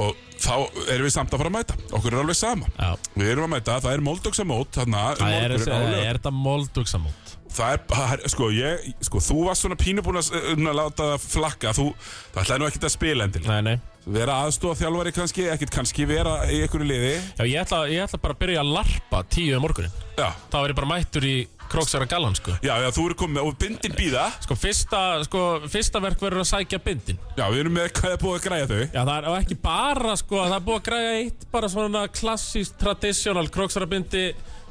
Og þá erum við samt að fara að mæta Okkur er alveg sama já Við erum að mæta, það er Moldóksamót Þarna, um Það er, morguninn á það laug- er þetta moldugsamót Það er, það er, sko, ég, sko, þú varst svona pínubúin að, s- eh, um að láta það flakka Þú, það ætlaði nú ekkert að spila endil Nei, nei Vera aðstofa þjálfari kannski, ekkert kannski vera í einhverju liði Já, ég ætla, ég ætla bara að byrja að larpa tíu um morgunin Já, Þá er ég bara mættur í króksara gallan, sko já, já þú eru komið með, og bindin býða Sko, fyrsta, sko, fyrsta verk verður að sækja bindin Já, við erum með hvað er búið að græja þau Já, það er og ekki bara, sko, það er búið að græja eitt bara svona klassíst, traditional króksara bindi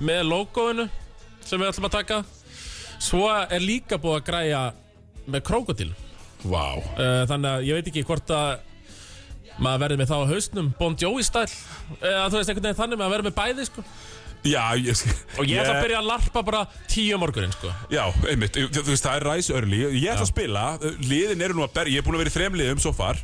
með logoinu sem við ætlum að taka Svo er líka búið að græja með krókodil Vá Eh, Þannig að ég veit ekki hvort að maður verður með þá á hausnum Bon Jovi stæl eða þú veist einhvern veginn þannig maður verður með bæði sko Já, ég og ég ætla að byrja að larpa bara tíu um morgunin sko Já, einmitt, þú þú veist, það er ræs örli Ég ætla að spila, liðin eru nú að berja Ég er búin að vera í þrem liðum svo far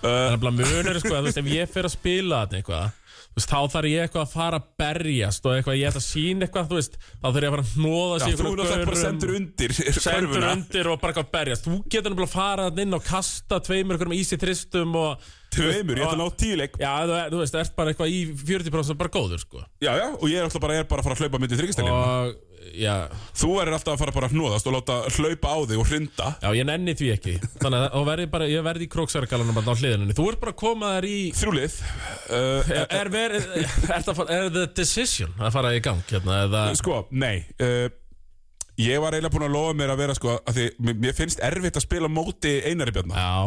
Það er bara munur sko, að þú veist, ef ég fer að spila þetta eitthvað þú veist, þá þarf ég eitthvað að fara að berjast og eitthvað, ég ætla að sína eitthvað, þú veist þá þarf ég að fara að hnóða Já, sig í þú einhverjum náttúrulega bara gaurum, sendur undir sendur körfuna. undir og bara eitthvað að berjast þú getur náttúrulega að fara þarna inn og kasta tveimur einhverjum ísi tristum og Tveimur, ég ætla að ná tíleik já, þú, þú veist, ert bara eitthvað í 40% bara góður sko Já, já, og ég er alltaf bara, ég er bara að fara að hlaupa myndi þryggistælinu og já, Þú verður alltaf að fara bara að hnóðast og láta hlaupa á þig og hrinda já, ég nenni því ekki þannig að þá verð ég bara, ég verði í króksargalanum á hliðinni, þú ert bara að koma þær í Þrjúlið uh, Er, er, verið, er, það, er the decision að fara í gang hérna, eða, Sko, nei uh, Ég var eiginlega búin að lofa mér að vera sko að því, mér- Mér finnst erfitt að spila á móti Einari Bjarnar Já,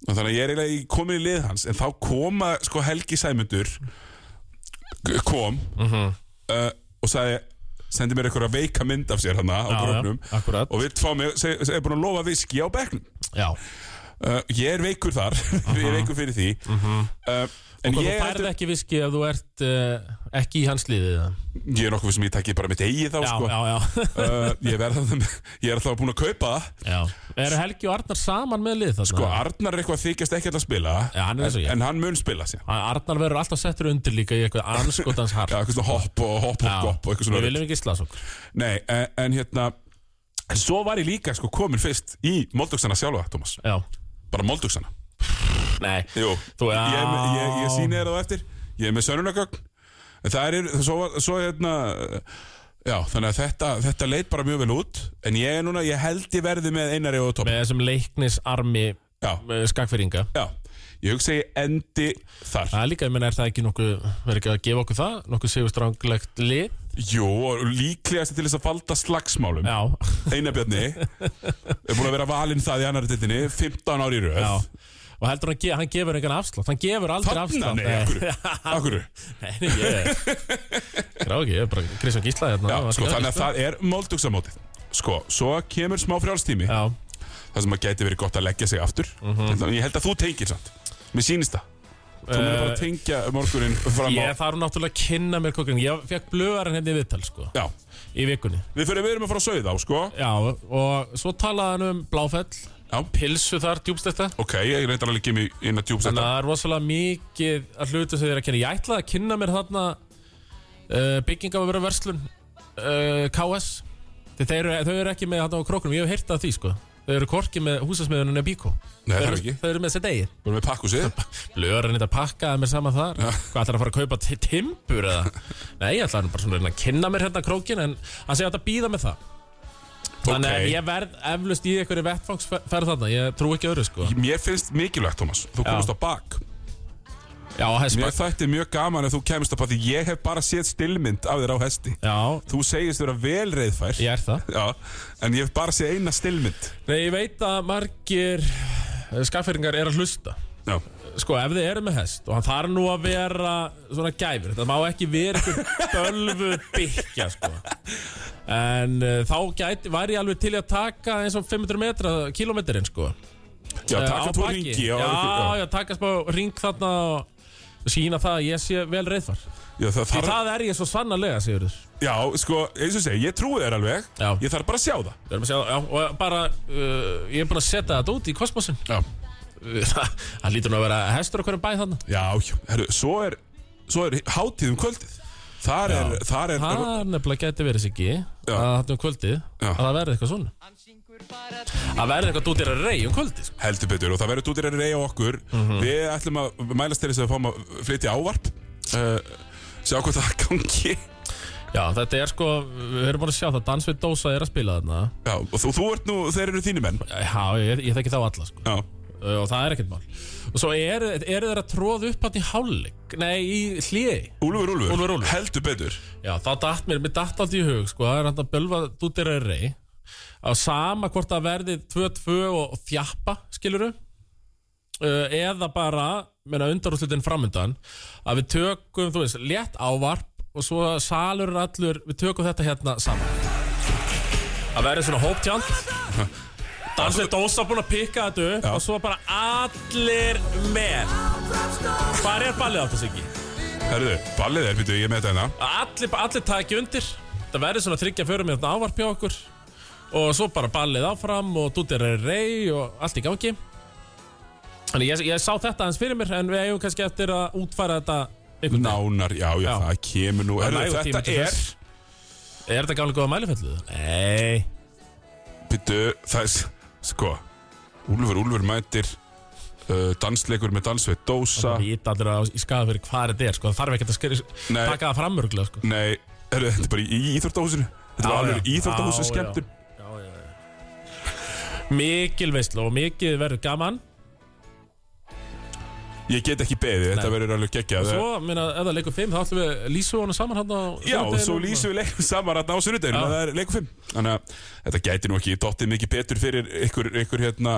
Og Þannig að ég er eiginlega í- komin í lið hans En þá koma sko Helgi Sæmundur g- Kom Mhm. uh, Og sagði Sendi mér einhverja veika mynd af sér hann á Já, já, gröfnum akkurat. Og við fáum mig, seg, seg, er búin að lofa viski á bekknum já uh, Ég er veikur þar *laughs* Ég er veikur fyrir því uh, En Mhm. Hvað, Þú ég, færð heldur, ekki viski ef þú ert uh, ekki í hans liðið eða? ég er nokkuð sem ég takki bara mitt eigið þá Já, sko. já, já, *laughs* uh, ég, verð, að- ég er alltaf búin að kaupa það *laughs* já Eru Helgi og Arnar saman með lið þarna? Sko, Arnar er eitthvað að þykjast ekkert að spila Já, hann er eins og en, ég. en hann mun spila sér Ar- Arnar verður alltaf settur undir líka í eitthvað anskotans hart Já, eitthvað svona hopp og hopp og gopp og eitthvað svona Við viljum ekki slasa okkur Nei, en, en hérna en Svo var ég líka sko komin fyrst í Moldugsana sjálfa, Thomas Já, Bara Moldugsana nei Jú, Þú- ég, er með- ég, ég Já. sýni þér á eftir Ég er með sönnunagögn En það er, svo, var- svo hérna Já, þannig að þetta, þetta leit bara mjög vel út En ég er núna, ég held ég verði með Einari og Tom Með þessum leiknisarmi eh, Já, skakfyrringa já Ég hugsa ég endi þar Það er líka, ég menna, er það ekki nokkuð Verður ekki að gefa okkur það, nokkuð sigurstranglegt lið Jú, og líklegast til þess að falda slagsmálum Já, Einar Bjarni er búin að vera valinn það í annar dildinni 15 ári í röð Já Og heldur hann, ge- hann gefur engan afslátt Hann gefur aldrei Þarna, afslátt nei, akkur, *laughs* akkur Nei, nei, ég Grá ekki, ég er bara Kristján Gísla hérna Já, það var sko, ekki þannig að sko. það er moldugsamótið Sko, svo kemur smá frjálstími Já, Mhm. Það sem að gæti verið gott að leggja sig aftur Ég held að þú tengir samt Mér sýnist það Þú uh, bara Eh, tengja morgunin fram ég á þarf náttúrulega að kynna mér kokkurinn Ég fekk blöðarinn hérna í viðtal, sko Já, Í vikunni við fyrir við erum að fara að sauða á, sko Já, og svo talaði hann um Bláfell Já, Pilsu þar, djúbstætta ok, ég reyndar alveg ekki mig inn að Þannig djúpsetta að það er rosalega mikið að hlutu sem þeir að kynna Ég ætlaði að kynna mér þarna uh, byggingaföru verslun uh, KS Þeir, þeir, eru- þau eru ekki með hann á krókunum, ég hef heyrt að því sko Þau eru korki með húsasmiðunum en bíkó Nei, það þau, er eru- ekki. þau eru með sér degi Við erum með pakkusið Blöðurinn þetta pakkaði mér saman þar Hvað ætlar að fara að kaupa ti- timbur eða Nei, ég ætlar bara svona að reyna að kynna mér hérna krókin En hann segi að þetta býða með það Þannig að Ok. ég verð eflust í einhverju vettfangsferð þarna Ég trú ekki öðru sko Mér finnst mikilvægt, Thomas Þú Já. komist á bak Já, Mér hespa þætti mjög gaman ef þú kemist á bak Því ég hef bara séð stillmynd af þér á hesti Já, Þú segist vera vel reyðfær ég er það Já, en ég hef bara séð eina stillmynd Nei, ég veit að margir skafferingar er að hlusta Já, sko ef þið eru með hest og hann þarf nú að vera svona gæfur þetta má ekki vera einhver bölvu byggja sko en uh, þá gæti, væri ég alveg til í að taka eins og 500 metra kilometrin sko já Eh, taka á tvo baki. ringi já, á- já, taka spá ring þarna og sína það að ég sé vel reyðfar já, það því þarf, það er ég svo sannarlega Sigurður já, sko, eins og segi, ég trúi þér alveg Já. Ég þarf bara að sjá það Við erum að sjá, já, og bara uh, ég er búin að setja þetta út í kosmosin Já, *laughs* það, það lítur nú að vera hestur okkur um bæ þarna já, já, herru, svo er, svo er hátíð um kvöldið Þar er, þar er það nefnilega gæti verið sér ekki Já. að þetta um kvöldið Já. að það verði eitthvað svona Hann syngur bara dúttir Það verður eitthvað dútir að rey um kvöldi sko. heldur betur og það verður dútir að reyja okkur Mhm. við ætlum að mælast til þess að við fáum að flytja ávarp uh, sjá hvað það gangi Já, þetta er sko, við erum bara að sjá það Dans við Dósa er að spila þarna já, og þú, þú ert nú, þeir eru þínu menn Já, ég, ég þekki þá alla sko. já, Ö, Og það er ekkert mál Og svo eru er þeir að tróða upp hann í hálfleik Nei, í hliði Úlfur, Úlfur, Úlfur, Úlfur. heldur betur Já, þá datt mér, mér datt allt í hug sko. Það er hann að bölva dútir að rey Á sama hvort það verði 2-2 og þjappa, skiluru uh, eða bara meina undarúslutin framundan að við tökum, þú veist, létt ávarp og svo salur allur við tökum þetta hérna saman að verði svona hóptjald Dansveit Dósa búin að pikka þetta upp Já. og svo bara allir með Hvar er ballið átt þess ekki? herruðu, ballið er, býtu, ég er með þetta hérna Allir, allir taki undir Það verði svona þryggja fjörum með þetta ávarp hjá okkur Og svo bara ballið áfram Og dútir er rey og allt í gangi Þannig ég, ég sá þetta aðeins fyrir mér En við eigum kannski eftir að útfæra þetta einhvern veginn nánar, já, já, Já. það kemur nú herruðu, nægur tími þetta til er, þess. Er þetta gamlega góða mælifellu? Nei býtu, það er sko, Úlfur, Úlfur mætir uh, dansleikur með dansveit dósa Það vita allir að í skaða fyrir hvað þetta er sko. Það þarf ekki að skri, Nei. taka það framörglega sko. nei, herruðu, þetta er bara í, í íþórtahúsinu þetta var alveg íþórtahúsu skemmtum já, já, já. Mikil veistlu og mikið verður gaman ég get ekki beðið, þetta Nei. verður alveg geggjað Svo, minna, ef það leikur 5 þá ætlum við lýsu hana saman hann á Já, og sunnudeginum svo lýsum við leikum saman rætna á sunnudeginu Já. og það er leikum fimm Þannig að þetta gæti nú ekki dottið mikið betur fyrir ykkur, ykkur hérna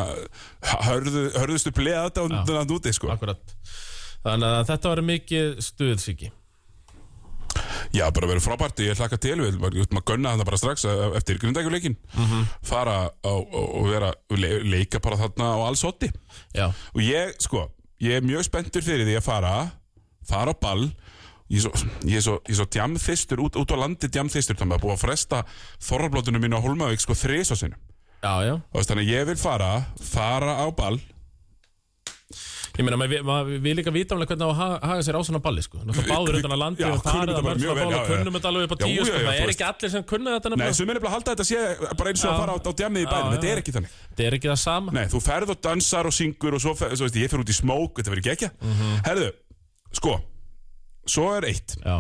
hörðu, hörðustu bleið þetta og Já. þannig úti sko Akkurat Þannig að þetta var mikið stuðsíki Já, bara verið frábært, ég hlaka til við ætlum að gunna þetta bara strax eh, eftir grindækuleikin Mhm. fara á, og, og vera le, leika bara þarna á alls hotti Já, og ég, sko, ég er mjög spenntur fyrir því að fara fara á ball ég er svo, ég er svo, ég er svo djamþistur út, út á landi djamþistur, þannig að búa að fresta þorrablótunum mínu á Holmavík sko þrisa sinum já, já Þú veist, Þannig að ég vil fara, fara á ball Ég meina, maður mað, við líka vita alveg hvernig á að ha- haga sér á svona balli sko Náttúrulega báður utan að landi Já, og kunnum þar þetta eða bara mörg mjög svona vel, ball já, og já. kunnum þetta alveg upp á Já, tíu já, sko já, Það þú er veist. ekki allir sem kunna þetta Nei, sem nefnilega er nefnilega að halda að þetta sé bara eins og Já. að fara á, á djamið í bænum Já, Þetta já. er ekki þannig Þetta er ekki það sama Nei, þú ferð og dansar og syngur og svo, fer, svo veist, ég fer út í smók, þetta verður gekja Mhm. Herðu, sko Svo er eitt Já,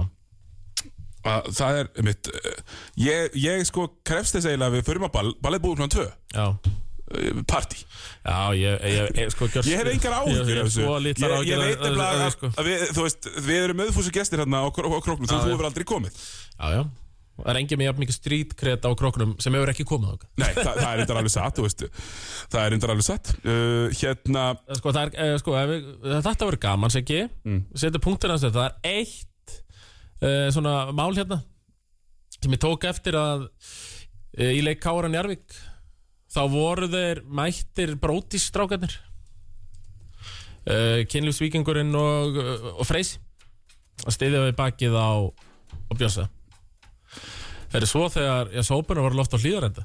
að Það er mitt eh, Ég, ég sko krefst þess eiginlega að við förum á ball Ballið búið klant 2, já eh, partí Já, ég, ég, ég sko gjörst Ég hef engar áhyggjur Ég af hef þessu. svo litlar Ég- Ég áhyggjur veit af- af- nefnilega af- að, sko. að við, þú veist, við erum auðfúsu gestir hérna á, kro- á króknum Þú, þú hefur aldrei komið Já, já Það er engin með jafn mikið strítkreta á kroknum sem hefur ekki komið þóka Nei, það, það er reyndar alveg satt, þú veist Það er reyndar alveg satt uh, Hérna, sko, það er, eh, sko, ef við, þetta verður gaman segi mm. setja punktur hans þetta, það er eitt uh, svona mál hérna sem ég tók eftir að uh, í leik Káran Jarvik þá voru þeir mættir brótistrákarnir uh, kynlífsvíkingurinn og, eh, og Freys að stiðja við bakið á, á Björnsa þeir eru svo þegar ég sópunar var loft á hlýðarenda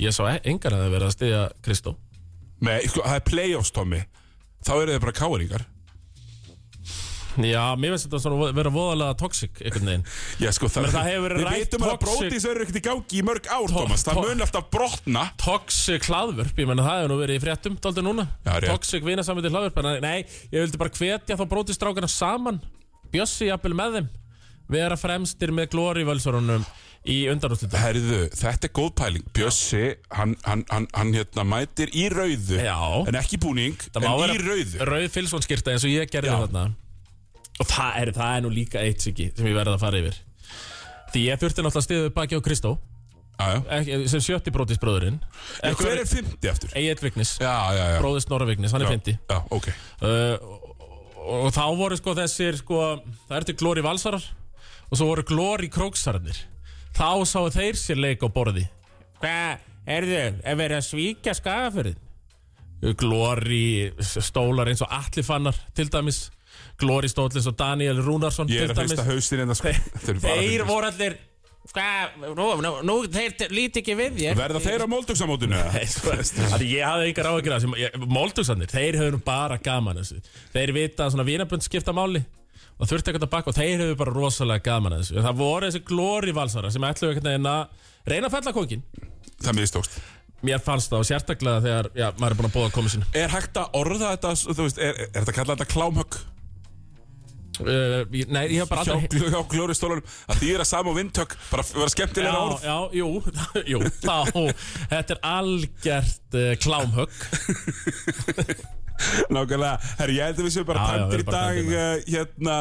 ég sá e- engan að þeir verið að stiðja Kristó nei, sko, það er playoffs, Tommy Þá eru þið bara káringar Já, mér finnst þetta svona vo- vera voðalega toxic einhvern veginn Já, sko, það, Menn, það hefur verið Við rætt vitum að toxic- brótis eru ekkert í gangi í mörg ár, To- Thomas Það to- mun alltaf brotna Toxic hlaðvörp, ég menna það hefur nú verið í fréttum daldi núna Já, rétt. Toxic vinasamviti hlaðvörp en að- Nei, ég vildi bara hvetja þá brótistrákana saman Bjössi jafnvel með þeim Vera fremstir með glóri völsorunum í undanúslitum Herðu, þetta er góð pæling Bjössi, hann, hann, hann, hann hérna mætir í rauðu Já. En ekki búning, Það en má í rauðu rauð fylsvonskirta eins og ég gerði Já. þarna Og það er, það er nú líka eitt siki sem ég verði að fara yfir Því ég þurfti náttúrulega stiðu baki á Kristó Já, já. ekki- sem sjötti brótisbróðurinn En hver er 50 aftur? Egil Vignis, Já, já, já bróðist Snorra Vignis, hann er 50 Já, ok uh, og, og þá voru sko þessir sko, það ertu glóri valsarar og svo voru glóri króksararnir þá sáu þeir sér leik á borði hvað er þau, er verið að svíkja skagafyrðin glóri Eh, stólar eins og allir fannar til dæmis glóri stóll eins og Daniel Rúnarsson Ég er til að hreista *laughs* dæmis haustin en það sko Þeir, eru bara þeir fyrir- voru allir hvað, nú, nú, nú þeir líti ekki við ég Verða þeir á Moldugsamótinu? Nei, sko, að ég hafði yngar áhyggjur af þessu Moldugsanir, þeir höfðu nú bara gaman af þessu Þeir vita að svona vinabönd skipta máli og þurfti ekkert að bakka og þeir höfðu bara rosalega gaman af þessu en það voru þessi glóri valsara sem ætluðu ekkert að reyna að fella kókin Það mistókst Mér fannst það og sérstaklega þegar já, maður er búin að bóða komu sinu Er hægt að orða þetta, þú veist, er, er þetta kallað þetta klámhögg uh, ég- Nei, ég hef bara hjá, aldrei hjá glóri stólarum að því er að sama og vindhögg bara f- vera skemmtilega Já, orð já, jú, *laughs* jú, þá, þetta er algjört uh, klámhögg Nákvæmlega, herri, ég held að við séum bara Já, já, tæmtir í við erum dag bara tæmdir, uh, hérna,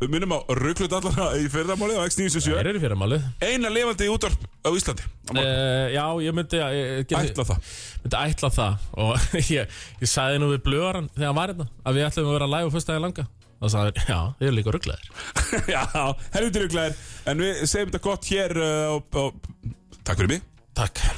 við minnum á rugglut allar í fyrramálið á Þeir X977 eru fyrir málið eina levandi útvarp á Íslandi á morgun. uh, Já, ég myndi að eh, ég- ég- ætla það *laughs* myndi ætla það og *laughs* ég, ég sagði nú við blöðaran þegar hann var hérna að við ætlum að vera live á fyrstæði langa og sagði hann, já, þið eru líka rugglaðir Já, helviti rugglaðir en við segjum þetta gott hér uh, og, og, eh, takk fyrir mig Takk